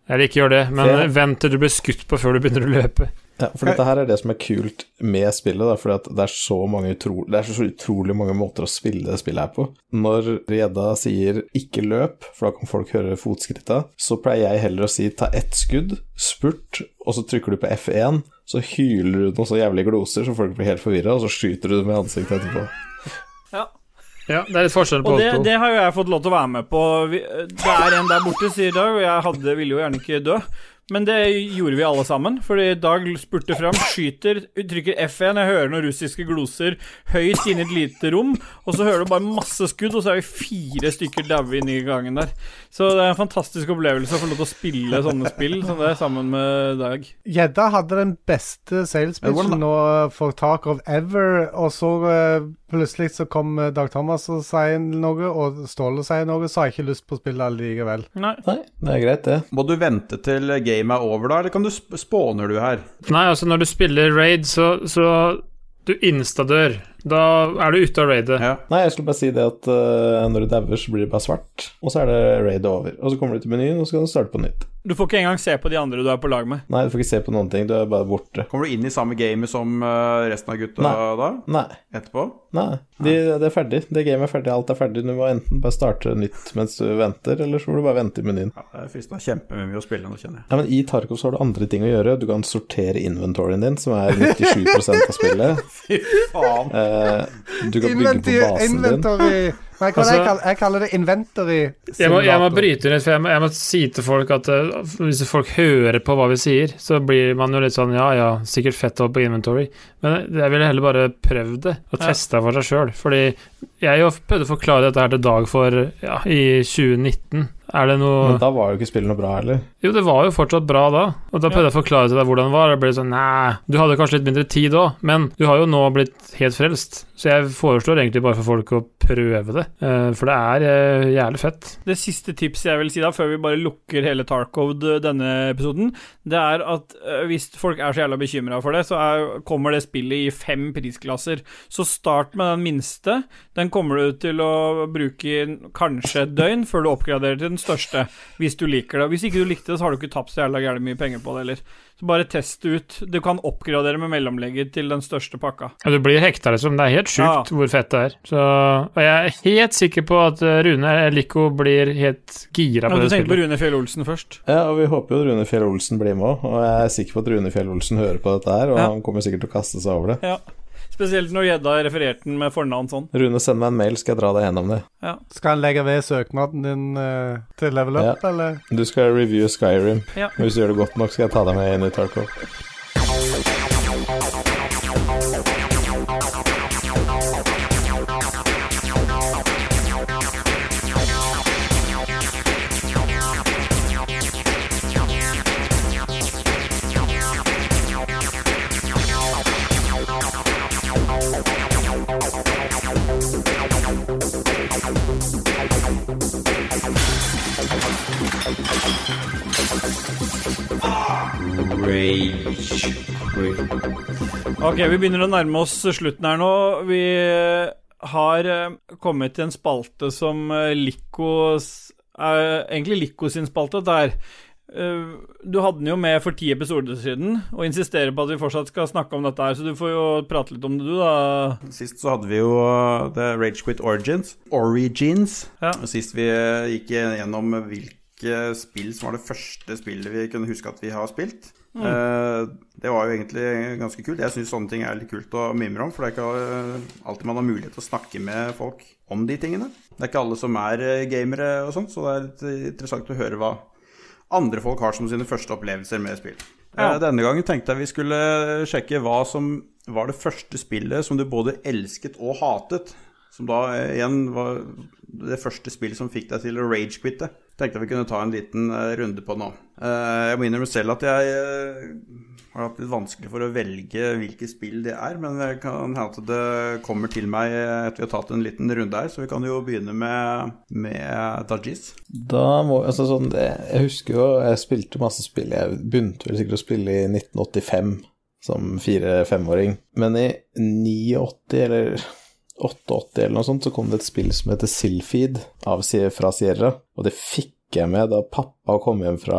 D: Eller ikke gjør det, men
E: Ja.
D: vent til du blir skutt på før du begynner å løpe.
E: Ja, for dette her er det som er kult med spillet, da, fordi at det er så mange utro... Det er så utrolig mange måter å spille det spillet her på. Når Reda sier 'ikke løp', for da kan folk høre fotskritta, så pleier jeg heller å si 'ta ett skudd', spurt, og så trykker du på F1, så hyler du noen så jævlige gloser så folk blir helt forvirra, og så skyter du dem i ansiktet etterpå.
D: Ja, det er litt forskjell på
A: Og det,
D: oss to.
A: det har jo jeg fått lov til å være med på. Vi, det er en der borte, sier Dag, og jeg hadde, ville jo gjerne ikke dø. Men det gjorde vi alle sammen, fordi Dag spurte fram, skyter, trykker F1, jeg hører noen russiske gloser høyt inne i et lite rom, og så hører du bare masse skudd, og så er vi fire stykker daue inni gangen der. Så det er en fantastisk opplevelse å få lov til å spille sånne spill som det, sammen med Dag.
B: Gjedda hadde den beste sales
C: Men hvordan
B: pitchen nå eh, for Tarkov ever, og så eh, plutselig så kom eh, Dag Thomas og sier noe, og Ståle sier noe, så har jeg ikke lyst på å spille allikevel.
A: Nei.
E: Nei, det er greit, det.
C: Må du vente til gamet er over, da, eller kan du sp- spåner du her?
D: Nei, altså når du spiller raid, så, så du instadør. Da er du ute av raidet.
C: Ja.
E: Nei, jeg skulle bare si det at eh, når du dauer, så blir det bare svart, og så er det raidet over. Og så kommer du til menyen, og så kan du starte på nytt.
A: Du får ikke engang se på de andre du er på lag med.
E: Nei, du får ikke se på noen ting, du er bare borte.
C: Kommer du inn i samme gamet som eh, resten av gutta
E: Nei.
C: da?
E: Nei,
C: Etterpå?
E: nei, de, det er ferdig. Det gamet er ferdig, alt er ferdig. Du må enten bare starte nytt mens du venter, eller så må du bare vente i menyen.
C: Ja, det er fristende kjempemye å spille nå, kjenner jeg.
E: Nei, men I Tarkov så har du andre ting å gjøre. Du kan sortere inventoryen din, som er 97 av spillet.
C: Faen.
E: Eh, du kan bygge på
B: Inventi-
E: basen din.
B: Inventory Nei, hva er det jeg
D: Altså-
B: kaller jeg kaller det? Inventory.
D: Jeg må, jeg må
B: simulator.
D: bryte inn litt, for jeg må, jeg må si til folk at eh, hvis folk hører på hva vi sier, så blir man jo litt sånn ja ja, sikkert fett å ha på inventory, men jeg ville heller bare prøvd det og
A: Ja.
D: testa for seg sjøl. Fordi jeg jo prøvde å forklare dette her til Dag for ja, i 2019. Er det noe
E: Men da var jo ikke spillet noe bra heller.
D: Jo, det var jo fortsatt bra da, og da prøvde jeg å forklare til deg hvordan det var. og Det ble sånn Nei, du hadde kanskje litt mindre tid òg, men du har jo nå blitt helt frelst. Så jeg foreslår egentlig bare for folk å prøve det, eh, for det er eh, jævlig fett.
A: Det siste tipset jeg vil si da, før vi bare lukker hele Tarkov denne episoden, det er at eh, hvis folk er så jævla bekymra for det, så er, kommer det spillet i fem prisklasser. Så start med den minste. Den kommer du til å bruke i en- kanskje et døgn før du oppgraderer til den største, hvis du liker det. Og Hvis ikke du likte det, så har du ikke tapt så jævla gærent mye penger på det heller. Så bare test det ut. Du kan oppgradere med mellomlegger til den største pakka.
D: Ja, du blir hekta, liksom. Det er helt sjukt hvor fett det er. Så, og jeg er helt sikker på at eh, Rune Lico blir helt
A: Ja,
D: gira på
A: du
D: det
A: tenker på
D: spillet.
A: Rune Fjell Olsen først.
E: Ja, og vi håper jo Rune Fjell Olsen blir med òg, og jeg er sikker på at Rune Fjell Olsen hører på dette her, og
A: Ja.
E: han kommer sikkert til å kaste seg over det.
A: Ja. Spesielt når gjedda refererte den med fornavn sånn.
E: Rune, send meg en mail, skal jeg dra deg gjennom det.
B: Skal han legge ved søknaden din eh, til level up, eller?
E: Du skal review Skyrim.
A: Ja.
E: Hvis du gjør det godt nok, skal jeg ta deg med inn i Tarkov.
A: Ok, vi begynner å nærme oss slutten her nå. Vi har eh, kommet til en spalte som eh, Likos er Egentlig Liko sin spalte, der du hadde den jo med for ti episoder siden, og insisterer på at vi fortsatt skal snakke om dette her, så du får jo prate litt om det, du, da.
C: Sist så hadde vi jo uh, The Rage Quit Origins. Origins.
A: Ja.
C: Og Sist vi uh, gikk gjennom hvilke spill som var det første spillet vi kunne huske at vi har spilt. Eh, Det var jo egentlig ganske kult. Jeg syns sånne ting er litt kult å mimre om, for det er ikke uh, alltid man har mulighet til å snakke med folk om de tingene. Det er ikke alle som er uh, gamere og sånn, så det er litt uh, interessant å høre hva andre folk har som sine første opplevelser med spill. Eh, Denne gangen tenkte jeg vi skulle sjekke hva som var det første spillet som du både elsket og hatet. Som da eh, igjen var det første spillet som fikk deg til å ragequitte. Tenkte jeg vi kunne ta en liten eh, runde på nå. Eh, Jeg må innrømme selv at jeg eh, har hatt litt vanskelig for å velge hvilke spill det er, men det kan hende at det kommer til meg eh, etter vi har tatt en liten runde her, så vi kan jo begynne med, med Dajis.
E: Da må Altså sånn det, Jeg husker jo jeg spilte masse spill. Jeg begynte vel sikkert å spille i 1985 som fire-femåring. Men i 89 eller 88 eller noe sånt så kom det et spill som heter Silfeed av, Sie- fra Sierra. Og det fikk jeg med da pappa kom hjem fra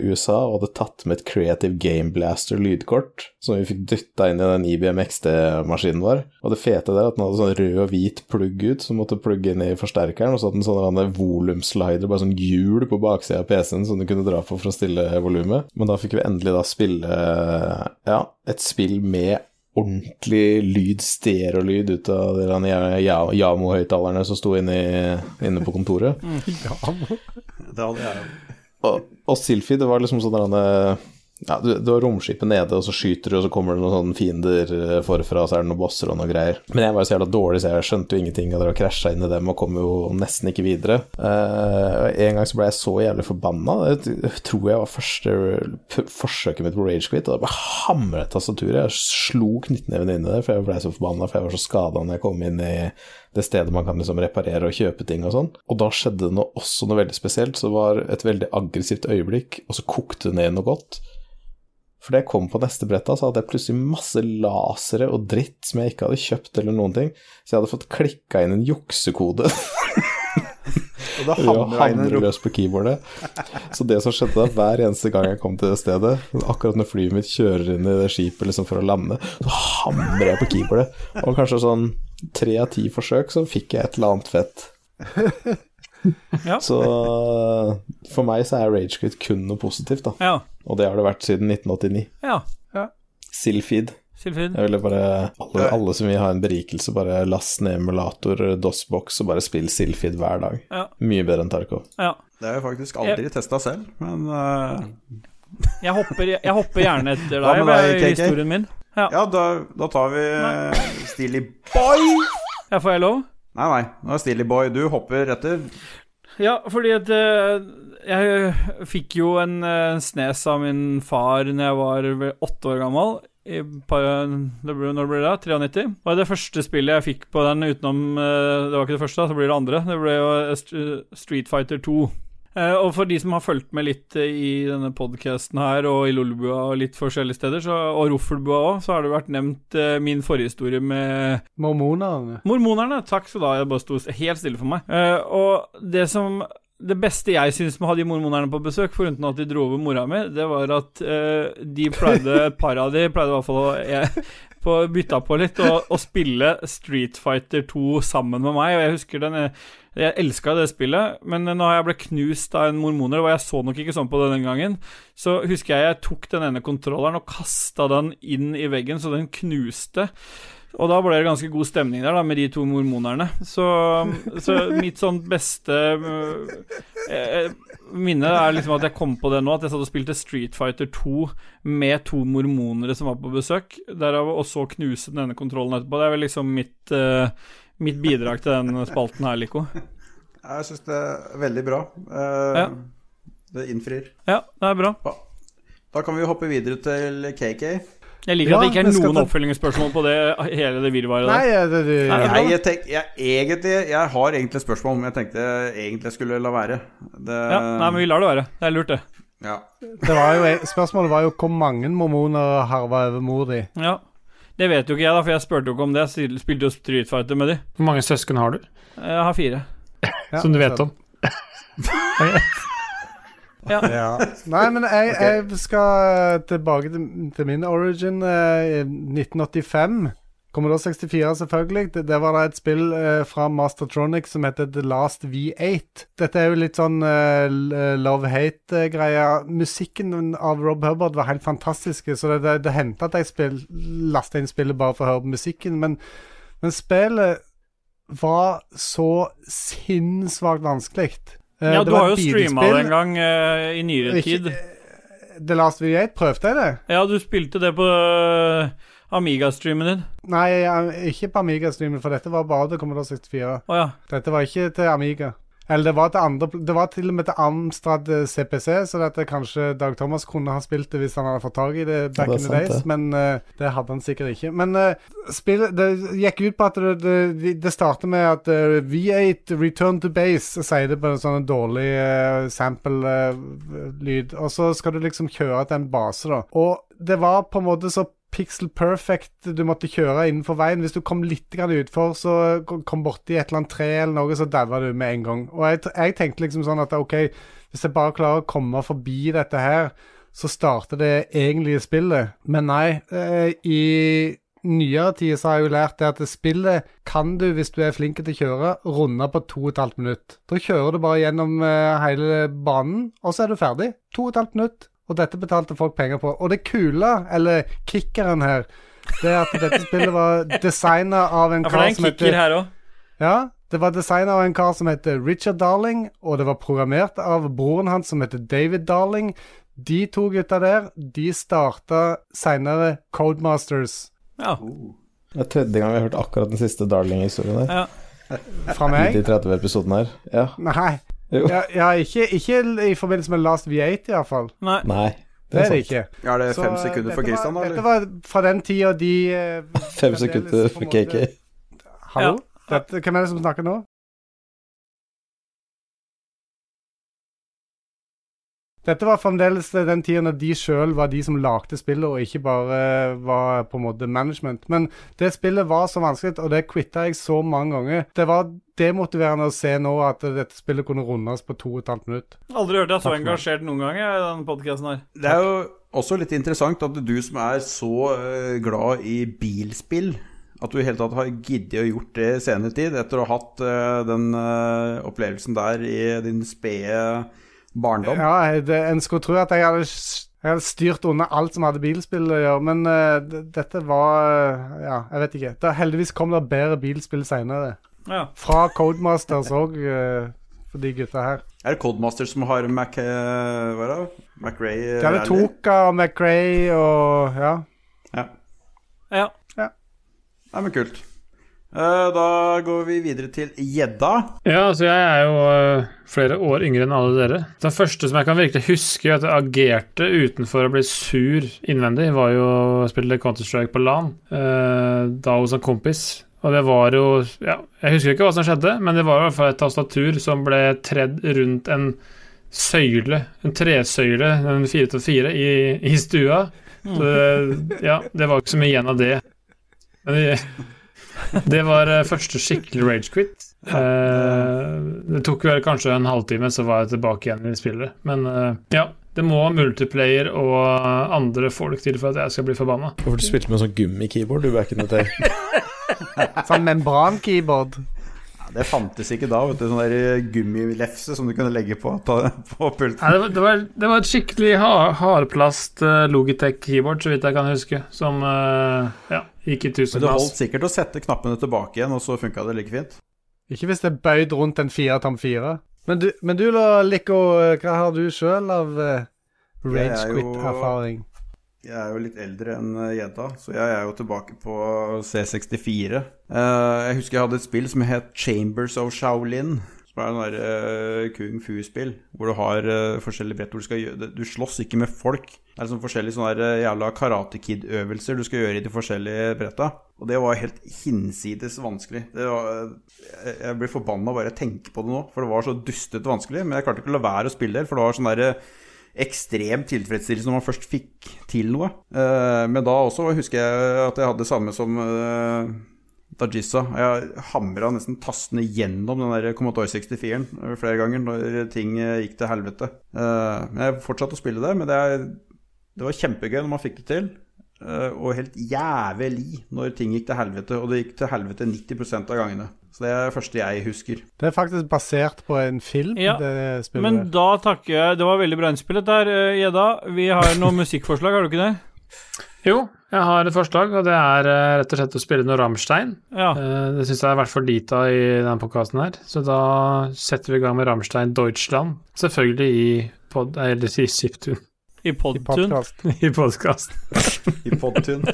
E: USA og hadde tatt med et Creative Game Blaster lydkort som vi fikk dytta inn i den IBM XD-maskinen vår. Og det fete der er at den hadde sånn rød og hvit plugg ut som måtte plugge inn i forsterkeren, og så hadde den sånn en volumslider, bare sånn hjul på baksida av PC-en som du kunne dra på for å stille volumet. Men da fikk vi endelig da spille ja, et spill med ordentlig lyd, stereolyd ut av de der ja- ja- Jamo-høyttalerne som sto inne, i- inne på kontoret.
C: Det hadde jeg
E: Og, og Silfi, det var liksom sånn der han, eh, ja, du, du har romskipet nede, og så skyter du, og så kommer det noen sånne fiender eh, forfra, og så er det noen bosser og noe greier. Men jeg var jo så jævla dårlig, så jeg skjønte jo ingenting av det, og krasja inn i dem og kom jo nesten ikke videre. Eh, og en gang så ble jeg så jævlig forbanna, det t- tror jeg var første p- forsøket mitt på ragequit, og da bare hamret tastaturet. Jeg slo knyttneven inn i det, for jeg ble så forbanna, for jeg var så skada når jeg kom inn i det stedet man kan liksom reparere og kjøpe ting og sånn. Og da skjedde det noe, også noe veldig spesielt, så det var et veldig aggressivt øyeblikk, og så kokte det ned i noe godt. For da jeg kom på neste brett, da, så hadde jeg plutselig masse lasere og dritt som jeg ikke hadde kjøpt eller noen ting, så jeg hadde fått klikka inn en juksekode
C: Og da
E: og
C: hamra jeg inn en
E: hamre løs på keyboardet. Så det som skjedde da, hver eneste gang jeg kom til det stedet, akkurat når flyet mitt kjører inn i det skipet liksom for å lande, så hamrer jeg på keyboardet. Og kanskje sånn tre av ti forsøk, så fikk jeg et eller annet fett.
A: Ja.
E: Så eh, for meg så er ragequit kun noe positivt, da.
A: Ja.
E: Og det har det vært siden 1989.
A: ja.
E: Silfeed.
A: Silfrid.
E: Jeg ville bare alle, alle som vil ha en berikelse, bare last ned emulator, DOS-boks og bare spill Silfeed hver dag.
A: Ja.
E: Mye bedre enn Tarkov.
A: Ja.
C: Det har jeg faktisk aldri testa selv, men eh,
A: Jeg hopper, jeg hopper gjerne etter
C: Hva
A: deg
C: med deg,
A: med
C: KK?
A: historien min.
C: Ja, da, da tar vi eh, Steely Boy.
A: Ja, får jeg lov?
C: Nei, nei, nå er Steely Boy. Du hopper etter.
A: Ja, fordi at eh, jeg fikk jo en eh, snes av min far når jeg var vel åtte år gammel. I, par, det ble, når ble det? 93? Og det første spillet jeg fikk på den utenom eh, Det var ikke det første, da, så blir det andre. Det ble jo eh, St- Street Fighter 2. Eh, og for de som har fulgt med litt eh, i denne podkasten her, og i Lolbua og litt forskjellige steder, så, og Roffelbua òg, så har det vært nevnt eh, min forhistorie med
B: Mormonerne.
A: Mormonerne. Takk skal du ha. Jeg bare sto helt stille for meg. Eh, og det som det beste jeg syns med å ha de mormonerne på besøk, foruten at de dro over mora mi, det var at eh, de pleide, et par av de pleide i hvert fall å jeg, på, bytta på litt og, og spille Street Fighter 2 sammen med meg. Og jeg husker den eh, Jeg elska det spillet, men når jeg ble knust av en mormoner, og jeg så nok ikke sånn på det den gangen, så husker jeg jeg tok den ene kontrolleren og kasta den inn i veggen, så den knuste. Og da ble det ganske god stemning der, da, med de to mormonerne. Så, så mitt sånn beste øh, eh, minne er liksom at jeg kom på det nå, at jeg satt og spilte Street Fighter 2 med to mormonere som var på besøk, derav og så knuse den ene kontrollen etterpå. Det er vel liksom mitt, eh, mitt bidrag til den spalten her, Lico.
C: Jeg syns det er veldig bra. Eh,
A: Ja.
C: Det innfrir.
A: Ja, det er bra.
C: Da kan vi jo hoppe videre til KK.
A: Jeg liker
B: Ja,
A: at det ikke er
B: vi skal
A: noen
B: ta-
A: oppfølgingsspørsmål på det hele det virvaret
B: Nei,
A: der.
B: eh, det, det,
A: Nei,
C: Nei, jeg, tenk, jeg, egentlig, jeg har egentlig et spørsmål, men jeg tenkte jeg egentlig skulle la være. Det,
A: Ja, nei, men vi lar det være. Det er lurt, det.
C: ja.
B: det var jo, spørsmålet var jo hvor mange mormoner harva over mor di.
A: Ja. Det vet jo ikke jeg, da, for jeg spurte jo ikke om det. Jeg spilte jo Street Fighter med de.
D: Hvor mange søsken har du,
A: Jeg har fire.
B: Ja,
D: som du vet om?
B: Ja. Nei, men jeg, jeg skal eh, tilbake til, til min origin. eh, i 1985. Kommer da 64, selvfølgelig. Det, det var da et spill eh, fra Mastertronic som heter The Last V8. Dette er jo litt sånn love-hate-greie. Musikken av Rob Hubbard var helt fantastisk, så det, det, det hendte at jeg spill, lasta inn spillet bare for å høre på musikken. Men, men spillet var så sinnssvakt vanskelig. Eh,
A: Ja,
B: det
A: du
B: var
A: har jo
B: et
A: streama
B: bilspill.
A: det en gang eh, i nyere
B: Ikke-
A: tid.
B: The Last V8, prøvde jeg det?
A: Ja, du spilte det på eh, Amiga-streamen din.
B: Nei, jeg- ikke på Amiga-streamen, for dette var bare til Commodore 64.
A: Å ja.
B: Dette var ikke til Amiga. Eller det var, til andre, pl- det var til og med til Amstrad eh, CPC, så dette kanskje Dag Thomas kunne ha spilt det hvis han hadde fått tak i det back
E: Ja, det er
B: in the
E: sant,
B: days,
E: det.
B: men eh, det hadde han sikkert ikke. Men eh, spillet Det gikk ut på at det, det, det starter med at eh, V8 Return to Base sier det på en sånn dårlig sample-lyd, og så skal du liksom kjøre til en base, da. Og det var på en måte så pixel perfect du måtte kjøre innenfor veien. Hvis du kom litt grann utfor, så kom- kom borti et eller annet tre eller noe, så daua du med en gang. Og jeg, t- jeg tenkte liksom sånn at OK, hvis jeg bare klarer å komme forbi dette her, så starter det egentlige spillet. Men nei, eh, i nyere tid så har jeg jo lært det at spillet kan du, hvis du er flink til å kjøre, runde på to og et halvt minutt. Da kjører du bare gjennom eh, hele banen, og så er du ferdig. To og et halvt minutt. Og dette betalte folk penger på. Og det kule, eller kickeren her, det er at dette spillet var designa av en
A: ja, for det
B: kar
A: er en
B: som heter
A: kicker her òg.
B: ja, det var designet av en kar som heter Richard Darling, og det var programmert av broren hans som heter David Darling. De to gutta der, de starta seinere Codemasters
A: Ja.
E: Det er tredje gang vi har hørt akkurat den siste Darling-historien her.
A: ja.
B: fra
E: I
B: meg.
E: de 30 episodene her. Ja.
B: Nei.
E: Jo.
B: Ja, ja ikke, ikke i forbindelse med Last V8, iallfall.
A: Nei.
E: Nei.
B: Det er det
E: sant.
B: ikke.
C: Ja, Er det
B: Så,
C: fem
B: eh,
C: sekunder for
B: dette
C: Christian,
B: var-
C: da?
B: Dette
C: eller?
B: var fra den tida de eh,
E: Fem
B: fremdeles
E: sekunder
B: på en
E: for
B: måte-
E: KK.
B: Hallo?
A: Ja.
B: Dette, hvem er det som snakker nå? Dette var fremdeles eh, den tiden da de sjøl var de som lagde spillet, og ikke bare eh, var på en måte management. Men det spillet var så vanskelig, og det quitta jeg så mange ganger. Det var demotiverende å se nå at dette spillet kunne rundes på to og et halvt minutt.
A: Aldri hørt deg så
B: Takk for meg.
A: engasjert noen gang jeg, i den podkasten her.
C: Det er jo også litt interessant at du som er så eh, glad i bilspill, at du i hele tatt har giddet å gjort det i senere tid, etter å ha hatt eh, den eh, opplevelsen der i din spede barndom.
B: Ja, det, en skulle tro at jeg hadde, s- jeg hadde styrt unna alt som hadde bilspill å gjøre, men eh, d- dette var eh, Ja, jeg vet ikke. Da, heldigvis kom det bedre bilspill seinere.
A: Ja.
B: Fra Codemasters òg, for de gutta her.
C: Er det Codemaster som har Mac... eh, Hva er det? eh, MacRae
B: De hadde Toka og McRae og Ja.
C: Ja.
A: ja.
C: Nei, men kult. Eh, da går vi videre til gjedda.
D: Ja, altså jeg er jo øh, flere år yngre enn alle dere. Den første som jeg kan virkelig huske at jeg agerte utenfor å bli sur innvendig, var jo å spille Counter-Strike på LAN, øh, da hos en kompis. Og det var jo ja, Jeg husker ikke hva som skjedde, men det var i hvert fall et tastatur som ble tredd rundt en søyle, en tresøyle, en fire til fire, i, i stua. Så det, ja, det var ikke så mye igjen av det. Men det, det var øh, første eh, skikkelig rage quit. Eh, det tok vel kanskje en halvtime, så var jeg tilbake igjen i spillet. Men eh, ja, det må multiplayer og andre folk til for at jeg skal bli forbanna.
E: Hvorfor du spilte med en sånn gummikeyboard du back in the day?
B: Sånn membran-keyboard.
C: Ja, det fantes ikke da, vet du. Sånn der gummilefse som du kunne legge på, ta, på pulten.
D: Nei, det, var, det, var, det var et skikkelig hard, hardplast eh, Logitech-keyboard, så vidt jeg kan huske, som eh, ja, gikk i
C: Men
D: tusen
C: det
D: plass.
C: holdt sikkert å sette knappene tilbake igjen, og så funka det like fint.
B: Ikke hvis det er bøyd rundt en fire tam fire. Men du, men du da, Lico, eh, hva har du sjøl av eh,
C: Jeg
B: rage
C: er jo-
B: quit-erfaring?
C: Jeg er jo litt eldre enn eh, gjedda, så jeg er jo tilbake på C64. Eh, jeg husker jeg hadde et spill som het Chambers of Shaolin. Som er en der, eh, kung fu-spill hvor du har eh, forskjellige brett hvor du skal gjøre Du slåss ikke med folk. Det er sånn forskjellige sånne der, eh, jævla Karate Kid-øvelser du skal gjøre i de forskjellige bretta. Og det var helt hinsides vanskelig. Det var, eh, jeg jeg blir forbanna bare jeg tenker på det nå, for det var så dustete vanskelig. Men jeg klarte ikke å la være å spille det, for det var sånn derre ekstrem tilfredsstillelse når man først fikk til noe. Eh, men da også husker jeg at jeg hadde det samme som eh, Dajissa. Jeg hamra nesten tastene gjennom den der Commodore 64-en flere ganger når ting eh, gikk til helvete. Eh, men jeg fortsatte å spille det, men det, er, det var kjempegøy når man fikk det til. eh, og helt jævlig når ting gikk til helvete, og det gikk til helvete 90 av gangene. Så det er det første jeg husker.
B: Det er faktisk basert på en film.
A: Ja,
B: det spillet
A: Men
B: der.
A: da takker jeg Det var veldig bra innspill, dette her, eh, Gjedda. Vi har noe musikkforslag, har du ikke det?
D: Jo, jeg har et forslag, og det er eh, rett og slett å spille noe Rammstein.
A: Ja.
D: Eh, Det syns jeg har vært for lite av i denne podkasten her, så da setter vi i gang med Rammstein Deutschland. Selvfølgelig i pod... Eller i Siptun
A: I
B: I
A: Podtun.
B: podcast.
D: i podkast.
C: I Podtun.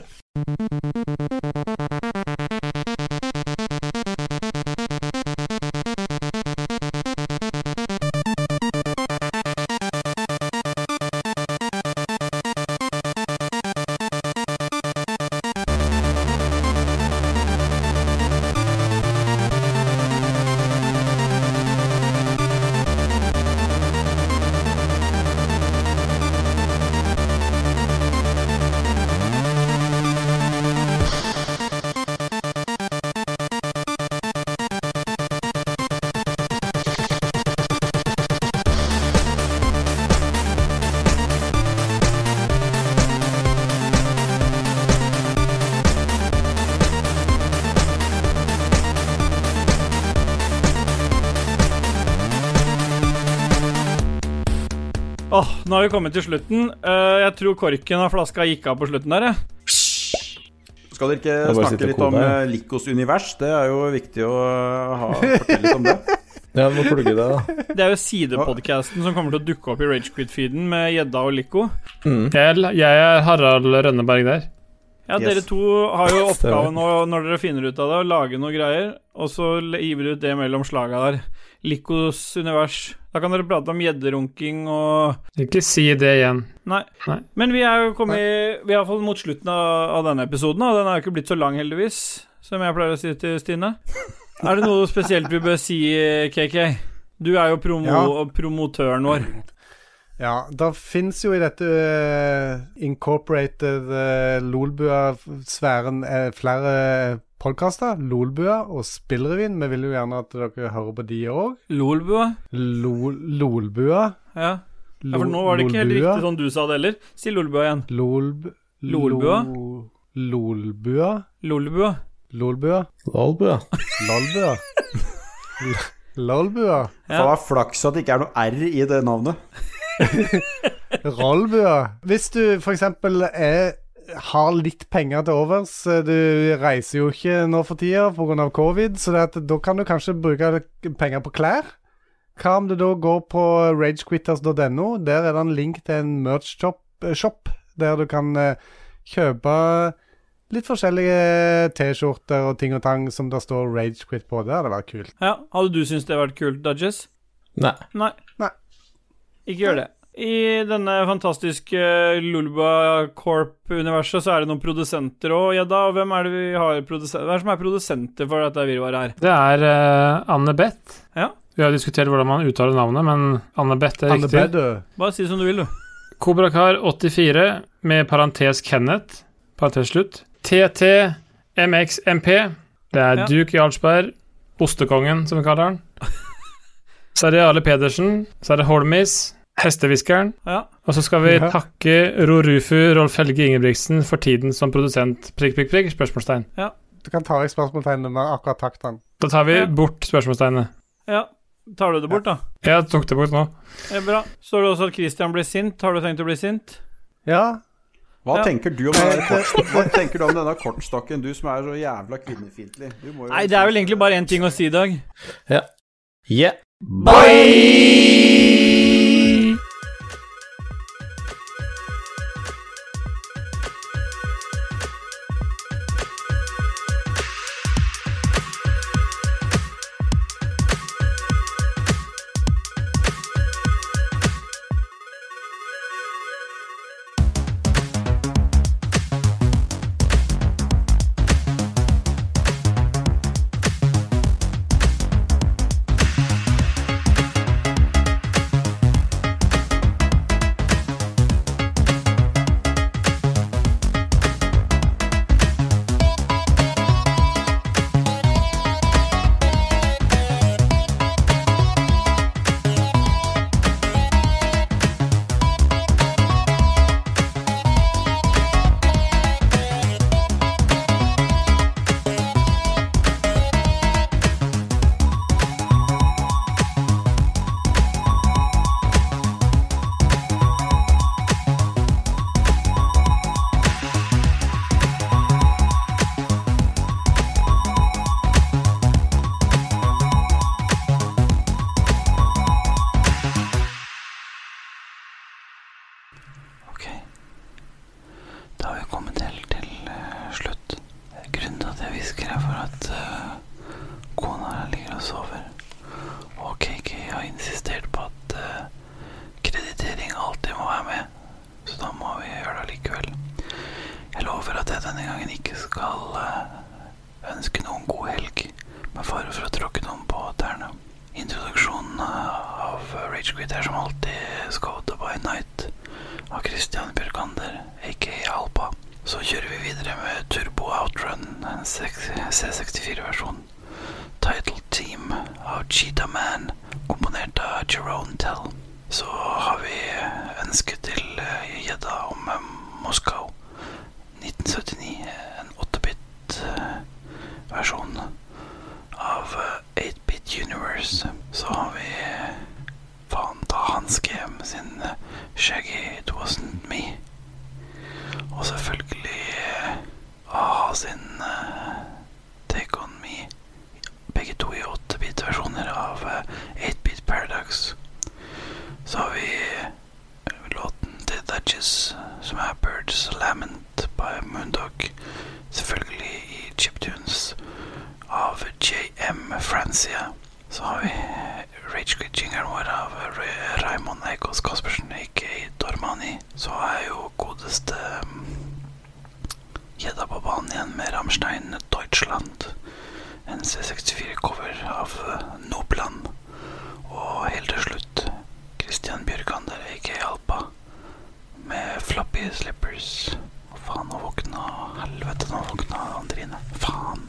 A: Åh, nå har vi kommet til slutten. Eh, jeg tror korken av flaska gikk av på slutten der, jeg.
C: Skal dere
E: Jeg
C: ikke
E: bare
C: snakke
E: sitter
C: litt
E: og
C: om
E: koder.
C: eh, Likos univers? Det er jo viktig å ha, fortelle litt om det.
E: Ja, du må plugge det, da.
A: Det er jo sidepodcasten som kommer til å dukke opp i Ragequit-feeden med Gjedda og Lico.
E: Mm.
D: Jeg, jeg er Harald Rønneberg der.
A: Ja,
C: Yes.
A: dere to har jo oppgaven nå, når dere finner ut av det, å lage noe greier, og så le- gir dere ut det mellom slaga der. Likos univers. Da kan dere prate om gjedderunking og
D: Ikke si det igjen.
A: Nei.
D: Nei.
A: Men vi er jo kommet Vi er iallfall mot slutten av, av denne episoden, og den er jo ikke blitt så lang, heldigvis, som jeg pleier å si til Stine. Er det noe spesielt vi bør si, KK? Du er jo promo
B: Ja.
A: promotøren vår.
B: Ja, det fins jo i dette eh, incorporated uh, Lolbua-sfæren eh, flere podkaster. Lolbua og Spillrevyen. Vi vil jo gjerne at dere hører på de òg.
A: Lolbua.
B: Lol, Lolbua.
A: Ja. ja, for nå var det ikke helt riktig sånn du sa det heller. Si Lolbua igjen.
B: Lolb...
A: Lolbua?
B: Lo- Lolbua?
A: Lolbua.
B: Lolbua?
E: Lolbu, ja.
B: Lolbua? Lolbua?
A: Ja.
C: Faen, Det er flaks at det ikke er noe R i det navnet.
B: Rollbua. Hvis du for eksempel er har litt penger til overs. eh, Du reiser jo ikke nå for tida pga. covid, så det at, da kan du kanskje bruke penger på klær. Hva om du da går på ragequitters.no? Der er det en link til en merch-shop, shop, der du kan eh, kjøpe litt forskjellige T-skjorter og ting og tang som det står Ragequit på. Det hadde vært kult.
A: Ja, Hadde du syntes det hadde vært kult, Dudges?
E: Nei.
A: Nei.
B: Nei.
A: Ikke gjør det. I denne fantastiske Lulba Corp-universet så er det noen produsenter òg, Gjedda. og Hvem er det vi har produsenter Hvem er det som er produsenter for dette virvaret her?
D: Det er eh, Anne Beth.
A: Ja.
D: Vi har diskutert hvordan man uttaler navnet, men Anne Beth er
B: Anne
D: riktig.
B: Bedø.
A: Bare si som du vil, du.
D: Kobrakar84 med parentes Kenneth, parentes slutt. TT MXMP. Det er
A: Ja.
D: Duke Jarlsberg, Ostekongen, som vi kaller han. Så er det Ale Pedersen, så er det Holmis, Hestehviskeren.
A: Ja.
D: Og så skal vi
B: Ja.
D: takke Rorufu Rolf Helge Ingebrigtsen for tiden som produsent. Prikk, prikk, prikk, spørsmålstegn.
B: Du kan ta vekk spørsmålstegnet med akkurat takt han.
D: Da tar vi
A: Ja.
D: bort spørsmålstegnet.
A: ja. Tar du det bort, da?
D: Jeg tok det bort nå.
A: Det er bra. Står det også at Christian blir sint? Har du tenkt å bli sint?
B: Ja,
C: Hva,
A: Ja.
C: tenker du om denne kortstokken? Hva tenker du om denne kortstokken, du som er så jævla kvinnefiendtlig? Du må jo-
A: Nei, det er vel egentlig bare én ting å si, Dag.
F: Yeah.
I: Ok. Da har vi kommet helt til eh, slutt. Grunnen til at jeg hvisker, er for at eh, kona her ligger og sover. Og KK har insistert på at eh, kreditering alltid må være med, så da må vi gjøre det likevel. Jeg lover at jeg denne gangen ikke skal eh, ønske noen god helg, med fare for å tråkke noen på tærne. Introduksjonen eh, av Rage Quit er som alltid Skoda by Night av Christian Bjørkander, aka Alpa. Så kjører vi videre med Turbo Outrun, en seks- C64-versjon. Title Team av Cheetah Man, komponert av Jerome Tell. Så har vi ønsket til eh, gjedda om eh, Moskau 1979, eh, en 8-bit-versjon av eh, 8-bit Universe. Så har vi eh, faen ta Hans GM sin eh, Shaggy, it wasn't me. Og selvfølgelig eh, A-ha sin eh, Take on me. Begge to i 8-bit-versjoner av eh, 8-bit Paradox. Så har vi eh, låten til Duchess, som er Birds Lament by Moondog. Selvfølgelig i chiptunes av JM Francia. Så har vi Ragequit-jingeren vår av Ra- Raymond Eikås Caspersen, a.k.a. Dormani. Så er jo godeste mm, gjedda på banen igjen med Rammstein Deutschland. En C64-cover av eh, Nobland. Og helt til slutt Christian Bjørkander, a.k.a. Alpa, med Floppy Slippers. Å, Faen, nå våkna Helvete, nå våkna Andrine. Faen.